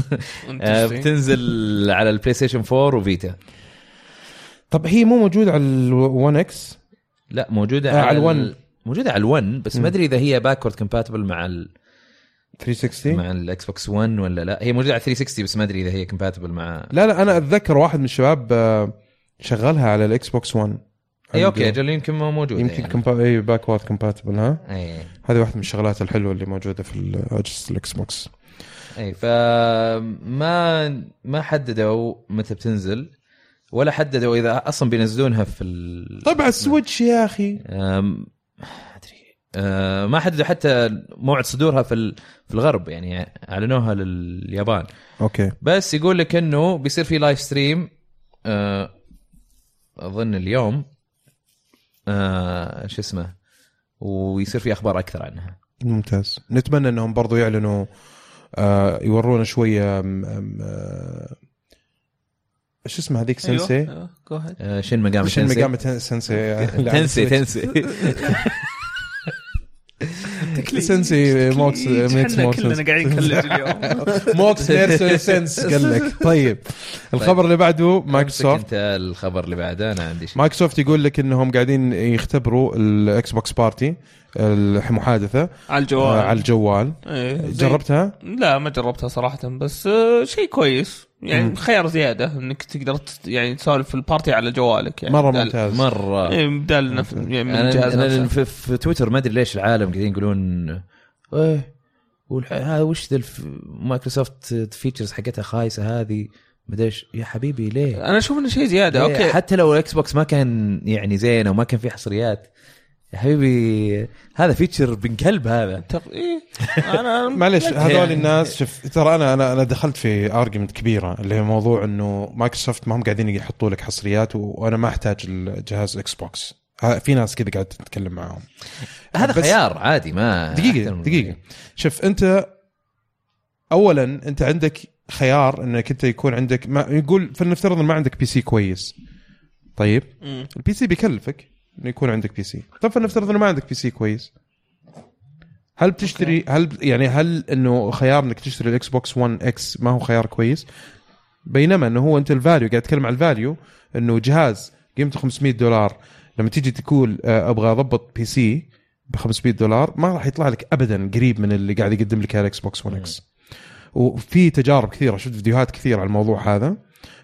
Speaker 4: آه بتنزل على البلاي ستيشن 4 وفيتا
Speaker 3: طب هي مو موجوده على ال1 اكس
Speaker 4: لا موجوده
Speaker 3: آه،
Speaker 4: ال-
Speaker 3: على الون.
Speaker 4: موجوده على الون بس ما ادري اذا هي باكورد كومباتبل مع ال
Speaker 3: 360
Speaker 4: مع الاكس بوكس 1 ولا لا هي موجوده على 360 بس ما ادري اذا هي كومباتبل مع
Speaker 3: لا لا انا اتذكر واحد من الشباب آه، شغلها على الاكس بوكس 1
Speaker 4: اي اوكي اجل إيه، يمكن ما موجوده
Speaker 3: يمكن
Speaker 4: يعني. إيه،
Speaker 3: كمبا... اي باكورد كومباتبل ها
Speaker 4: اي
Speaker 3: هذه واحده من الشغلات الحلوه اللي موجوده في اجهزه الاكس بوكس
Speaker 4: اي فما إيه، ما حددوا متى بتنزل ولا حددوا اذا اصلا بينزلونها في ال...
Speaker 3: طيب على السويتش يا اخي
Speaker 4: أم، ما ادري أه، ما حددوا حتى موعد صدورها في ال- في الغرب يعني اعلنوها لليابان
Speaker 3: اوكي
Speaker 4: بس يقول لك انه بيصير في لايف ستريم أه، اظن اليوم أه، شو اسمه ويصير في اخبار اكثر عنها
Speaker 3: ممتاز نتمنى انهم برضو يعلنوا آه يورونا شويه أم- أم- آه، ايش اسمها هذيك
Speaker 4: أيوه.
Speaker 5: أيوه.
Speaker 3: سنسي
Speaker 5: آه، كوهد
Speaker 4: أه، شين مقام
Speaker 3: شن مقامة تن- آه، سنسي
Speaker 4: تنسي تنسي
Speaker 3: سنسي موكس ميكس
Speaker 5: احنا
Speaker 3: موكس
Speaker 5: كلنا قاعدين نكلج اليوم
Speaker 3: موكس نيرسل سنس قال لك طيب الخبر اللي بعده
Speaker 4: طيب،
Speaker 3: مايكروسوفت
Speaker 4: انت الخبر اللي بعده انا عندي شيء
Speaker 3: مايكروسوفت يقول لك انهم قاعدين يختبروا الاكس بوكس بارتي المحادثه
Speaker 5: على
Speaker 3: آه، على
Speaker 5: الجوال
Speaker 3: الجوال
Speaker 5: إيه، زي-
Speaker 3: جربتها؟
Speaker 5: لا ما جربتها صراحة بس آه، شيء كويس يعني خيار زيادة انك تقدر تس- يعني تسولف في البارتي على جوالك يعني
Speaker 3: مره
Speaker 5: بدال-
Speaker 3: ممتاز
Speaker 4: مره
Speaker 5: إيه، بدال نف... يعني من
Speaker 4: انا,
Speaker 5: الجهاز
Speaker 4: أنا
Speaker 5: نفسه
Speaker 4: في, في تويتر ما ادري ليش العالم قاعدين يقولون ايه والح- هذا وش ذا الف- مايكروسوفت فيتشرز حقتها خايسه هذه ما ادري إيش. يا حبيبي ليه؟
Speaker 5: انا اشوف انه شيء زيادة
Speaker 3: إيه،
Speaker 4: ليه؟
Speaker 5: اوكي
Speaker 4: حتى لو الاكس بوكس ما كان يعني زين او ما كان فيه حصريات يا حبيبي هذا فيتشر بن كلب هذا
Speaker 5: تق... إيه. انا
Speaker 3: معلش هذول
Speaker 4: يعني.
Speaker 3: الناس شوف ترى انا انا انا دخلت في ارجيومنت كبيره اللي هي موضوع انه مايكروسوفت ما هم قاعدين يحطوا لك حصريات و- وانا ما احتاج الجهاز اكس بوكس ها- في ناس كذا قاعد تتكلم معاهم
Speaker 4: هذا
Speaker 3: بس-
Speaker 4: خيار عادي ما
Speaker 3: دقيقه
Speaker 4: أكثر من-
Speaker 3: دقيقه شوف انت اولا انت عندك خيار انك انت يكون عندك ما يقول فلنفترض إن ما عندك بي سي كويس طيب
Speaker 5: مم.
Speaker 3: البي سي بيكلفك انه يكون عندك بي سي طب فلنفترض انه ما عندك بي سي كويس هل بتشتري هل يعني هل انه خيار انك تشتري الاكس بوكس 1 اكس ما هو خيار كويس بينما انه هو انت الفاليو قاعد اتكلم على الفاليو انه جهاز قيمته 500 دولار لما تيجي تقول آه، ابغى اضبط بي سي ب 500 دولار ما راح يطلع لك ابدا قريب من اللي قاعد يقدم لك الاكس بوكس 1 اكس وفي تجارب كثيره شفت فيديوهات كثيره على الموضوع هذا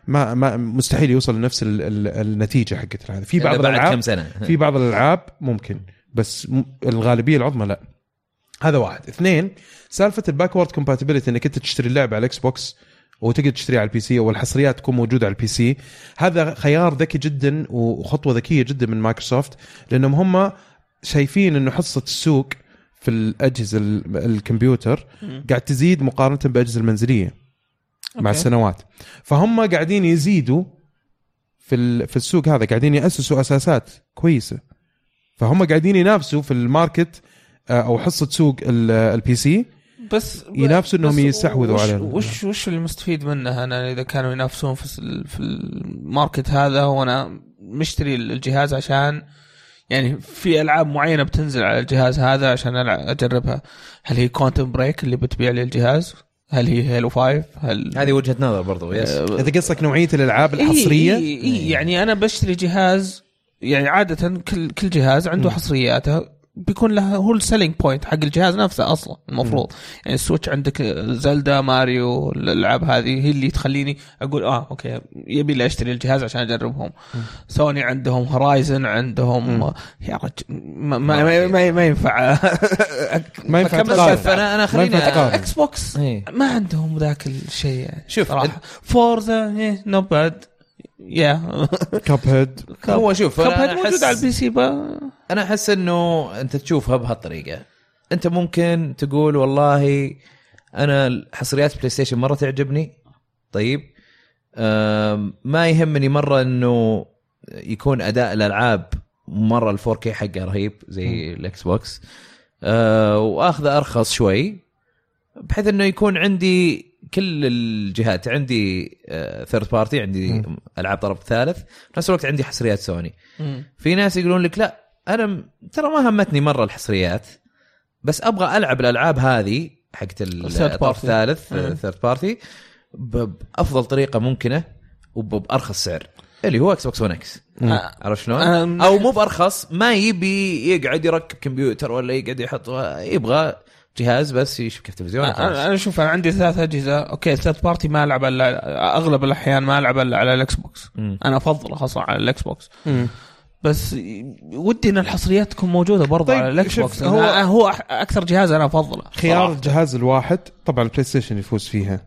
Speaker 3: ما, ما مستحيل يوصل لنفس ال ال النتيجه حقت هذا في
Speaker 4: إلا
Speaker 3: بعض
Speaker 4: بعد
Speaker 3: الالعاب
Speaker 4: كم سنه
Speaker 3: في بعض الالعاب ممكن بس م- الغالبيه العظمى لا هذا واحد اثنين سالفه الباكورد كومباتيبلتي انك انت تشتري اللعبه على الاكس بوكس وتقدر تشتريها على البي سي او الحصريات تكون موجوده على البي سي هذا خيار ذكي جدا وخطوه ذكيه جدا من مايكروسوفت لانهم هم شايفين انه حصه السوق في الاجهزه ال- الكمبيوتر
Speaker 5: مم.
Speaker 3: قاعد تزيد مقارنه بالاجهزه المنزليه مع
Speaker 5: أوكي.
Speaker 3: السنوات فهم قاعدين يزيدوا في ال- في السوق هذا قاعدين ياسسوا اساسات كويسه فهم قاعدين ينافسوا في الماركت آه، او حصه سوق ال- البي سي
Speaker 5: بس
Speaker 3: ينافسوا إنهم
Speaker 5: بس
Speaker 3: يستحوذوا
Speaker 5: وش-
Speaker 3: علينا.
Speaker 5: وش وش المستفيد منه انا اذا كانوا ينافسون في ال- في الماركت هذا وانا مشتري الجهاز عشان يعني في العاب معينه بتنزل على الجهاز هذا عشان ألع- اجربها هل هي كونتم بريك اللي بتبيع لي الجهاز هل هي هيلو 5 هل
Speaker 4: هذه وجهه نظر برضو يس
Speaker 5: آه،
Speaker 3: اذا قصدك نوعيه الالعاب
Speaker 5: إيه،
Speaker 3: الحصريه
Speaker 5: إي إي إي يعني انا بشتري جهاز يعني عاده كل كل جهاز عنده حصرياته بيكون له هو السيلينج بوينت حق الجهاز نفسه اصلا المفروض يعني السويتش عندك زلدا ماريو الالعاب هذه هي اللي تخليني اقول اه اوكي يبي لي اشتري الجهاز عشان اجربهم سوني عندهم هورايزن عندهم يا رجل ما ما, ما, ما, ما ينفع
Speaker 3: ما ينفع
Speaker 4: طيب.
Speaker 5: فكمل
Speaker 3: تقارن.
Speaker 5: بس أنا-
Speaker 4: انا
Speaker 3: ما ينفع تقارن.
Speaker 5: اكس بوكس
Speaker 4: إيه.
Speaker 5: ما عندهم ذاك الشيء يعني إيه،
Speaker 4: شوف،
Speaker 5: صراحه فورزا نو باد يا
Speaker 3: كاب هيد
Speaker 4: هو شوف
Speaker 5: كاب
Speaker 4: أنا
Speaker 5: هيد موجود
Speaker 4: أحس-
Speaker 5: على البي سي با
Speaker 4: انا احس انه انت تشوفها بهالطريقه انت ممكن تقول والله انا حصريات بلاي ستيشن مره تعجبني طيب أم، ما يهمني مره انه يكون اداء الالعاب مره الفور كي حقه رهيب زي الاكس بوكس أه، واخذه ارخص شوي بحيث انه يكون عندي كل الجهات عندي ثيرد بارتي عندي
Speaker 3: مم.
Speaker 4: العاب طرف ثالث في نفس الوقت عندي حصريات سوني في ناس يقولون لك لا انا م- ترى ما همتني مره الحصريات بس ابغى العب الالعاب هذه حقت ال-
Speaker 5: Third
Speaker 4: الطرف
Speaker 5: party.
Speaker 4: الثالث
Speaker 5: مم.
Speaker 4: ثيرد بارتي بافضل طريقه ممكنه وبارخص سعر اللي هو اكس بوكس 1 اكس
Speaker 5: آه،
Speaker 4: عرفت شلون؟
Speaker 5: أنا من
Speaker 4: او مو بارخص ما يبي يقعد يركب كمبيوتر ولا يقعد يحط يبغى جهاز بس يشبك تلفزيون
Speaker 3: أه،
Speaker 5: انا
Speaker 4: وخلاص.
Speaker 5: أنا شوف انا عندي ثلاث اجهزه اوكي ثلاث بارتي ما العب الا اغلب الاحيان ما العب الا على الاكس بوكس
Speaker 4: مم.
Speaker 5: انا افضل خاصه على الاكس بوكس بس ودي ان الحصريات تكون موجوده برضه
Speaker 3: طيب،
Speaker 5: على الاكس
Speaker 3: شوف،
Speaker 5: بوكس
Speaker 3: هو-
Speaker 5: هو هو أح- اكثر جهاز انا افضله
Speaker 3: خيار
Speaker 5: صراحة.
Speaker 3: الجهاز الواحد طبعا البلاي ستيشن يفوز فيها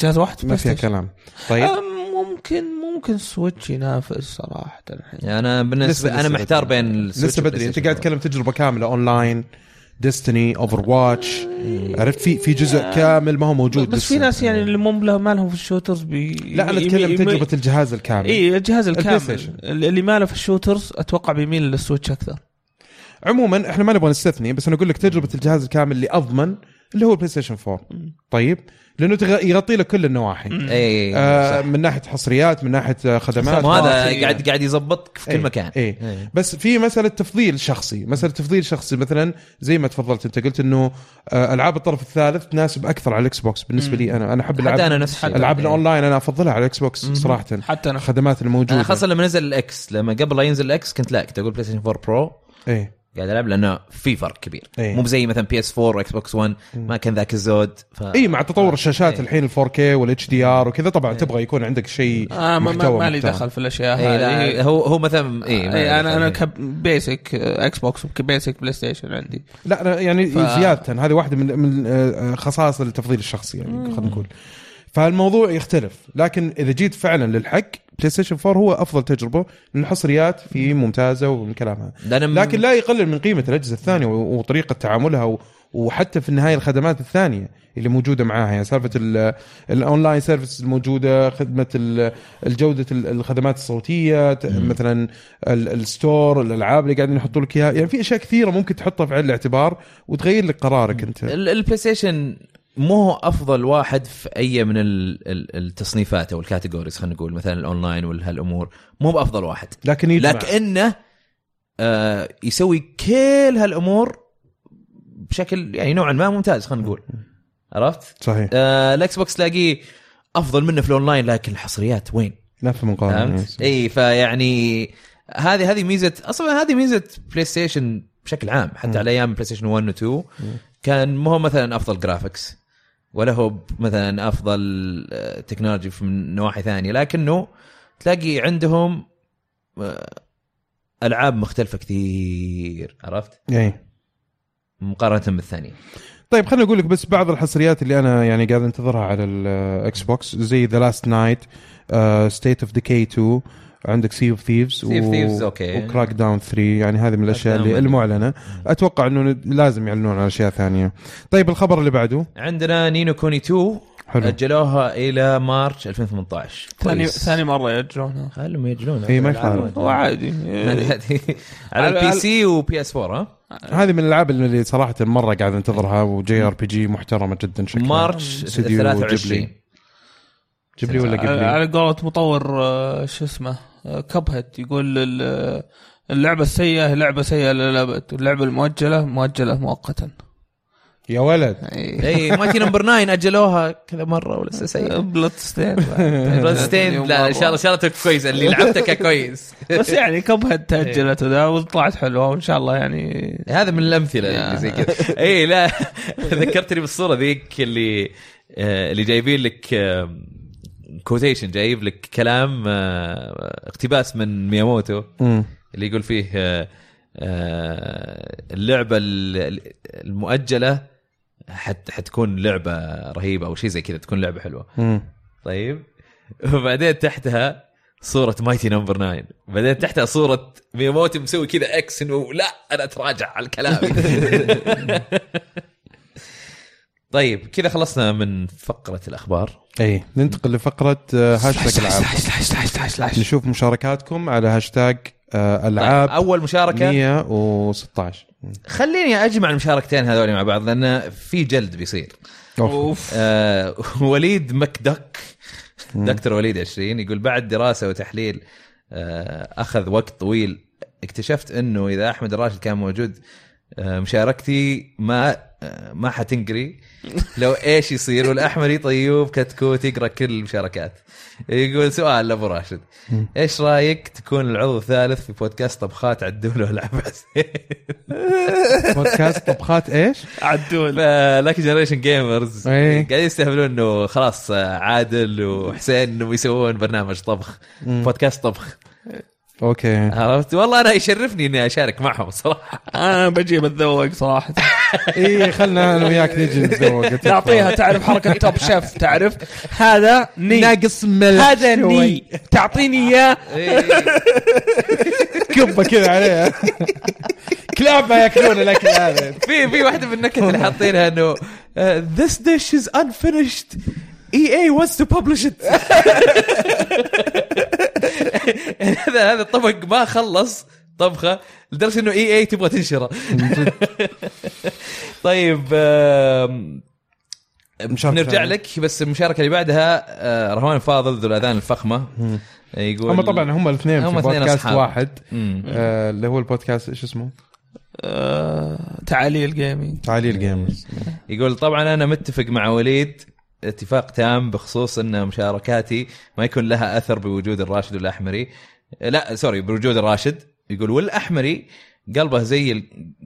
Speaker 5: جهاز واحد
Speaker 3: ما
Speaker 5: بلاي
Speaker 3: فيها
Speaker 5: ستيشن.
Speaker 3: كلام طيب
Speaker 5: أم، ممكن ممكن سويتش ينافس صراحه الحين
Speaker 3: يعني
Speaker 4: انا بالنسبه
Speaker 3: لسه-
Speaker 4: انا
Speaker 3: لسه
Speaker 4: محتار
Speaker 3: بدري.
Speaker 4: بين السويتش
Speaker 3: لسه بدري
Speaker 4: والبلاي
Speaker 3: انت
Speaker 4: ستيشن.
Speaker 3: قاعد تتكلم تجربه كامله اونلاين ديستني اوفر واتش عرفت في في جزء كامل ما هو موجود
Speaker 5: إيه. آه. بس في
Speaker 3: لسه.
Speaker 5: ناس يعني إيه، اللي مو بله- ما لهم في الشوترز بي
Speaker 3: لا انا اتكلم تجربه الجهاز الكامل
Speaker 5: اي إيه، الجهاز الكامل
Speaker 3: PlayStation.
Speaker 5: اللي ما له في الشوترز اتوقع بيميل للسويتش اكثر
Speaker 3: عموما احنا ما نبغى نستثني بس انا اقول لك تجربه الجهاز الكامل اللي اضمن اللي هو بلاي ستيشن 4 طيب لانه تغ- يغطي لك كل النواحي
Speaker 4: اي
Speaker 3: آه
Speaker 4: صح.
Speaker 3: من ناحيه حصريات من ناحيه آه، خدمات
Speaker 4: مو هذا
Speaker 5: ماركتينج.
Speaker 4: قاعد قاعد يزبطك في كل
Speaker 3: إيه،
Speaker 4: مكان
Speaker 3: إيه.
Speaker 4: إيه.
Speaker 3: بس في مساله تفضيل شخصي مساله تفضيل شخصي مثلا زي ما تفضلت انت قلت انه آه، العاب الطرف الثالث تناسب اكثر على الاكس بوكس بالنسبه لي انا انا احب العاب
Speaker 4: حتى انا نفس الشيء
Speaker 3: العابنا اونلاين انا افضلها على الاكس بوكس صراحه
Speaker 5: إيه. حتى انا
Speaker 3: الخدمات
Speaker 4: انا
Speaker 3: الموجوده
Speaker 4: خاصه لما نزل الاكس لما قبل لا ينزل الاكس كنت لا كنت اقول بلاي ستيشن 4 برو
Speaker 3: ايه
Speaker 4: قاعد العب لانه في فرق كبير
Speaker 3: إيه.
Speaker 4: مو زي مثلا بي اس 4 واكس بوكس 1 ما كان ذاك الزود ف...
Speaker 3: اي إيه، مع
Speaker 5: آه.
Speaker 3: تطور
Speaker 5: إيه.
Speaker 3: الشاشات الحين ال 4K وال HDR وكذا طبعا تبغى يكون عندك شيء
Speaker 5: آه ما, ما,
Speaker 3: محتوى
Speaker 5: ما لي
Speaker 3: محتوى.
Speaker 5: دخل في الاشياء
Speaker 4: إيه، لا،
Speaker 5: هذه
Speaker 4: هو هو مثلا اي
Speaker 5: إيه، انا
Speaker 4: يعني.
Speaker 5: انا كبيسك اكس بوكس وكبيسك آه، بلاي ستيشن عندي
Speaker 3: لا أنا يعني
Speaker 5: ف-
Speaker 3: زياده هذه واحده من من آه، خصائص التفضيل الشخصي يعني خلينا نقول فالموضوع يختلف لكن اذا جيت فعلا للحق بلاي ستيشن 4 هو افضل تجربه لان الحصريات فيه ممتازه ومن كلامها
Speaker 4: لأن
Speaker 3: لكن لا يقلل من قيمه الاجهزه الثانيه و- وطريقه تعاملها و- وحتى في النهايه الخدمات الثانيه اللي موجوده معاها يعني سالفه ال- الاونلاين سيرفيس الموجوده خدمه ال- الجوده ال- الخدمات الصوتيه ت- مثلا ال- الستور الالعاب اللي قاعدين يحطوا لك اياها يعني في اشياء كثيره ممكن تحطها في عين الاعتبار وتغير لك قرارك انت
Speaker 4: ال- البلاي ستيشن مو هو افضل واحد في اي من ال- ال- التصنيفات او الكاتيجوريز خلينا نقول مثلا الاونلاين وهالامور مو بافضل واحد
Speaker 3: لكن يجمع
Speaker 4: لكنه آه يسوي كل هالامور بشكل يعني نوعا ما ممتاز خلينا نقول عرفت؟
Speaker 3: صحيح
Speaker 4: آه الاكس بوكس تلاقيه افضل منه في الاونلاين لكن الحصريات وين؟
Speaker 3: لا في مقارنه
Speaker 4: فهمت؟ إيه. اي فيعني هذه هذه ميزه اصلا هذه ميزه بلاي ستيشن بشكل عام حتى على ايام بلاي ستيشن 1 و 2 كان مو هو مثلا افضل جرافكس ولا هو ب- مثلا افضل آه، تكنولوجي من نواحي ثانيه لكنه تلاقي عندهم آه، العاب مختلفه كثير عرفت
Speaker 3: اي
Speaker 4: مقارنه بالثانيه
Speaker 3: طيب خليني اقول لك بس بعض الحصريات اللي انا يعني قاعد انتظرها على الاكس بوكس زي ذا لاست نايت ستيت اوف ديكي 2 عندك سي اوف ثيفز
Speaker 4: Sea of Thieves، أوكي.
Speaker 3: وكراك داون 3 يعني هذه من الاشياء
Speaker 4: Crackdown
Speaker 3: اللي
Speaker 4: ما-
Speaker 3: المعلنه اتوقع انه ن- لازم يعلنون عن اشياء ثانيه طيب الخبر اللي بعده
Speaker 4: عندنا نينو كوني 2
Speaker 3: حلو
Speaker 4: اجلوها الى مارش 2018
Speaker 5: ثاني
Speaker 4: كويس.
Speaker 5: ثاني مره يرجعونها
Speaker 4: خلهم يجلون
Speaker 3: إيه، ما يخالف.
Speaker 5: هو عادي
Speaker 4: على
Speaker 5: على-
Speaker 4: البي سي وبي اس 4 ها
Speaker 3: هذه من الالعاب اللي صراحه مره قاعد انتظرها وجي ار بي جي محترمه جدا شكلها
Speaker 4: مارش
Speaker 3: استديو
Speaker 4: 23
Speaker 3: جيبلي. جيب لي ولا
Speaker 5: على
Speaker 3: قبلي
Speaker 5: آه، على قولة مطور آه، شو اسمه كب هيد يقول ال- آه، اللعبة السيئة هي لعبة سيئة للأبد واللعبة المؤجلة مؤجلة يعني مؤقتا
Speaker 3: يا ولد
Speaker 5: أي.
Speaker 4: اي مايتي إيه، نمبر 9 اجلوها كذا مره ولسه سيء
Speaker 5: بلاد ستين يعني
Speaker 4: بلاد ستين لا ان شاء الله ان شاء الله تكون كويس اللي لعبته كان كويس
Speaker 5: بس يعني كب هيد تأجلت وذا وطلعت حلوة وإن شاء الله يعني
Speaker 4: هذا من الامثله اللي زي كذا اي لا ذكرتني بالصوره ذيك اللي آه، اللي جايبين لك كوتيشن جايب لك كلام آه، اقتباس من مياموتو
Speaker 3: مم.
Speaker 4: اللي يقول فيه آه، آه، اللعبه ال- المؤجله حت حتكون لعبه رهيبه او شيء زي كذا تكون لعبه حلوه
Speaker 3: مم.
Speaker 4: طيب وبعدين تحتها صورة مايتي نمبر 9 بعدين تحتها صورة ميموتي مسوي كذا اكس انه لا انا اتراجع على الكلام طيب كذا خلصنا من فقرة الاخبار
Speaker 3: اي إيه، ننتقل لفقره آه، هاشتاج العاب نشوف مشاركاتكم على هاشتاج آه، العاب
Speaker 4: اول طيب، مشاركة
Speaker 3: 116
Speaker 4: خليني اجمع المشاركتين هذول مع بعض لان في جلد بيصير
Speaker 3: أوف.
Speaker 4: آه وليد مكدك دكتور وليد 20 يقول بعد دراسه وتحليل آه اخذ وقت طويل اكتشفت انه اذا احمد الراشد كان موجود آه مشاركتي ما آه ما حتنقري لو ايش يصير والاحمري طيوب كتكوت يقرا كل المشاركات يقول سؤال لابو راشد ايش رايك تكون العضو الثالث في بودكاست طبخات عدول والعب
Speaker 3: بودكاست طبخات ايش؟
Speaker 5: عدول
Speaker 4: فلاك جنريشن جيمرز
Speaker 3: إيه.
Speaker 4: قاعدين يستهبلون انه خلاص عادل وحسين انهم يسوون برنامج طبخ بودكاست طبخ
Speaker 3: اوكي
Speaker 4: عرفت والله انا يشرفني اني اشارك معهم صراحه
Speaker 5: أنا بجي بتذوق صراحة
Speaker 3: اي إيه، خلنا انا وياك نجي نتذوق
Speaker 5: تعطيها تعرف حركة توب شيف تعرف هذا ني
Speaker 3: ناقص ملح
Speaker 5: هذا ني تعطيني إياه
Speaker 3: كبه كذا عليها كلاب ما ياكلون الاكل هذا
Speaker 4: في في واحده من النكت اللي حاطينها "Uh, انه ذس ديش از unfinished اي اي wants تو publish it هذا هذا الطبق ما خلص طبخه لدرجه انه اي اي E تبغى تنشره طيب آم،
Speaker 3: مشاركة
Speaker 4: نرجع
Speaker 3: ثانية.
Speaker 4: لك بس المشاركه اللي بعدها آه، رهوان فاضل ذو الاذان الفخمه يقول
Speaker 3: هم طبعا هم الاثنين
Speaker 4: هم
Speaker 3: في
Speaker 4: اثنين
Speaker 3: بودكاست
Speaker 4: أصحاب.
Speaker 3: واحد
Speaker 4: مم.
Speaker 3: آه، اللي هو البودكاست ايش اسمه؟
Speaker 5: آه، تعاليل جيمنج
Speaker 3: تعاليل جيمرز
Speaker 4: إيه. يقول طبعا انا متفق مع وليد اتفاق تام بخصوص ان مشاركاتي ما يكون لها اثر بوجود الراشد والاحمري لا سوري بوجود الراشد يقول والاحمري قلبه زي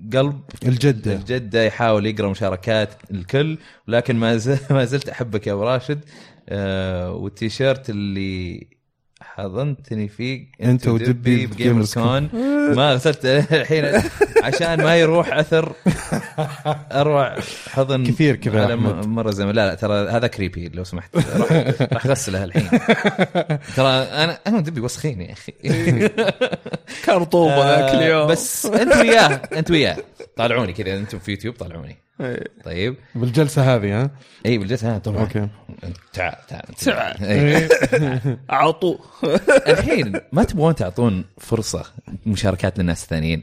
Speaker 4: القلب
Speaker 3: الجده
Speaker 4: الجدة يحاول يقرا مشاركات الكل ولكن ما ز- ما زلت احبك يا ابو راشد آه، والتيشيرت اللي حضنتني فيه
Speaker 3: أنت ودبي
Speaker 4: بجيمرز كون ما غسلت الحين عشان ما يروح اثر اروع حضن
Speaker 3: كثير كذا
Speaker 4: على
Speaker 3: أحمد.
Speaker 4: م- مره زمان لا لا ترى هذا كريبي لو سمحت راح راح اغسلها الحين ترى انا انا ودبي وسخين يا اخي
Speaker 5: كان رطوبة ذاك اليوم
Speaker 4: بس انت وياه انت وياه طالعوني كذا انتم في يوتيوب طالعوني
Speaker 5: إيه.
Speaker 4: طيب
Speaker 3: بالجلسه هذه ها
Speaker 4: اي بالجلسه ها طبعا
Speaker 3: اوكي
Speaker 4: تعال تعال إيه.
Speaker 5: تعال.
Speaker 4: إي.
Speaker 5: عطو
Speaker 4: الحين ما تبغون تعطون فرصه مشاركات للناس الثانيين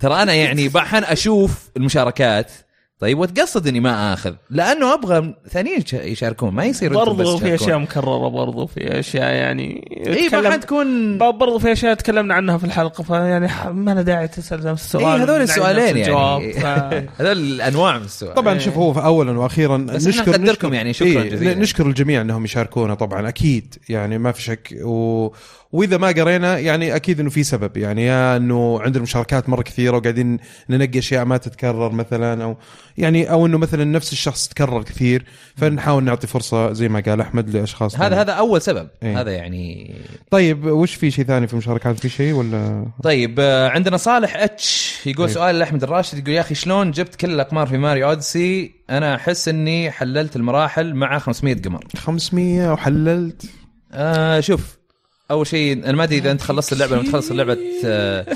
Speaker 4: ترى انا يعني بحن اشوف المشاركات طيب واتقصد اني ما اخذ لانه ابغى ثانيين يش- يشاركون ما يصير أنتم بس
Speaker 5: برضو في
Speaker 4: تشاركون.
Speaker 5: اشياء مكرره برضو في اشياء يعني
Speaker 4: اي ما حتكون
Speaker 5: ب- برضو في اشياء تكلمنا عنها في الحلقه فيعني ح- ما له داعي تسال نفس السؤال
Speaker 4: اي هذول السؤالين
Speaker 5: نفس
Speaker 4: يعني
Speaker 5: الجواب، ف-
Speaker 4: هذول الانواع من السؤال
Speaker 3: طبعا شوف هو اولا واخيرا
Speaker 4: إيه. بس إحنا
Speaker 3: نشكر
Speaker 4: نقدركم
Speaker 3: نشكر-
Speaker 4: يعني، شكراً جزيلاً.
Speaker 3: نشكر الجميع انهم يشاركونا طبعا اكيد يعني ما في شك و... واذا ما قرينا يعني اكيد انه في سبب يعني يا انه عندنا مشاركات مره كثيره وقاعدين ننقي اشياء ما تتكرر مثلا او يعني او انه مثلا نفس الشخص تكرر كثير فنحاول نعطي فرصه زي ما قال احمد لاشخاص
Speaker 4: هذا
Speaker 3: ثانية.
Speaker 4: هذا اول سبب
Speaker 3: إيه.
Speaker 4: هذا يعني
Speaker 3: طيب وش في شيء ثاني في المشاركات في شيء ولا
Speaker 4: طيب آه، عندنا صالح اتش يقول سؤال لاحمد الراشد يقول يا اخي شلون جبت كل الاقمار في ماريو اوديسي انا احس اني حللت المراحل مع 500 قمر
Speaker 3: 500 وحللت
Speaker 4: آه شوف اول شيء انا ما ادري اذا انت خلصت اللعبه لما تخلص اللعبه آه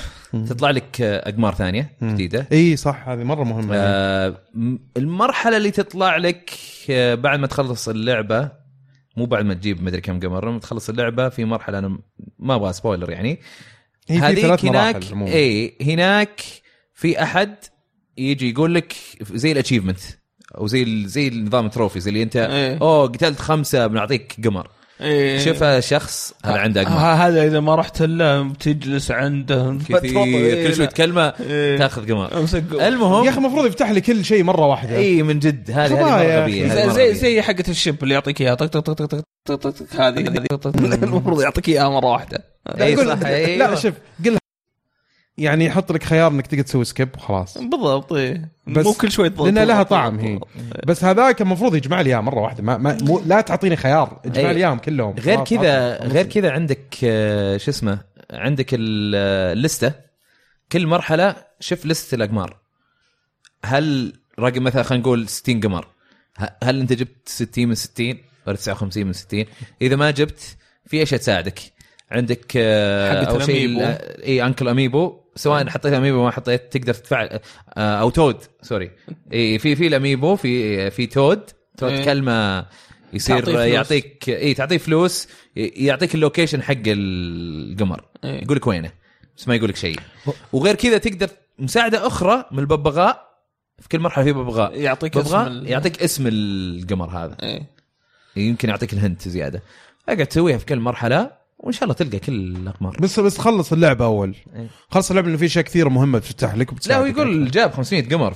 Speaker 4: تطلع لك آه، اقمار ثانيه جديده
Speaker 3: اي صح هذه مره مهمه آه.
Speaker 4: آه، م- المرحله اللي تطلع لك آه، بعد ما تخلص اللعبه مو بعد ما تجيب مدري كم قمر لما تخلص اللعبه في مرحله انا ما ابغى سبويلر يعني
Speaker 3: هي في
Speaker 4: هذيك
Speaker 3: ثلاث مراحل
Speaker 4: هناك
Speaker 3: عموماً.
Speaker 4: اي هناك في احد يجي يقول لك زي الاتشيفمنت او زي ال- زي النظام التروفي زي اللي انت
Speaker 5: إيه.
Speaker 4: اوه قتلت خمسه بنعطيك قمر
Speaker 5: إيه.
Speaker 4: شوف هذا الشخص
Speaker 3: آه.
Speaker 4: هذا عنده اقمار
Speaker 5: ه- هذا اذا ما رحت الا بتجلس عنده
Speaker 4: كثير كل شوي تكلمه
Speaker 5: إيه.
Speaker 4: تاخذ قمر
Speaker 5: امسك
Speaker 4: المهم
Speaker 3: يا اخي المفروض يفتح لي كل شيء مره واحده
Speaker 4: اي من جد هذه هذه
Speaker 3: خبايا يا
Speaker 4: مرة
Speaker 3: أخي.
Speaker 4: غبية، هذه
Speaker 5: زي
Speaker 4: مرة
Speaker 5: زي,
Speaker 4: غبية.
Speaker 5: زي حقة الشيب اللي يعطيك اياها طق طق طق طق طق طق طق هذه هذه طق- طق- المفروض يعطيك اياها مره واحده
Speaker 4: اي
Speaker 3: قول-
Speaker 4: صح أيوة.
Speaker 3: لا شوف قل يعني يحط لك خيار انك تقدر تسوي سكيب وخلاص
Speaker 5: بالضبط إيه.
Speaker 3: بس
Speaker 5: مو كل شوي تضغط-
Speaker 3: لأنها لها
Speaker 5: تضغط-
Speaker 3: طعم هي.
Speaker 5: تضغط.
Speaker 3: بس هذاك المفروض يجمع لي اياه مره واحده ما, ما مو لا تعطيني خيار اجمع
Speaker 4: إيه.
Speaker 3: لي اياهم كلهم
Speaker 4: غير
Speaker 3: خلاص،
Speaker 4: كذا
Speaker 3: عطني.
Speaker 4: غير كذا عندك آه، شو اسمه عندك ال- آه، اللسته كل مرحله شوف لسته الاقمار هل رقم مثلا خلينا نقول 60 قمر ه- هل انت جبت 60 من 60 ولا 59 من 60 اذا ما جبت في اشياء تساعدك عندك آه،
Speaker 5: حقة
Speaker 4: اول شيء
Speaker 5: الأميبو.
Speaker 4: ال- اي انكل اميبو سواء حطيت اميبو ما حطيت تقدر تفعل آه، او تود سوري اي في في الاميبو في آه، في تود تود
Speaker 5: إيه.
Speaker 4: كلمه
Speaker 5: تعطيه
Speaker 4: يصير
Speaker 5: فلوس.
Speaker 4: يعطيك اي تعطيه فلوس ي- يعطيك اللوكيشن حق القمر
Speaker 5: إيه.
Speaker 4: يقول لك وينه بس ما يقول لك شيء وغير كذا تقدر مساعده اخرى من الببغاء في كل مرحله في ببغاء
Speaker 5: يعطيك اسم
Speaker 4: ببغاء
Speaker 5: ال-
Speaker 4: يعطيك اسم القمر هذا
Speaker 5: إيه.
Speaker 4: يمكن يعطيك الهنت زياده اقعد تسويها في كل مرحله وان شاء الله تلقى كل الاقمار
Speaker 3: بس بس خلص اللعبه اول خلص اللعبه لانه في اشياء كثيره مهمه بتفتح لك
Speaker 4: لا
Speaker 3: وبتساعدك.
Speaker 4: هو يقول جاب 500 قمر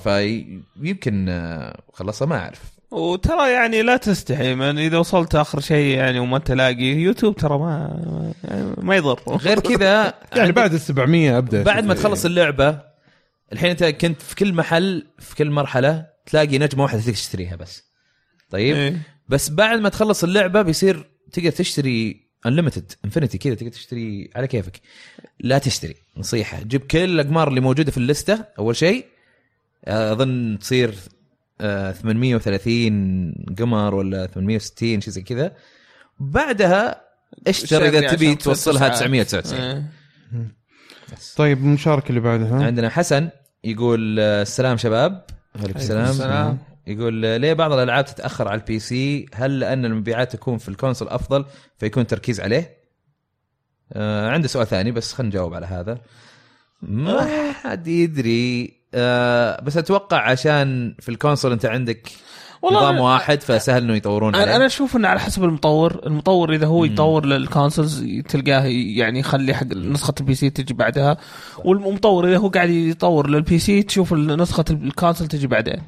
Speaker 4: فيمكن آه، خلصها ما اعرف
Speaker 5: وترى يعني لا تستحي من اذا وصلت اخر شيء يعني وما تلاقي يوتيوب ترى ما يعني ما يضر
Speaker 4: غير كذا
Speaker 3: يعني بعد ال 700 ابدا
Speaker 4: بعد ما
Speaker 5: إيه.
Speaker 4: تخلص اللعبه الحين انت كنت في كل محل في كل مرحله تلاقي نجمه واحده تقدر تشتريها بس طيب
Speaker 5: إيه.
Speaker 4: بس بعد ما تخلص اللعبه بيصير تقدر تشتري انليمتد انفنتي كذا تقدر تشتري على كيفك لا تشتري نصيحه جيب كل الاقمار اللي موجوده في اللسته اول شيء اظن تصير آه، 830 قمر ولا 860 شيء زي كذا بعدها اشتري
Speaker 5: شاري
Speaker 4: اذا تبي
Speaker 5: عشان تصير
Speaker 4: توصلها
Speaker 5: تسعة.
Speaker 4: 999
Speaker 5: إيه.
Speaker 3: طيب المشاركه اللي بعدها
Speaker 4: عندنا حسن يقول آه، السلام شباب وعليكم السلام
Speaker 5: السلام.
Speaker 4: يقول آه، ليه بعض الالعاب تتاخر على البي سي هل لان المبيعات تكون في الكونسول افضل فيكون التركيز عليه آه عنده سؤال ثاني بس خلينا نجاوب على هذا ما
Speaker 5: آه.
Speaker 4: حد يدري آه بس اتوقع عشان في الكونسول انت عندك
Speaker 5: والله
Speaker 4: نظام
Speaker 5: أنا-
Speaker 4: واحد فسهل انه يطورون
Speaker 5: انا
Speaker 4: عليه
Speaker 5: انا اشوف انه على حسب المطور المطور اذا هو يطور للكونسولز تلقاه يعني يخلي حق نسخه البي سي تجي بعدها والمطور اذا هو قاعد يطور للبي سي تشوف نسخه الكونسول تجي بعدين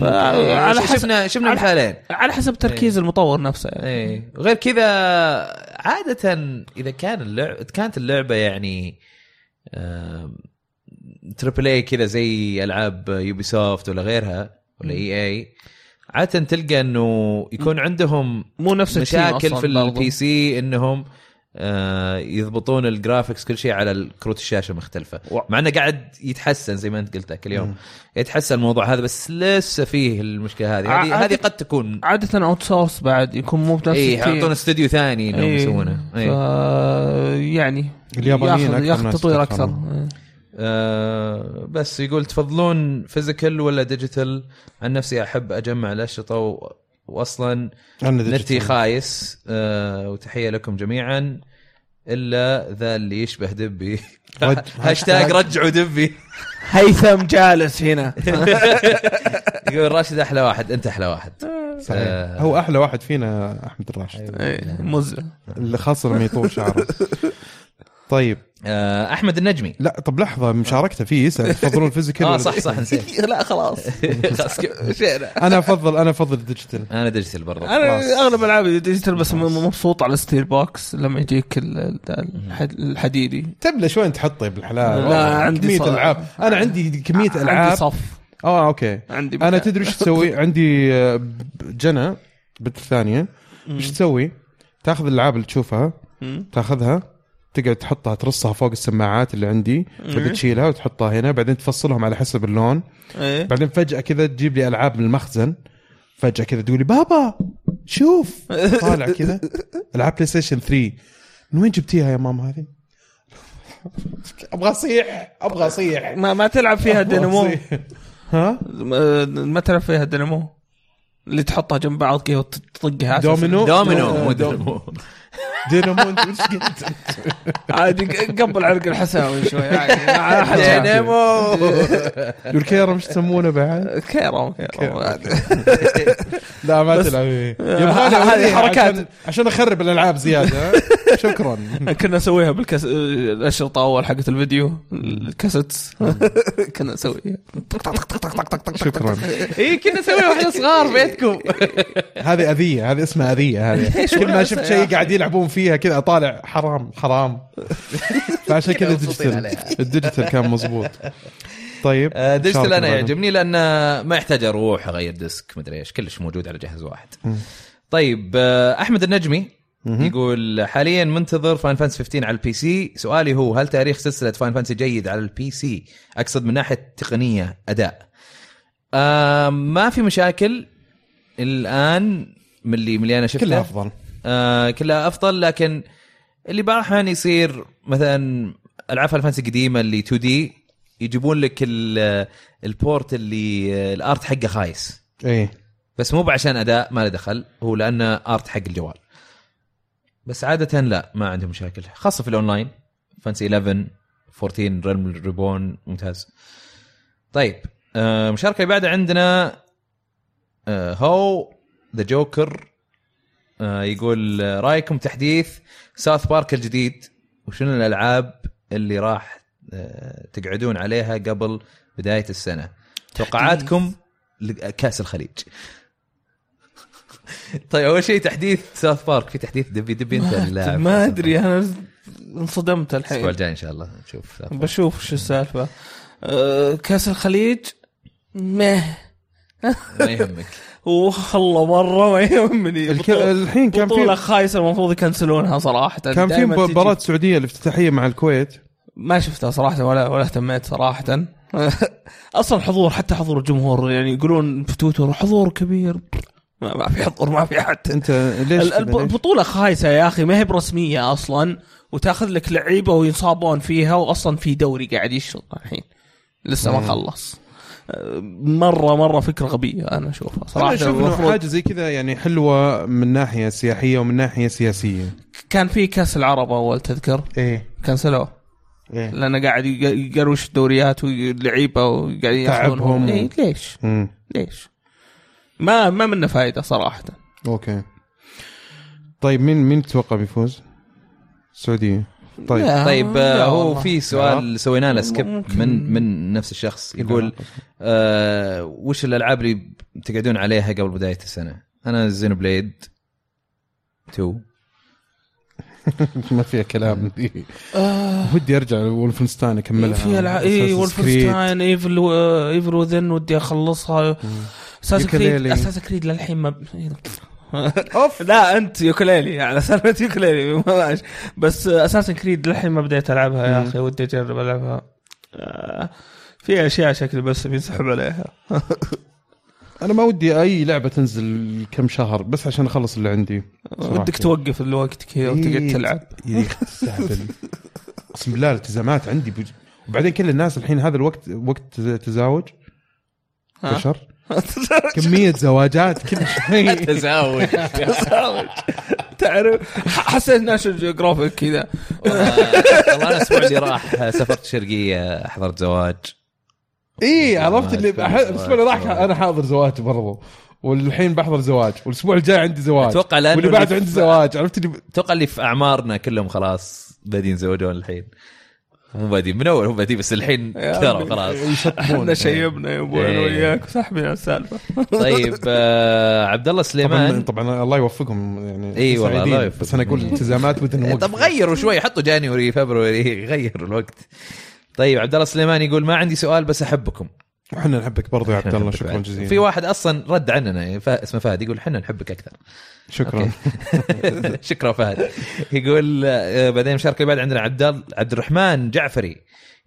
Speaker 5: ف- على
Speaker 4: على
Speaker 5: حسب
Speaker 4: شفنا شفنا الحالين
Speaker 5: على حسب تركيز
Speaker 4: إيه.
Speaker 5: المطور نفسه يعني.
Speaker 4: ايه غير كذا عادة اذا كان اللعب كانت اللعبة يعني تريبل اي كذا زي العاب يوبي سوفت ولا غيرها ولا اي اي عادة تلقى انه يكون عندهم
Speaker 5: مو نفس التيم
Speaker 4: مشاكل
Speaker 5: أصلاً
Speaker 4: في
Speaker 5: برضو.
Speaker 4: البي سي انهم آه، يضبطون الجرافكس كل شيء على كروت الشاشه مختلفه
Speaker 5: و-
Speaker 4: مع انه قاعد يتحسن زي ما انت قلت ذاك اليوم يتحسن الموضوع هذا بس لسه فيه المشكله هذه
Speaker 5: ع-
Speaker 4: هذه هذه
Speaker 5: عادة-
Speaker 4: قد تكون
Speaker 5: عاده اوت سورس بعد يكون مو بنفس
Speaker 4: اي
Speaker 5: التيم.
Speaker 4: يعطون إيه، استوديو ثاني انهم
Speaker 5: إيه.
Speaker 4: يسوونه إيه.
Speaker 5: ف- يعني
Speaker 3: اليابانيين
Speaker 5: ياخذ
Speaker 3: أكثر
Speaker 5: ياخذ
Speaker 3: ناس
Speaker 5: تطوير اكثر
Speaker 3: يتأخرون.
Speaker 5: إيه.
Speaker 4: آه بس يقول تفضلون فيزيكال ولا ديجيتال عن نفسي احب اجمع الاشرطه و... واصلا
Speaker 3: عندنا
Speaker 4: نتي
Speaker 3: ديجيتال.
Speaker 4: خايس آه وتحيه لكم جميعا الا ذا اللي يشبه دبي
Speaker 3: رج-
Speaker 4: هاشتاج رجعوا دبي
Speaker 5: هيثم جالس هنا
Speaker 4: يقول راشد احلى واحد انت احلى واحد
Speaker 3: صحيح.
Speaker 4: آه.
Speaker 3: هو احلى واحد فينا احمد
Speaker 4: أيوة.
Speaker 3: الراشد
Speaker 5: إيه، مزع
Speaker 3: اللي خاصه لما يطول شعره طيب
Speaker 4: آه احمد النجمي
Speaker 3: لا طب لحظه مشاركته فيه يسال تفضلون
Speaker 5: آه،
Speaker 3: فيزيكال
Speaker 4: اه
Speaker 3: ولا
Speaker 4: صح صح
Speaker 3: ديجيتال؟
Speaker 4: نسيت
Speaker 5: لا خلاص
Speaker 4: خلاص كيف.
Speaker 5: شينا
Speaker 3: انا افضل انا افضل الديجيتال
Speaker 4: انا ديجيتال برضه
Speaker 3: خلاص.
Speaker 5: انا اغلب العابي ديجيتال بس م- مبسوط على ستير بوكس لما يجيك ال- ال- الح- الحديدي
Speaker 3: تبلى شوي انت حط طيب الحلال
Speaker 5: لا،
Speaker 3: والله،
Speaker 5: عندي
Speaker 3: كميه
Speaker 5: ص-
Speaker 3: العاب انا عندي كميه
Speaker 5: عندي
Speaker 3: العاب
Speaker 5: صف
Speaker 3: اه اوكي
Speaker 5: عندي
Speaker 3: انا
Speaker 5: مكان.
Speaker 3: تدري ايش تسوي عندي آه، جنى بنت الثانيه ايش تسوي؟ تاخذ الالعاب اللي تشوفها
Speaker 5: مم.
Speaker 3: تاخذها تقعد تحطها ترصها فوق السماعات اللي عندي تقعد تشيلها وتحطها هنا بعدين تفصلهم على حسب اللون
Speaker 5: ايه
Speaker 3: بعدين فجاه كذا تجيب لي العاب من المخزن فجاه كذا تقول لي بابا شوف طالع كذا العاب بلاي ستيشن 3 من وين جبتيها يا ماما هذه؟ ابغى اصيح ابغى اصيح
Speaker 5: ما ما تلعب فيها دينامو
Speaker 3: أبغى أصيح. ها؟
Speaker 5: ما- ما تلعب فيها دينامو اللي تحطها جنب بعض كذا وتطقها أساس.
Speaker 3: دومينو
Speaker 4: دومينو مو دينامو
Speaker 3: دينامو أنت وش قلت؟
Speaker 5: عادي قبل علق الحساوي شوي يعني عادي ما حد شاف.
Speaker 4: دينامو
Speaker 3: والكيرم ايش يسمونه بعد؟
Speaker 5: كيرو كيرو
Speaker 3: لا ما تلعب إيه. يبغى لي
Speaker 5: آه، هذه
Speaker 3: أوريه
Speaker 5: حركات.
Speaker 3: عشان- عشان اخرب الالعاب زياده ها؟ شكرا
Speaker 5: كنا نسويها بالكاس الاشرطه اول حقت الفيديو الكاسيت كنا نسويها
Speaker 3: شكرا
Speaker 4: اي كنا نسوي واحنا صغار بيتكم
Speaker 3: هذه اذيه هذه اسمها اذيه هذه كل ما شفت شيء قاعد يلعبون فيها كذا اطالع حرام حرام فعشان كذا ديجيتال الديجيتال كان مزبوط طيب
Speaker 4: آه، ديجيتال
Speaker 3: شاركنا
Speaker 4: انا
Speaker 3: بعدين.
Speaker 4: يعجبني لان ما يحتاج اروح اغير ديسك مدري ايش كلش موجود على جهاز واحد طيب آه، احمد النجمي يقول حاليا منتظر فاين فانس 15 على البي سي سؤالي هو هل تاريخ سلسله فاين فانسي جيد على البي سي اقصد من ناحيه تقنيه اداء آه ما في مشاكل الان من اللي من اللي انا شفته
Speaker 3: كلها افضل
Speaker 4: آه كلها افضل لكن اللي بعض الاحيان يصير مثلا العاب فاينل فانتسي القديمه اللي 2 دي يجيبون لك ال- البورت اللي الارت حقه خايس
Speaker 3: ايه
Speaker 4: بس مو عشان اداء ما له دخل هو لانه ارت حق الجوال بس عاده لا ما عندهم مشاكل خاصه في الاونلاين فانسي 11 14 ريلم ريبون ممتاز طيب آه، المشاركه اللي بعدها عندنا آه، هو ذا جوكر آه، يقول آه، رايكم تحديث ساوث بارك الجديد وشنو الالعاب اللي راح آه، تقعدون عليها قبل بدايه السنه توقعاتكم لكاس الخليج طيب اول شيء تحديث ساوث بارك في تحديث دبي دبي انت اللاعب
Speaker 5: ما ادري انا انصدمت
Speaker 4: الاسبوع
Speaker 5: الحين
Speaker 4: الجاي ان شاء الله نشوف South Park.
Speaker 5: بشوف شو السالفه أه، كاس الخليج مه
Speaker 4: ما يهمك
Speaker 5: والله مره ما يهمني
Speaker 3: الك-
Speaker 5: بطولة-
Speaker 3: الحين كان في-
Speaker 5: بطوله خايسه المفروض يكنسلونها صراحه
Speaker 3: كان في
Speaker 5: دايماً تجي-
Speaker 3: مباراه السعوديه الافتتاحيه مع الكويت
Speaker 5: ما شفتها صراحه ولا ولا اهتميت صراحه اصلا حضور حتى حضور الجمهور يعني يقولون في تويتر حضور كبير ما, ما في حضور ما في حتى
Speaker 3: انت ليش
Speaker 5: ال-
Speaker 3: كذا؟
Speaker 5: الب-
Speaker 3: ليش؟
Speaker 5: البطوله خايسه يا اخي ما هي برسميه اصلا وتاخذ لك لعيبه وينصابون فيها واصلا في دوري قاعد يشتغل الحين لسه ما خلص أه، مره مره فكره غبيه انا اشوفها
Speaker 3: انا
Speaker 5: صراحه
Speaker 3: اشوف انه
Speaker 5: المفروض
Speaker 3: حاجه زي كذا يعني حلوه من ناحيه سياحيه ومن ناحيه سياسيه
Speaker 5: كان في كاس العرب اول تذكر
Speaker 3: ايه
Speaker 5: كنسلوه
Speaker 3: ايه
Speaker 5: لانه قاعد يق- يقروش الدوريات واللعيبه وقاعد
Speaker 3: تعبهم.
Speaker 5: ياخذونهم إيه ليش؟
Speaker 3: امم
Speaker 5: ليش؟ ما ما منه فائده صراحه
Speaker 3: اوكي طيب مين مين تتوقع بيفوز؟ السعوديه طيب
Speaker 5: لا.
Speaker 4: طيب
Speaker 5: آه،
Speaker 4: آه،
Speaker 5: لا
Speaker 4: هو
Speaker 5: والله.
Speaker 4: في سؤال سوينا له سكيب من من نفس الشخص يقول آه وش الالعاب اللي بتقعدون عليها قبل بدايه السنه؟ انا زينو بليد 2
Speaker 3: ما فيها كلام دي ودي ارجع لولفنستاين اكملها
Speaker 5: آه، في العاب اي
Speaker 3: Assassin's Creed.
Speaker 5: إيه، ولفنستاين ايفل ايفل وذن آه، ودي اخلصها اساس كريد
Speaker 3: يوكليلي.
Speaker 5: اساس كريد للحين ما اوف لا انت يوكليلي على سالفه يوكليلي ماشي. بس اساسا كريد للحين ما بديت العبها يا اخي ودي اجرب العبها آه، في اشياء شكل بس بينسحب عليها
Speaker 3: انا ما ودي اي لعبه تنزل كم شهر بس عشان اخلص اللي عندي صراحة.
Speaker 5: ودك توقف الوقت كذا وتقعد
Speaker 3: إيه،
Speaker 5: تلعب
Speaker 3: إيه، تستهبل. اقسم بالله الالتزامات عندي بج... وبعدين كل الناس الحين هذا الوقت وقت تزاوج
Speaker 5: ها؟
Speaker 3: بشر كميه زواجات كل شيء
Speaker 4: تزاوج
Speaker 5: تزاوج تعرف حسيت ناشونال جيوغرافيك كذا
Speaker 4: والله انا الاسبوع اللي راح سافرت شرقيه حضرت زواج
Speaker 3: اي إيه، عرفت اللي
Speaker 4: زواج،
Speaker 3: أح- الاسبوع اللي راح
Speaker 4: زواج.
Speaker 3: انا حاضر زواج برضو والحين بحضر زواج والاسبوع الجاي عندي زواج
Speaker 4: أتوقع لأنه
Speaker 3: واللي بعده
Speaker 4: اللي-
Speaker 3: عندي زواج عرفت اللي
Speaker 4: اتوقع اللي في اعمارنا كلهم خلاص بادين يتزوجون الحين مو بادين من اول هم بادين بس الحين
Speaker 5: يا
Speaker 4: كثروا
Speaker 5: عمي.
Speaker 4: خلاص
Speaker 5: احنا شيبنا يا ابوي انا
Speaker 4: إيه.
Speaker 5: وياك وسحبي على السالفه
Speaker 4: طيب آه عبد الله
Speaker 3: طبعا
Speaker 4: سليمان
Speaker 3: طبعا الله يوفقهم يعني
Speaker 4: إي والله،
Speaker 3: سعيدين.
Speaker 4: الله يوفقهم.
Speaker 3: بس انا اقول التزامات ودن وقت
Speaker 4: طب غيروا شوي حطوا إيه، جانيوري فبروري غيروا الوقت طيب عبد الله سليمان يقول ما عندي سؤال بس احبكم
Speaker 3: احنا نحبك برضو يا عبد الله
Speaker 4: نحبك
Speaker 3: شكرا
Speaker 4: بعد.
Speaker 3: جزيلا
Speaker 4: في واحد اصلا رد عننا فا... اسمه فهد يقول احنا نحبك اكثر
Speaker 3: شكرا
Speaker 4: أوكي. شكرا فهد يقول آه، بعدين مشاركه اللي بعد عندنا عبد ال- عبد الرحمن جعفري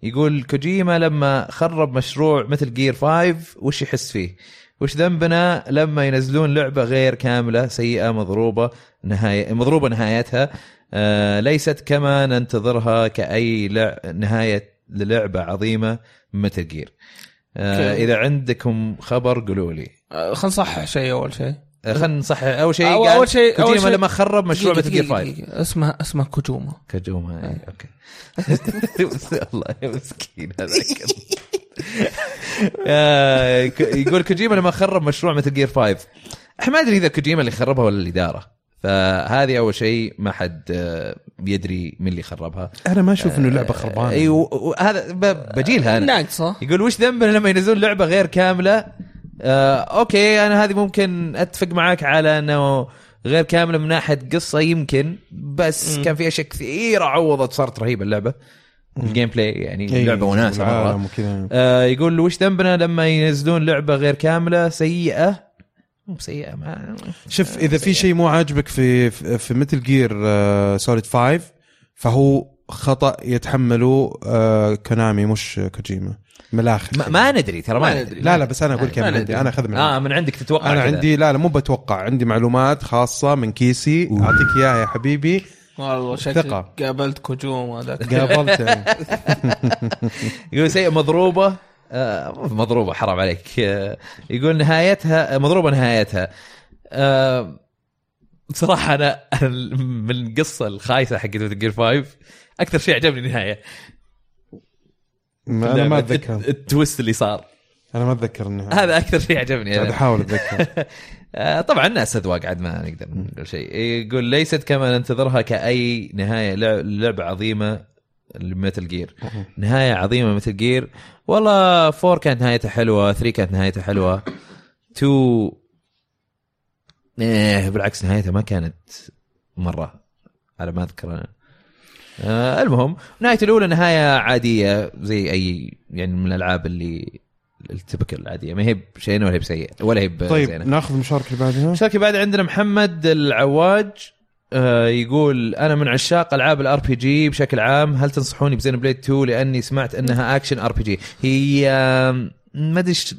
Speaker 4: يقول كوجيما لما خرب مشروع مثل جير 5 وش يحس فيه؟ وش ذنبنا لما ينزلون لعبه غير كامله سيئه مضروبه نهايه مضروبه نهايتها آه، ليست كما ننتظرها كاي لع... نهايه للعبه عظيمه مثل جير آه،
Speaker 5: أوكي.
Speaker 4: اذا عندكم خبر قولوا لي
Speaker 5: آه، خلينا نصحح شيء اول شيء
Speaker 4: آه، خلينا نصحح اول شيء
Speaker 5: أول-
Speaker 4: قال
Speaker 5: أول شيء- أول
Speaker 4: كوجيما
Speaker 5: شيء-
Speaker 4: لما خرب مشروع
Speaker 5: دقيقة-
Speaker 4: مثل جير
Speaker 5: دقيقة-
Speaker 4: 5
Speaker 5: دقيقة. اسمها اسمها كوجوما
Speaker 4: كجوما اي اوكي والله إيه، يا مسكين هذاك آه، ك- يقول كوجيما لما خرب مشروع مثل جير 5 احنا ما ادري اذا كوجيما اللي خربها ولا الاداره فهذه اول شيء ما حد آه، بيدري من اللي خربها
Speaker 3: انا ما اشوف انه لعبه خربانه
Speaker 4: اي و- وهذا ب- بجيلها انا
Speaker 5: ناقصة
Speaker 4: يقول وش ذنبنا لما ينزلون لعبه غير كامله آه، اوكي انا هذه ممكن اتفق معاك على انه غير كامله من ناحيه قصه يمكن بس كان في اشياء كثيره عوضت صارت رهيبه اللعبه الجيم بلاي يعني لعبه وناسه
Speaker 3: إيه، والعالم
Speaker 4: مره
Speaker 3: أيوه، وكذا
Speaker 4: آه، يقول وش ذنبنا لما ينزلون لعبه غير كامله سيئه مو سيئه ما
Speaker 3: شوف اذا في شيء مو عاجبك في في في متل جير سوليد 5 فهو خطا يتحمله آه، كونامي مش كوجيما من الاخر
Speaker 4: ما, ما ندري ترى ما,
Speaker 5: ما
Speaker 4: ندري
Speaker 3: لا لا بس انا اقول
Speaker 4: ما
Speaker 3: كم
Speaker 5: ندري.
Speaker 3: عندي انا اخذ من
Speaker 4: اه من عندك تتوقع
Speaker 3: انا
Speaker 4: كذا.
Speaker 3: عندي لا لا مو بتوقع عندي معلومات خاصه من كيسي اعطيك اياها يا حبيبي
Speaker 5: والله شكلي
Speaker 3: ثقة.
Speaker 5: قابلت كوجوما ذاك
Speaker 3: قابلته
Speaker 4: يقول سيئة مضروبة آه، مضروبة حرام عليك آه، يقول نهايتها آه، مضروبة نهايتها آه، بصراحة أنا من القصة الخايسة حقت جير 5 أكثر شيء عجبني النهاية
Speaker 3: ما- انا ما
Speaker 4: اللعبة. الت-
Speaker 3: اتذكر
Speaker 4: التويست اللي صار
Speaker 3: انا ما اتذكر انها
Speaker 4: هذا أكثر شيء عجبني
Speaker 3: قاعد
Speaker 4: أنا.
Speaker 3: احاول اتذكر
Speaker 4: آه، طبعا ناس اذواق عاد ما نقدر نقول شيء يقول ليست كما ننتظرها كاي نهايه لع- لعبه عظيمه لمتل جير نهايه عظيمه مثل جير والله 4 كانت نهايته حلوه 3 كانت نهايته حلوه 2 ايه بالعكس نهايتها ما كانت مره على ما اذكر انا آه المهم نهايته الاولى نهايه عاديه زي اي يعني من الالعاب اللي التبكل العاديه ما هي بشيء ولا هي بسيء ولا هي بزينه
Speaker 3: طيب ناخذ المشاركه اللي بعدها
Speaker 4: شاكي بعد عندنا محمد العواج آه، يقول انا من عشاق العاب الار بي جي بشكل عام هل تنصحوني بزين بليد 2 لاني سمعت انها اكشن ار بي جي هي آم، ما ادري إيش-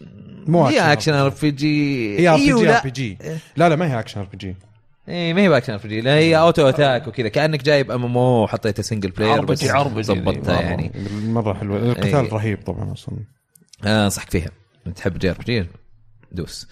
Speaker 3: مو
Speaker 4: هي أيوه، اكشن
Speaker 3: أكشن
Speaker 4: ار بي جي
Speaker 3: هي ار بي جي ار بي جي لا لا ما هي اكشن ار بي جي
Speaker 4: اي إيه، ما هي باكشن ار بي جي لا هي اوتو اتاك وكذا كانك جايب ام ام او وحطيتها سنجل بلاير
Speaker 5: RPG
Speaker 4: بس
Speaker 5: RPG
Speaker 4: ضبطتها
Speaker 5: مرة.
Speaker 4: يعني
Speaker 3: مره حلوه
Speaker 4: إيه.
Speaker 3: القتال رهيب طبعا اصلا
Speaker 4: آه، انصحك فيها تحب جي ار بي جي دوس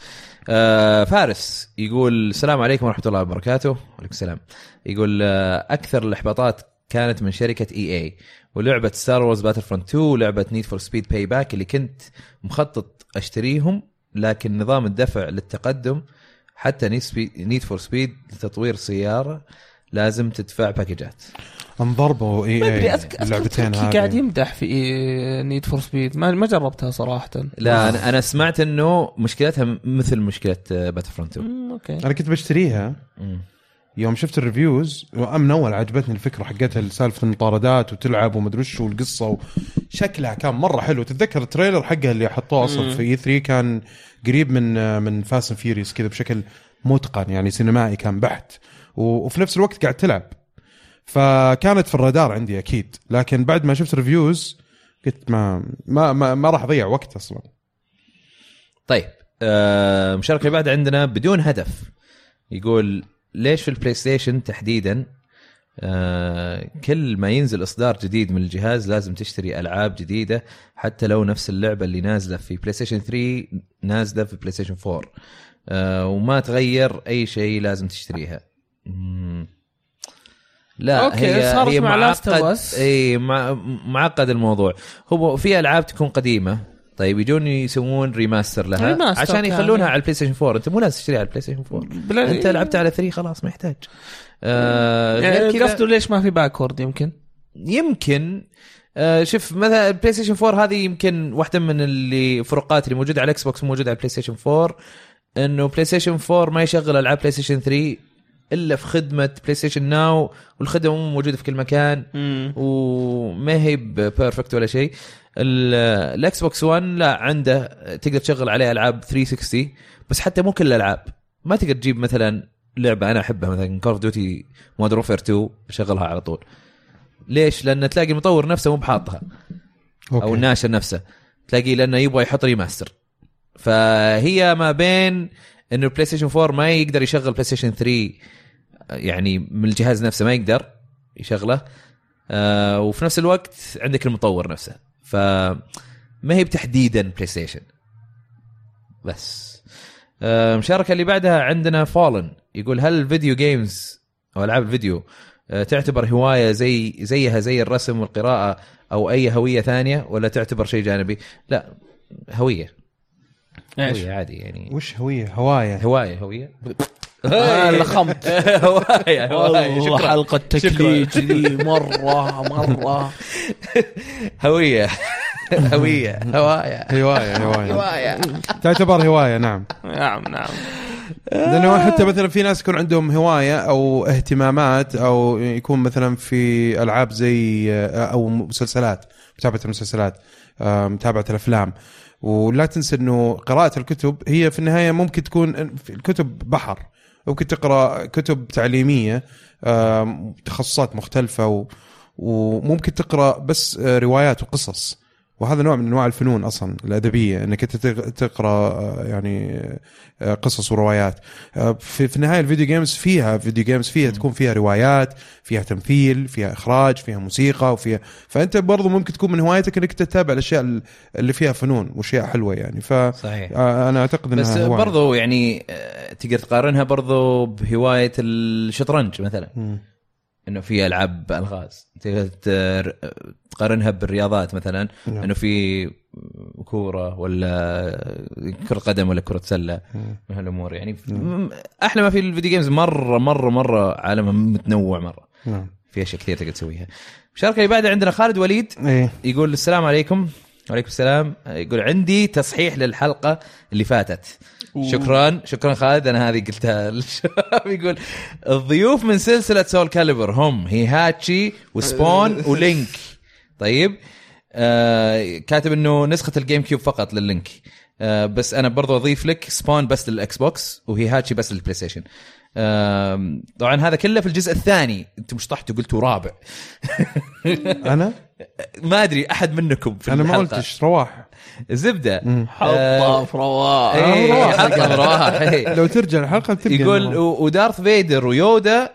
Speaker 4: آه فارس يقول السلام عليكم ورحمه الله وبركاته وعليكم السلام يقول آه اكثر الاحباطات كانت من شركه اي اي ولعبه ستار وورز باتل فرونت 2 ولعبه نيد فور سبيد باي باك اللي كنت مخطط اشتريهم لكن نظام الدفع للتقدم حتى نيد فور سبيد لتطوير سياره لازم تدفع باكجات
Speaker 3: انضربوا اي
Speaker 5: ما ادري
Speaker 3: اي
Speaker 5: أذكر-
Speaker 3: إيه، اللعبتين
Speaker 5: أذكر قاعد
Speaker 3: هذه
Speaker 5: يمدح في إيه، نيد فور سبيد ما ما جربتها صراحة
Speaker 4: لا انا انا سمعت انه مشكلتها مثل آه، مشكله باتل فرونت 2
Speaker 5: أمم، اوكي
Speaker 3: انا كنت بشتريها
Speaker 4: مم.
Speaker 3: يوم شفت الريفيوز من اول عجبتني الفكره حقتها سالفه المطاردات وتلعب ومدري وش والقصه و... شكلها كان مره حلو تتذكر التريلر حقها اللي حطوه اصلا في اي 3 كان قريب من من فاست فيوريوس كذا بشكل متقن يعني سينمائي كان بحت و... وفي نفس الوقت قاعد تلعب فكانت في الرادار عندي اكيد لكن بعد ما شفت الريفيوز قلت ما ما ما, ما راح اضيع وقت اصلا
Speaker 4: طيب آه، المشاركه اللي بعد عندنا بدون هدف يقول ليش في البلاي ستيشن تحديدا آه، كل ما ينزل اصدار جديد من الجهاز لازم تشتري العاب جديده حتى لو نفس اللعبه اللي نازله في بلاي ستيشن 3 نازله في بلاي ستيشن 4 آه، وما تغير اي شيء لازم تشتريها مم. لا
Speaker 5: أوكي،
Speaker 4: هي
Speaker 5: صارت
Speaker 4: هي
Speaker 5: مع Last of
Speaker 4: معقد
Speaker 5: Us.
Speaker 4: اي مع- معقد الموضوع هو في العاب تكون قديمه طيب يجون يسوون ريماستر لها
Speaker 5: ريماستر
Speaker 4: عشان
Speaker 5: كامل.
Speaker 4: يخلونها على البلاي ستيشن 4 انت مو لازم تشتريها على البلاي ستيشن 4
Speaker 5: بلا-
Speaker 4: انت لعبت على 3 خلاص ما يحتاج آه غير
Speaker 5: يعني
Speaker 4: كذا-
Speaker 5: قصده ليش ما في باكورد يمكن
Speaker 4: يمكن آه، شوف مثلا البلاي ستيشن 4 هذه يمكن واحده من اللي فروقات اللي موجوده على الاكس بوكس موجوده على البلاي ستيشن 4 انه بلاي ستيشن 4 ما يشغل العاب بلاي ستيشن 3 الا في خدمه بلاي ستيشن ناو والخدمه مو موجوده في كل مكان وما هي بيرفكت ولا شيء ال- الاكس بوكس 1 لا عنده تقدر تشغل عليه العاب 360 بس حتى مو كل الالعاب ما تقدر تجيب مثلا لعبه انا احبها مثلا كول اوف ديوتي مودرن وفير 2 بشغلها على طول ليش؟ لان تلاقي المطور نفسه مو بحاطها
Speaker 3: أوكي.
Speaker 4: او الناشر نفسه تلاقيه لانه يبغى يحط ريماستر فهي ما بين انه بلاي ستيشن 4 ما يقدر يشغل بلاي ستيشن 3 يعني من الجهاز نفسه ما يقدر يشغله آه وفي نفس الوقت عندك المطور نفسه ف ما هي بتحديدا بلاي ستيشن بس آه، المشاركه اللي بعدها عندنا فالن يقول هل الفيديو جيمز او العاب الفيديو آه، تعتبر هوايه زي زيها زي الرسم والقراءه او اي هويه ثانيه ولا تعتبر شيء جانبي؟ لا هويه
Speaker 5: ايش؟
Speaker 4: هويه عادي يعني
Speaker 3: وش هويه هوايه
Speaker 4: هوايه هويه
Speaker 5: آه، لخمت
Speaker 4: هوايه هوايه
Speaker 5: والله
Speaker 4: شكرا
Speaker 5: حلقة تكليج ذي مرة مرة
Speaker 4: هويه هويه هوايه
Speaker 3: هوايه هوايه
Speaker 4: هوايه
Speaker 3: تعتبر هوايه نعم
Speaker 5: نعم نعم
Speaker 3: لانه حتى مثلا في ناس يكون عندهم هوايه او اهتمامات او يكون مثلا في العاب زي او مسلسلات متابعه المسلسلات آه، متابعه الافلام ولا تنسى انه قراءه الكتب هي في النهايه ممكن تكون الكتب بحر ممكن تقرا كتب تعليميه آم، تخصصات مختلفه و... وممكن تقرا بس آه، روايات وقصص وهذا نوع من انواع الفنون اصلا الادبيه انك انت تق- تقرا آه، يعني آه، قصص وروايات آه، في في النهايه الفيديو جيمز فيها فيديو جيمز فيها تكون فيها روايات فيها تمثيل فيها اخراج فيها موسيقى وفيها فانت برضو ممكن تكون من هوايتك انك تتابع الاشياء اللي فيها فنون واشياء حلوه يعني ف
Speaker 4: صحيح
Speaker 3: آه، انا اعتقد انها
Speaker 4: بس
Speaker 3: هواية.
Speaker 4: برضو يعني آه، تقدر تقارنها برضو بهوايه الشطرنج مثلا
Speaker 3: مم.
Speaker 4: انه في العاب الغاز تقدر تر- تقارنها بالرياضات مثلا
Speaker 3: نعم.
Speaker 4: انه في كوره ولا كره قدم ولا كره سله
Speaker 3: مم. نعم.
Speaker 4: من هالامور يعني م- احلى ما في الفيديو جيمز مره مره مره عالمها متنوع مره
Speaker 3: نعم
Speaker 4: في اشياء كثير تقدر تسويها المشاركه اللي بعدها عندنا خالد وليد
Speaker 3: ايه
Speaker 4: يقول السلام عليكم وعليكم السلام يقول عندي تصحيح للحلقه اللي فاتت شكرا شكرا خالد انا هذه قلتها للشباب يقول الضيوف من سلسله سول كاليبر هم هيهاتشي وسبون ولينك طيب آه كاتب انه نسخه الجيم كيوب فقط لللينك آه بس انا برضو اضيف لك سبون بس للاكس بوكس وهيهاتشي بس للبلاي ستيشن آم، طبعا هذا كله في الجزء الثاني انتم مش طحتوا قلتوا رابع
Speaker 3: انا
Speaker 4: ما ادري احد منكم في
Speaker 3: انا ما
Speaker 4: الحلقة.
Speaker 3: قلتش رواح
Speaker 4: زبده
Speaker 5: حطها في رواق
Speaker 4: إيه،
Speaker 3: رواح.
Speaker 4: حطها في رواح، إيه.
Speaker 3: آه، لو ترجع الحلقه بتلقى
Speaker 4: يقول
Speaker 3: إنه-
Speaker 4: و- ودارث فيدر ويودا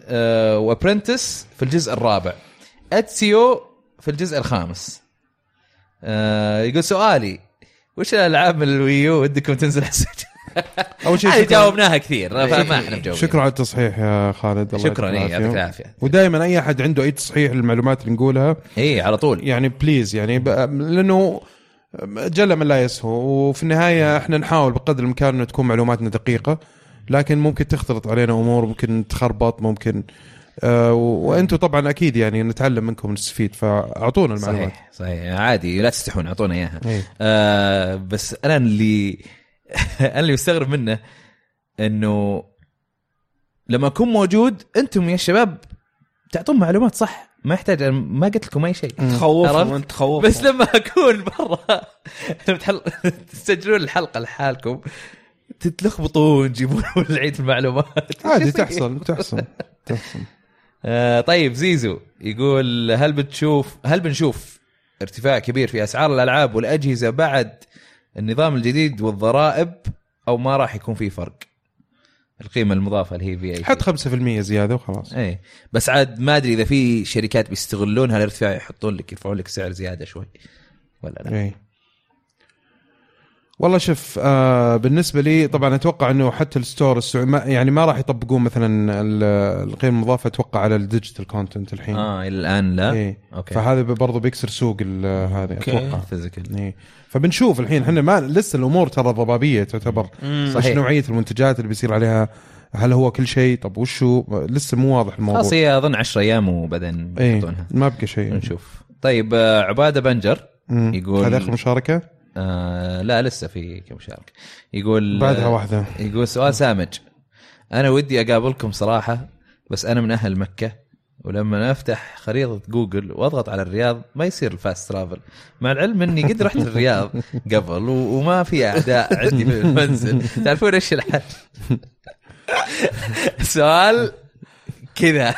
Speaker 4: آه، وابرنتس في الجزء الرابع اتسيو في الجزء الخامس آه، يقول سؤالي وش الالعاب من الويو ودكم تنزل على السويتش؟
Speaker 3: اول شيء
Speaker 4: هذه
Speaker 3: شكرا, إيه،
Speaker 4: جاوبناها كثير فما احنا مجاوبين
Speaker 3: شكرا على التصحيح يا خالد الله
Speaker 4: شكرا اي إيه، يعطيك العافيه
Speaker 3: ودائما اي احد عنده اي تصحيح للمعلومات اللي نقولها
Speaker 4: اي إيه، على طول
Speaker 3: يعني بليز يعني ب... لانه جل من لا يسهو وفي النهايه احنا نحاول بقدر الامكان انه تكون معلوماتنا دقيقه لكن ممكن تختلط علينا امور ممكن تخربط ممكن آه وانتم طبعا اكيد يعني نتعلم منكم ونستفيد فاعطونا المعلومات
Speaker 4: صحيح صحيح عادي لا تستحون اعطونا اياها
Speaker 3: إيه.
Speaker 4: آه بس انا اللي انا اللي مستغرب منه انه لما اكون موجود انتم يا شباب تعطون معلومات صح ما يحتاج أنا ما قلت لكم اي شيء عرفت؟
Speaker 5: تخوفهم انت تخوفهم
Speaker 4: بس لما اكون برا بتحل- تسجلون الحلقه لحالكم تتلخبطون تجيبون العيد المعلومات
Speaker 3: عادي تحصل تحصل تحصل
Speaker 4: آه، طيب زيزو يقول هل بتشوف هل بنشوف ارتفاع كبير في اسعار الالعاب والاجهزه بعد النظام الجديد والضرائب او ما راح يكون في فرق؟ القيمه المضافه اللي هي في اي
Speaker 3: حط 5% زياده وخلاص
Speaker 4: اي إيه. بس عاد ما ادري اذا في شركات بيستغلون هالارتفاع يحطون لك يرفعون لك سعر زياده شوي ولا لا؟
Speaker 3: اي إيه. والله شوف آه بالنسبه لي طبعا اتوقع انه حتى الستور السعودي ما- يعني ما راح يطبقون مثلا ال- القيمه المضافه اتوقع على الديجيتال كونتنت الحين
Speaker 4: اه الى الان لا؟
Speaker 3: إيه.
Speaker 4: اوكي
Speaker 3: فهذا برضه بيكسر سوق ال- هذا اتوقع
Speaker 4: فيزيكال
Speaker 3: إيه. فبنشوف الحين احنا ما لسه الامور ترى ضبابيه تعتبر وش
Speaker 4: صحيح.
Speaker 3: نوعيه المنتجات اللي بيصير عليها هل هو كل شيء طب وش هو لسه مو واضح الموضوع
Speaker 4: خلاص هي اظن 10 ايام وبعدين
Speaker 3: ايه
Speaker 4: يحطونها
Speaker 3: ما بقى شيء
Speaker 4: نشوف طيب آه، عباده بنجر
Speaker 3: مم.
Speaker 4: يقول-
Speaker 3: هذا اخر مشاركه
Speaker 4: آه لا لسه في كم شارك يقول
Speaker 3: بعدها واحده
Speaker 4: يقول سؤال سامج انا ودي اقابلكم صراحه بس انا من اهل مكه ولما افتح خريطه جوجل واضغط على الرياض ما يصير الفاست ترافل مع العلم اني قد رحت الرياض قبل و- وما في اعداء عندي في المنزل تعرفون ايش الحل سؤال كذا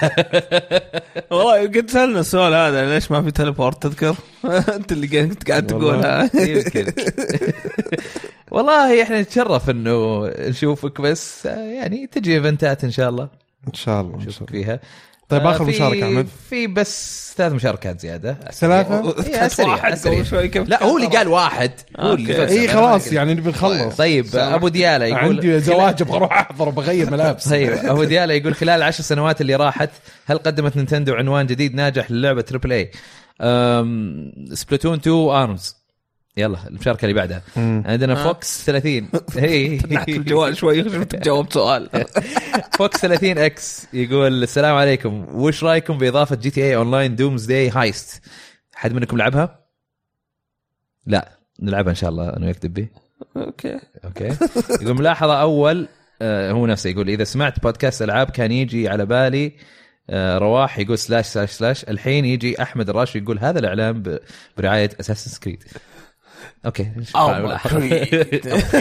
Speaker 5: والله قد سالنا السؤال هذا ليش ما في تليبورت تذكر؟ انت اللي كنت قاعد تقولها
Speaker 4: يمكن والله احنا نتشرف انه نشوفك بس آه، يعني تجي ايفنتات ان شاء الله
Speaker 3: ان شاء الله إن شاء
Speaker 4: نشوفك
Speaker 3: الله.
Speaker 4: فيها
Speaker 3: طيب،
Speaker 4: آه،
Speaker 3: آخر
Speaker 4: في-
Speaker 3: مشاركة، عمد.
Speaker 4: في بس ثلاث مشاركات زياده
Speaker 3: ثلاثة؟
Speaker 4: إيه، أسريع،
Speaker 5: واحد
Speaker 4: أسريع.
Speaker 5: قبل شوي كيف
Speaker 4: لا هو اللي قال واحد هو اللي
Speaker 5: أوكي.
Speaker 4: فلسفة.
Speaker 3: اي خلاص يعني نبي نخلص
Speaker 4: طيب ابو دياله يقول
Speaker 3: عندي زواج ابغى اروح احضر بغير ملابس
Speaker 4: طيب ابو دياله يقول خلال العشر سنوات اللي راحت هل قدمت نينتندو عنوان جديد ناجح للعبه تربل اي؟ سبلاتون 2 وارمز يلا المشاركه اللي بعدها عندنا إيه. فوكس 30 هي
Speaker 5: فتحت آه. الجوال شوي خشيت جاوبت سؤال
Speaker 4: فوكس 30 اكس يقول السلام عليكم وش رايكم باضافه جي تي اي اونلاين دومز داي هايست حد منكم لعبها لا نلعبها ان شاء الله انا وياك دبي
Speaker 5: اوكي
Speaker 4: اوكي يقول ملاحظه اول آه هو نفسه يقول اذا سمعت بودكاست العاب كان يجي على بالي آه رواح يقول سلاش سلاش سلاش الحين يجي احمد الراشي يقول هذا الاعلان ب- برعايه اساسن سكريد اوكي شوف
Speaker 5: Oh
Speaker 4: على
Speaker 5: my
Speaker 4: الآخر.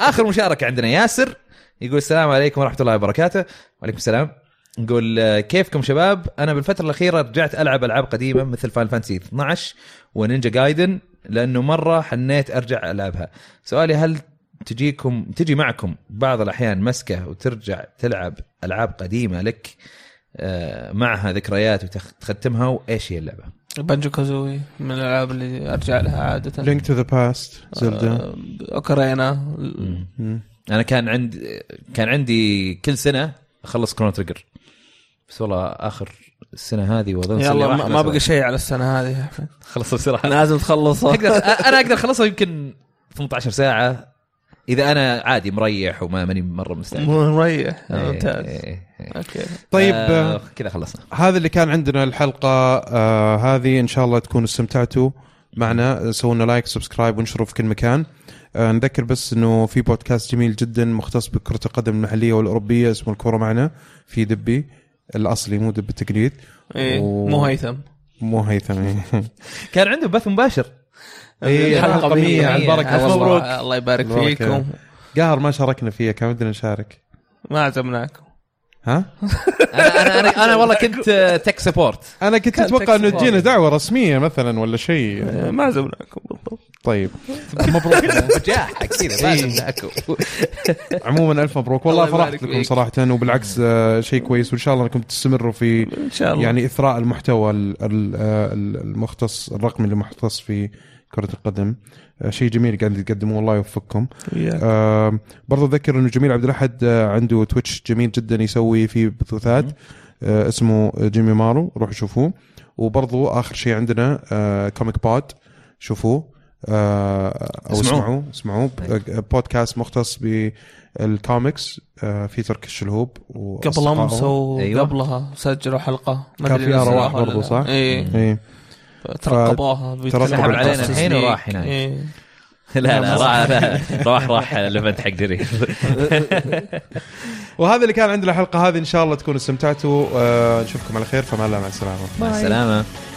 Speaker 4: اخر مشاركه عندنا ياسر يقول السلام عليكم ورحمه الله وبركاته وعليكم السلام نقول آه، كيفكم شباب انا بالفتره الاخيره رجعت العب العاب قديمه مثل فاين فانتسي 12 ونينجا جايدن لانه مره حنيت ارجع العبها سؤالي هل تجيكم تجي معكم بعض الاحيان مسكه وترجع تلعب العاب قديمه لك آه، معها ذكريات وتختمها وايش هي اللعبه؟
Speaker 5: بانجو كازوي من الالعاب اللي ارجع لها عاده
Speaker 3: لينك تو ذا باست زلدا
Speaker 5: آه، اوكرينا
Speaker 4: انا كان عند كان عندي كل سنه اخلص كرون تريجر بس والله اخر السنه هذه وظن
Speaker 5: يلا ما- ما بقى شيء على السنه هذه يا أحمد.
Speaker 4: خلص بسرعه
Speaker 5: لازم تخلصها
Speaker 4: اقدر انا اقدر اخلصها يمكن 18 ساعه اذا انا عادي مريح وما ماني مره مستعجل
Speaker 5: مريح
Speaker 4: إيه،
Speaker 5: ممتاز
Speaker 4: إيه، إيه.
Speaker 5: اوكي
Speaker 3: طيب
Speaker 4: آه،
Speaker 3: آه
Speaker 4: كذا خلصنا
Speaker 3: هذا اللي كان عندنا الحلقه آه هذه ان شاء الله تكونوا استمتعتوا معنا سووا لنا لايك سبسكرايب وانشروا في كل مكان آه نذكر بس انه في بودكاست جميل جدا مختص بكره القدم المحليه والاوروبيه اسمه الكوره معنا في دبي الاصلي مو دب التقليد
Speaker 5: إيه،
Speaker 3: و-
Speaker 5: مو هيثم
Speaker 3: مو هيثم إيه.
Speaker 4: كان عنده بث مباشر
Speaker 3: إيه،
Speaker 5: الحلقه
Speaker 3: الحلقة
Speaker 5: 100
Speaker 3: مية،
Speaker 5: على
Speaker 3: البركة
Speaker 5: البركه
Speaker 3: والله.
Speaker 5: مبروك الله يبارك
Speaker 3: الله يبارك
Speaker 5: فيكم
Speaker 3: قهر ما شاركنا فيها كان ودنا نشارك
Speaker 5: ما عزمناكم
Speaker 3: ها
Speaker 4: انا انا انا, أنا والله كنت آه، تك سبورت
Speaker 3: انا كنت
Speaker 5: كان
Speaker 3: اتوقع انه
Speaker 5: تكسي
Speaker 3: تجينا
Speaker 5: فاضي.
Speaker 3: دعوه رسميه مثلا ولا شيء
Speaker 5: إيه، ما عزمناكم بالضبط
Speaker 3: طيب مبروك
Speaker 4: وجاحة كذا ما شفناكم.
Speaker 3: عموما الف مبروك والله
Speaker 5: الله يبارك
Speaker 3: فرحت لكم
Speaker 5: فيك.
Speaker 3: صراحه وبالعكس آه، شيء كويس وان شاء الله انكم تستمروا في
Speaker 5: ان شاء الله
Speaker 3: يعني اثراء المحتوى ال- ال- آه، ال- المختص الرقمي اللي مختص في كره القدم آه، شيء جميل قاعد تقدموه الله يوفقكم
Speaker 5: وياك.
Speaker 3: آه، برضو اذكر انه جميل عبد الاحد آه، عنده تويتش جميل جدا يسوي فيه بثوثات آه، اسمه جيمي مارو روحوا شوفوه وبرضو اخر شيء عندنا آه، كوميك بود شوفوه آه، او اسمعوه
Speaker 4: اسمعوه.
Speaker 3: اسمعوه ب- بودكاست مختص بالكوميكس آه، في ترك الشلهوب
Speaker 5: قبل
Speaker 3: وأصدقائه.
Speaker 5: امس او
Speaker 4: أيوة.
Speaker 5: قبلها سجلوا حلقه ما
Speaker 3: كان
Speaker 5: أدري
Speaker 3: في
Speaker 5: نزلوها
Speaker 3: أرواح
Speaker 5: ولا
Speaker 3: برضو،
Speaker 5: لا.
Speaker 3: صح؟
Speaker 5: ايه
Speaker 3: إيه.
Speaker 5: ترقبوها بيتكلموا
Speaker 3: ترقب
Speaker 5: عن
Speaker 3: علينا
Speaker 5: قصص
Speaker 4: الحين
Speaker 5: سنين.
Speaker 4: وراح هناك.
Speaker 5: إيه.
Speaker 4: لا لا راح راح راح الايفنت حق دريم
Speaker 3: وهذا اللي كان عندنا الحلقه هذه ان شاء الله تكونوا استمتعتوا آه، نشوفكم على خير فما الله مع السلامه
Speaker 4: مع السلامه